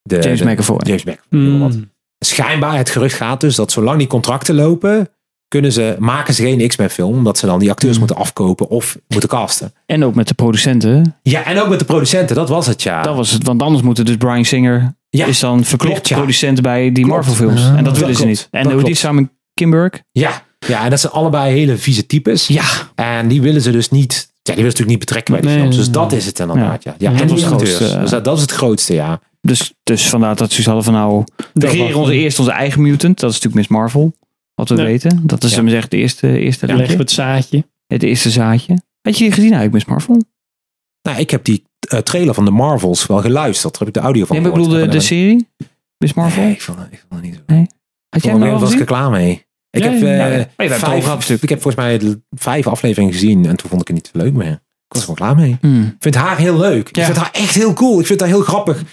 [SPEAKER 2] de,
[SPEAKER 1] James
[SPEAKER 2] de-
[SPEAKER 1] McAvoy. Hmm.
[SPEAKER 2] James McAvoy, noem
[SPEAKER 3] Mm.
[SPEAKER 2] maar wat. Schijnbaar, het gerucht gaat dus dat zolang die contracten lopen, kunnen ze, maken ze geen X-Men film, omdat ze dan die
[SPEAKER 1] Hmm.
[SPEAKER 2] acteurs moeten afkopen of moeten casten.
[SPEAKER 1] En ook met de producenten.
[SPEAKER 2] Ja, en ook met de producenten, dat was het ja.
[SPEAKER 1] Dat was het. Want anders moeten dus Brian Singer
[SPEAKER 2] Ja,
[SPEAKER 1] is dan verklopt
[SPEAKER 2] klopt, ja.
[SPEAKER 1] producent bij die
[SPEAKER 2] Klopt.
[SPEAKER 1] Marvel films. en dat,
[SPEAKER 2] dat
[SPEAKER 1] willen ze
[SPEAKER 2] klopt.
[SPEAKER 1] niet. En
[SPEAKER 2] Dat
[SPEAKER 1] hoe die
[SPEAKER 2] klopt.
[SPEAKER 1] samen Kimberg.
[SPEAKER 2] ja. ja, en dat zijn allebei hele vieze types.
[SPEAKER 1] Ja,
[SPEAKER 2] En die willen ze dus niet. Ja, die willen ze natuurlijk niet betrekken bij die
[SPEAKER 3] Nee,
[SPEAKER 2] films. Dus
[SPEAKER 3] nee,
[SPEAKER 2] dat is het inderdaad. Ja, ja.
[SPEAKER 1] Dat
[SPEAKER 2] en
[SPEAKER 1] was
[SPEAKER 2] die
[SPEAKER 1] het
[SPEAKER 2] acteurs.
[SPEAKER 1] grootste, eh.
[SPEAKER 2] Dus dat, dat is het grootste, ja.
[SPEAKER 1] dus, dus vandaar dat ze hadden van nou, we
[SPEAKER 3] was-
[SPEAKER 1] creëren onze, eerst onze eigen mutant. Dat is natuurlijk Miss Marvel. Wat we
[SPEAKER 3] Ja.
[SPEAKER 1] weten. Dat is
[SPEAKER 2] Ja.
[SPEAKER 1] hem zegt de eerste, eerste
[SPEAKER 3] Dan leggen
[SPEAKER 1] linkje.
[SPEAKER 3] we het zaadje.
[SPEAKER 1] Het eerste zaadje. Had je die gezien eigenlijk, Miss Marvel?
[SPEAKER 2] Nou, ik heb die eh, trailer van de Marvels wel geluisterd. Daar heb ik de audio van
[SPEAKER 1] Nee, maar ik
[SPEAKER 2] gehoord.
[SPEAKER 1] bedoel de, de
[SPEAKER 2] En-
[SPEAKER 1] serie? Miss Marvel?
[SPEAKER 2] Nee, ik vond het ik vond het niet zo.
[SPEAKER 1] Had jij hem
[SPEAKER 2] Ik was-
[SPEAKER 1] al
[SPEAKER 2] was ik
[SPEAKER 1] gezien?
[SPEAKER 2] er klaar mee. Ik
[SPEAKER 3] Ja,
[SPEAKER 2] heb,
[SPEAKER 3] ja, ja.
[SPEAKER 2] eh,
[SPEAKER 1] Oh, je bent er al
[SPEAKER 2] vijf,
[SPEAKER 1] gehad.
[SPEAKER 2] ik heb volgens mij de vijf afleveringen gezien en toen vond ik het niet leuk meer. Ik was er gewoon klaar mee.
[SPEAKER 1] Hmm.
[SPEAKER 2] Ik vind haar heel leuk.
[SPEAKER 1] Ja.
[SPEAKER 2] Ik vind haar echt heel cool. Ik vind haar heel grappig.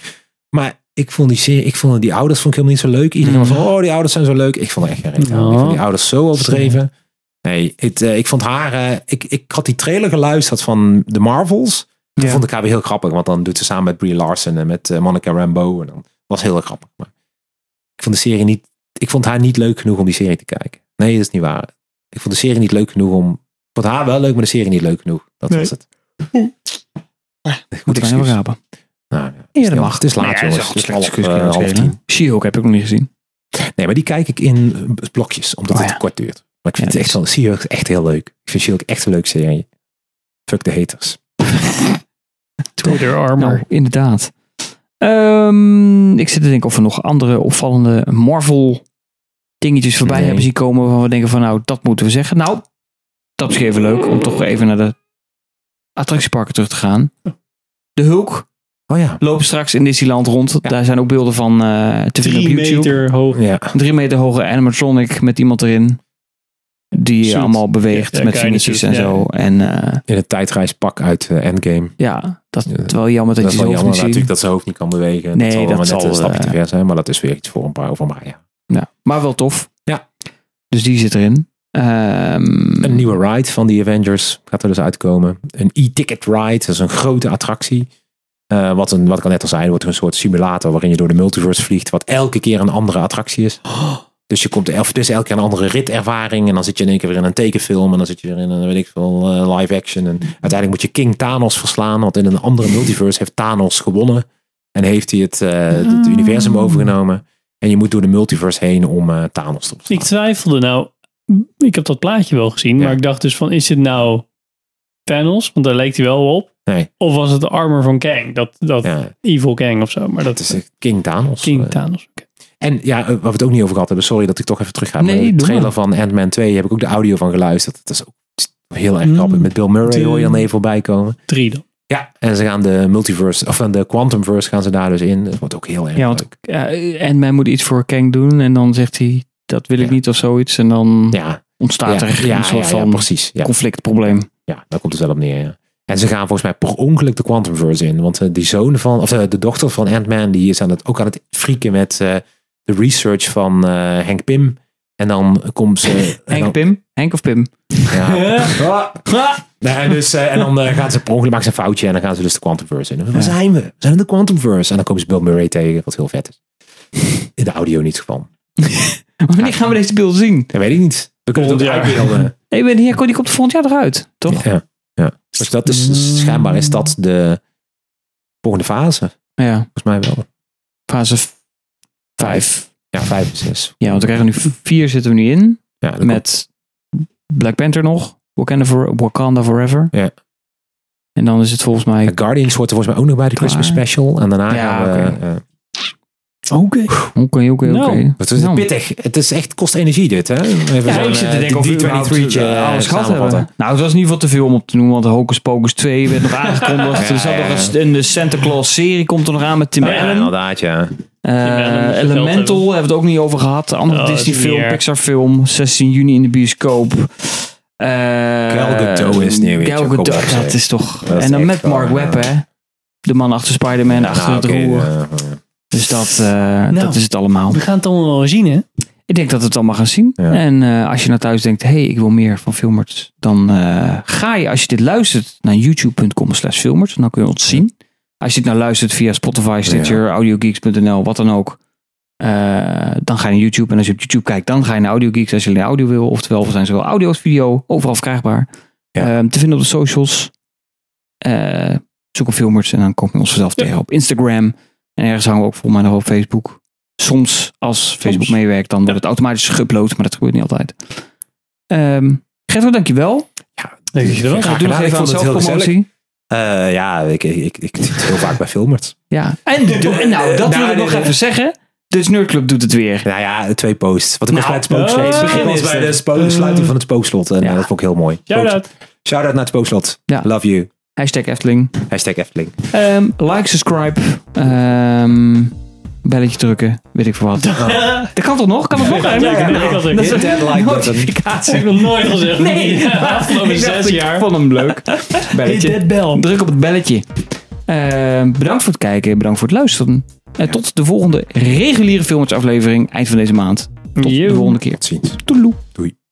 [SPEAKER 2] Maar ik vond die serie, ik vond die ouders vond ik helemaal niet zo leuk. Iedereen
[SPEAKER 1] Mhm.
[SPEAKER 2] was van, oh, die ouders zijn zo leuk. Ik vond haar echt geen reet aan. Ik
[SPEAKER 1] Oh.
[SPEAKER 3] Ja.
[SPEAKER 2] vond die ouders zo overdreven. Nee, het, eh, ik vond haar, eh, ik, ik had die trailer geluisterd van de Marvels. Toen
[SPEAKER 1] Ja.
[SPEAKER 2] vond ik haar weer heel grappig. Want dan doet ze samen met Brie Larson en met eh, Monica Rambeau. En dan was heel erg grappig. Maar ik vond de serie niet, ik vond haar niet leuk genoeg om die serie te kijken. Nee, dat is niet waar. Ik vond de serie niet leuk genoeg om, ik vond haar wel leuk, maar de serie niet leuk genoeg. Dat was het.
[SPEAKER 1] Moet ik
[SPEAKER 2] excuus.
[SPEAKER 1] even rapen.
[SPEAKER 2] Nou, ja, het
[SPEAKER 1] Ja,
[SPEAKER 2] is
[SPEAKER 1] dat
[SPEAKER 2] heel-
[SPEAKER 1] mag.
[SPEAKER 2] Het is laat, jongens. Het is half, eh, half tien.
[SPEAKER 1] She-Hulk heb ik nog niet gezien.
[SPEAKER 2] Nee, maar die kijk ik in eh, blokjes, omdat
[SPEAKER 1] Oh,
[SPEAKER 2] het
[SPEAKER 1] ja.
[SPEAKER 2] kort duurt. Maar ik vind
[SPEAKER 1] Ja,
[SPEAKER 2] het echt wel, She-Hulk is echt heel leuk. Ik vind She-Hulk echt een leuke serie. Fuck de haters.
[SPEAKER 3] Twitter armor.
[SPEAKER 1] Nou, inderdaad. Ehm, ik zit te denken of we nog andere opvallende Marvel dingetjes voorbij
[SPEAKER 2] Nee.
[SPEAKER 1] hebben zien komen. Waarvan we denken van nou, dat moeten we zeggen. Nou, dat is even leuk om toch even naar de attractieparken terug te gaan. De Hulk
[SPEAKER 2] Oh ja.
[SPEAKER 1] loopt straks in Disneyland rond. Daar zijn ook beelden van eh, te vinden op
[SPEAKER 3] Drie
[SPEAKER 1] YouTube.
[SPEAKER 3] meter hoog.
[SPEAKER 2] Ja.
[SPEAKER 1] Een drie meter hoge animatronic met iemand erin. Die
[SPEAKER 3] Suit.
[SPEAKER 1] allemaal beweegt
[SPEAKER 3] Ja, ja,
[SPEAKER 1] met
[SPEAKER 3] kleine
[SPEAKER 1] vingertjes en
[SPEAKER 3] suit, ja.
[SPEAKER 1] zo. En eh,
[SPEAKER 2] In het tijdreispak uit eh, Endgame.
[SPEAKER 1] ja, dat
[SPEAKER 2] Ja,
[SPEAKER 1] is wel jammer dat,
[SPEAKER 2] Dat is
[SPEAKER 1] je zo
[SPEAKER 2] wel
[SPEAKER 1] hoofd
[SPEAKER 2] jammer
[SPEAKER 1] niet ziet.
[SPEAKER 2] natuurlijk dat zijn hoofd niet kan bewegen.
[SPEAKER 1] Nee,
[SPEAKER 2] dat zal
[SPEAKER 1] dat
[SPEAKER 2] wel maar net
[SPEAKER 1] zal,
[SPEAKER 2] een stapje te
[SPEAKER 1] eh,
[SPEAKER 2] ver zijn. Maar dat is weer iets voor een paar over mij. Ja.
[SPEAKER 1] Ja, maar wel tof.
[SPEAKER 2] Ja.
[SPEAKER 1] Dus die zit erin. Ehm,
[SPEAKER 2] Een nieuwe ride van de Avengers gaat er dus uitkomen. Een e-ticket ride, dat is een grote attractie. Eh, wat, een, wat ik al net al zei, wordt een soort simulator waarin je door de multiverse vliegt, wat elke keer een andere attractie is. Dus je komt elf, dus elke keer een andere ritervaring en dan zit je in één keer weer in een tekenfilm en dan zit je weer in een, weet ik veel, eh, live action. En uiteindelijk moet je King Thanos verslaan, want in een andere multiverse heeft Thanos gewonnen en heeft hij het, eh, het universum overgenomen. En je moet door de multiverse heen om eh, Thanos te verslaan.
[SPEAKER 3] Ik twijfelde nou. Ik heb dat plaatje wel gezien,
[SPEAKER 2] Ja.
[SPEAKER 3] maar ik dacht dus van is dit nou panels? Want daar leek hij wel op.
[SPEAKER 2] Nee.
[SPEAKER 3] Of was het de armor van Kang? Dat, dat
[SPEAKER 2] Ja,
[SPEAKER 3] Evil Kang of zo. Maar dat
[SPEAKER 2] het is eh, King Thanos.
[SPEAKER 3] King
[SPEAKER 2] Eh,
[SPEAKER 3] Thanos. Oké.
[SPEAKER 2] En ja, eh, waar we het ook niet over gehad hebben. Sorry dat ik toch even terug ga.
[SPEAKER 1] Nee,
[SPEAKER 2] maar de
[SPEAKER 1] doe maar.
[SPEAKER 2] trailer van Ant-Man 2 heb ik ook de audio van geluisterd. Dat is ook heel erg
[SPEAKER 1] Mm.
[SPEAKER 2] grappig. Met Bill Murray hoor je dan even voorbij komen.
[SPEAKER 3] Drie dan.
[SPEAKER 2] Ja, en ze gaan de multiverse, of eh, de quantumverse gaan ze daar dus in. Dat wordt ook heel erg
[SPEAKER 1] Ja, want-
[SPEAKER 2] leuk.
[SPEAKER 1] eh, en men moet iets voor Kang doen en dan zegt hij dat wil ik
[SPEAKER 2] Ja.
[SPEAKER 1] niet of zoiets. En dan
[SPEAKER 2] Ja,
[SPEAKER 1] ontstaat er
[SPEAKER 2] ja, ja,
[SPEAKER 1] een soort
[SPEAKER 2] ja, ja,
[SPEAKER 1] van
[SPEAKER 2] precies. Ja.
[SPEAKER 1] conflictprobleem.
[SPEAKER 2] Ja, daar komt het wel op neer. ja. En ze gaan volgens mij per ongeluk de Quantumverse in. Want eh, die zoon van, of eh, de dochter van Ant-Man, die is aan het, ook aan het frieken met eh, de research van eh, Henk Pim. En dan komt ze. en
[SPEAKER 1] Henk
[SPEAKER 2] dan-
[SPEAKER 1] Pim? Henk of Pim?
[SPEAKER 2] Ja.
[SPEAKER 1] Ah.
[SPEAKER 2] Nee, dus, eh, en dan eh, gaan ze per ongeluk maken ze een foutje en dan gaan ze dus de Quantumverse in. En Waar zijn we? We zijn in de Quantumverse. En dan komen ze Bill Murray tegen, wat heel vet is. In de audio niet van.
[SPEAKER 1] Maar Wanneer gaan we deze beelden zien?
[SPEAKER 2] Dat weet ik niet. We kunnen het ook
[SPEAKER 3] Volgend jaar.
[SPEAKER 2] uitbeelden.
[SPEAKER 1] Nee, maar die, die komt volgend jaar eruit, toch?
[SPEAKER 2] Ja, ja. Dus dat is schijnbaar is dat de volgende fase.
[SPEAKER 1] Ja,
[SPEAKER 2] Volgens mij wel.
[SPEAKER 1] fase 5.
[SPEAKER 2] Ja, vijf en zes.
[SPEAKER 1] Ja, want we krijgen nu 4 zitten we nu in.
[SPEAKER 2] Ja, dat klopt.
[SPEAKER 1] Met Black Panther nog. Wakanda, for, Wakanda Forever.
[SPEAKER 2] Ja.
[SPEAKER 1] En dan is het volgens mij...
[SPEAKER 2] En Guardians wordt er volgens mij ook nog bij de
[SPEAKER 1] Klaar.
[SPEAKER 2] Christmas special. En daarna
[SPEAKER 1] Ja,
[SPEAKER 2] gaan we...
[SPEAKER 1] oké.
[SPEAKER 2] eh,
[SPEAKER 1] Oké, oké, oké.
[SPEAKER 3] Nou,
[SPEAKER 1] oké.
[SPEAKER 2] het is
[SPEAKER 1] Nou.
[SPEAKER 2] pittig. Het is echt, kost energie dit, hè? Even
[SPEAKER 1] Ja,
[SPEAKER 2] zo'n,
[SPEAKER 1] ik zit
[SPEAKER 2] eh,
[SPEAKER 1] te denken of
[SPEAKER 2] die
[SPEAKER 1] we überhaupt,
[SPEAKER 2] 23'tje,
[SPEAKER 1] eh,
[SPEAKER 2] eh,
[SPEAKER 1] alles gehad
[SPEAKER 2] samenvatten.
[SPEAKER 1] hebben. Nou, het was in ieder geval te veel om op te noemen, want Hocus Pocus 2 werd nog aangekondigd.
[SPEAKER 2] Ja,
[SPEAKER 1] er zat
[SPEAKER 2] ja,
[SPEAKER 1] nog
[SPEAKER 2] ja.
[SPEAKER 1] een, de Santa Claus serie komt er nog aan met Tim
[SPEAKER 2] Ja, oh
[SPEAKER 1] Allen.
[SPEAKER 2] inderdaad, ja.
[SPEAKER 1] Eh,
[SPEAKER 3] Tim Allen moet je
[SPEAKER 1] Elemental
[SPEAKER 3] geld hebben.
[SPEAKER 1] hebben we het ook niet over gehad. De andere
[SPEAKER 3] Oh, dat is
[SPEAKER 1] Disney film,
[SPEAKER 3] meer.
[SPEAKER 1] Pixar film, 16 juni in de bioscoop. Eh
[SPEAKER 2] Gal Gadot is nu weer,
[SPEAKER 1] Gal
[SPEAKER 2] kom op,
[SPEAKER 1] Gadot,
[SPEAKER 2] zeg.
[SPEAKER 1] dat is toch...
[SPEAKER 2] Dat is
[SPEAKER 1] en dan
[SPEAKER 2] echt
[SPEAKER 1] met Mark
[SPEAKER 2] gewoon,
[SPEAKER 1] Webb,
[SPEAKER 2] ja.
[SPEAKER 1] hè. De man achter Spider-Man, achter
[SPEAKER 2] Nou,
[SPEAKER 1] het
[SPEAKER 2] oké,
[SPEAKER 1] roer.
[SPEAKER 2] eh,
[SPEAKER 1] Dus dat, eh,
[SPEAKER 3] Nou.
[SPEAKER 1] dat is het allemaal.
[SPEAKER 3] We gaan het allemaal wel zien, hè?
[SPEAKER 1] Ik denk dat we het allemaal gaan zien.
[SPEAKER 2] Ja.
[SPEAKER 1] En eh, als je naar thuis denkt, hé, hey, ik wil meer van Filmert. Dan eh, ga je, als je dit luistert, naar youtube.com slash Filmert. Dan kun je ons zien. Als je dit nou luistert via Spotify, Stitcher, audiogeeks.nl, wat dan ook. eh, dan ga je naar YouTube. En als je op YouTube kijkt, dan ga je naar AudioGeeks als je alleen audio wil. Oftewel, we zijn zowel audio als video overal verkrijgbaar.
[SPEAKER 2] Ja.
[SPEAKER 1] Ehm, te vinden op de socials. Eh, zoek op Filmers en dan kom je ons vanzelf tegen op Instagram. En ergens hangen we ook volgens mij nog op Facebook. Soms, als Facebook meewerkt, dan wordt het automatisch geüpload. Maar dat gebeurt niet altijd. Ehm Gertrude, dankjewel.
[SPEAKER 3] Dankjewel.
[SPEAKER 2] Graag
[SPEAKER 1] Doe nog
[SPEAKER 2] gedaan. Ik
[SPEAKER 1] even aan
[SPEAKER 2] vond het heel gezellig.
[SPEAKER 1] zelfpromotie.
[SPEAKER 2] Eh, ja, ik, ik, ik, ik heel vaak bij Filmert.
[SPEAKER 1] Ja. En de- de- nou, dat
[SPEAKER 2] Nou,
[SPEAKER 1] wil ik
[SPEAKER 2] nee,
[SPEAKER 1] nog
[SPEAKER 2] nee.
[SPEAKER 1] even zeggen. De Snurclub doet het weer.
[SPEAKER 2] Nou ja, twee posts. Wat ik
[SPEAKER 1] Nou,
[SPEAKER 2] was bij het spookslot.
[SPEAKER 3] eh,
[SPEAKER 2] ik
[SPEAKER 3] begin
[SPEAKER 2] was
[SPEAKER 3] is
[SPEAKER 2] bij
[SPEAKER 3] het.
[SPEAKER 2] de spo- sluiting van het spookslot. En
[SPEAKER 1] Ja.
[SPEAKER 2] eh, dat vond ik heel mooi.
[SPEAKER 3] Shout-out.
[SPEAKER 2] Shout-out naar het spookslot.
[SPEAKER 1] Ja.
[SPEAKER 2] Love you.
[SPEAKER 1] Hashtag Efteling.
[SPEAKER 2] Hashtag Efteling.
[SPEAKER 1] Ehm, like, subscribe. ehm, belletje drukken. Weet ik veel wat. Dat kan toch nog? Kan het nog?
[SPEAKER 3] Ja, ja, ja. Dat is-
[SPEAKER 2] Hit that like button.
[SPEAKER 3] Dat heb ik nog nooit gezegd.
[SPEAKER 1] Nee,
[SPEAKER 3] de afgelopen
[SPEAKER 1] Ik dacht,
[SPEAKER 3] zes jaar.
[SPEAKER 1] Ik vond hem leuk. Belletje.
[SPEAKER 3] bel.
[SPEAKER 1] Druk op het belletje. Eh, bedankt voor het kijken, bedankt voor het luisteren. En tot de volgende reguliere filmers aflevering eind van deze maand. Tot
[SPEAKER 3] Yo.
[SPEAKER 1] de volgende keer.
[SPEAKER 2] Tot ziens.
[SPEAKER 1] Toedeloe.
[SPEAKER 2] Doei.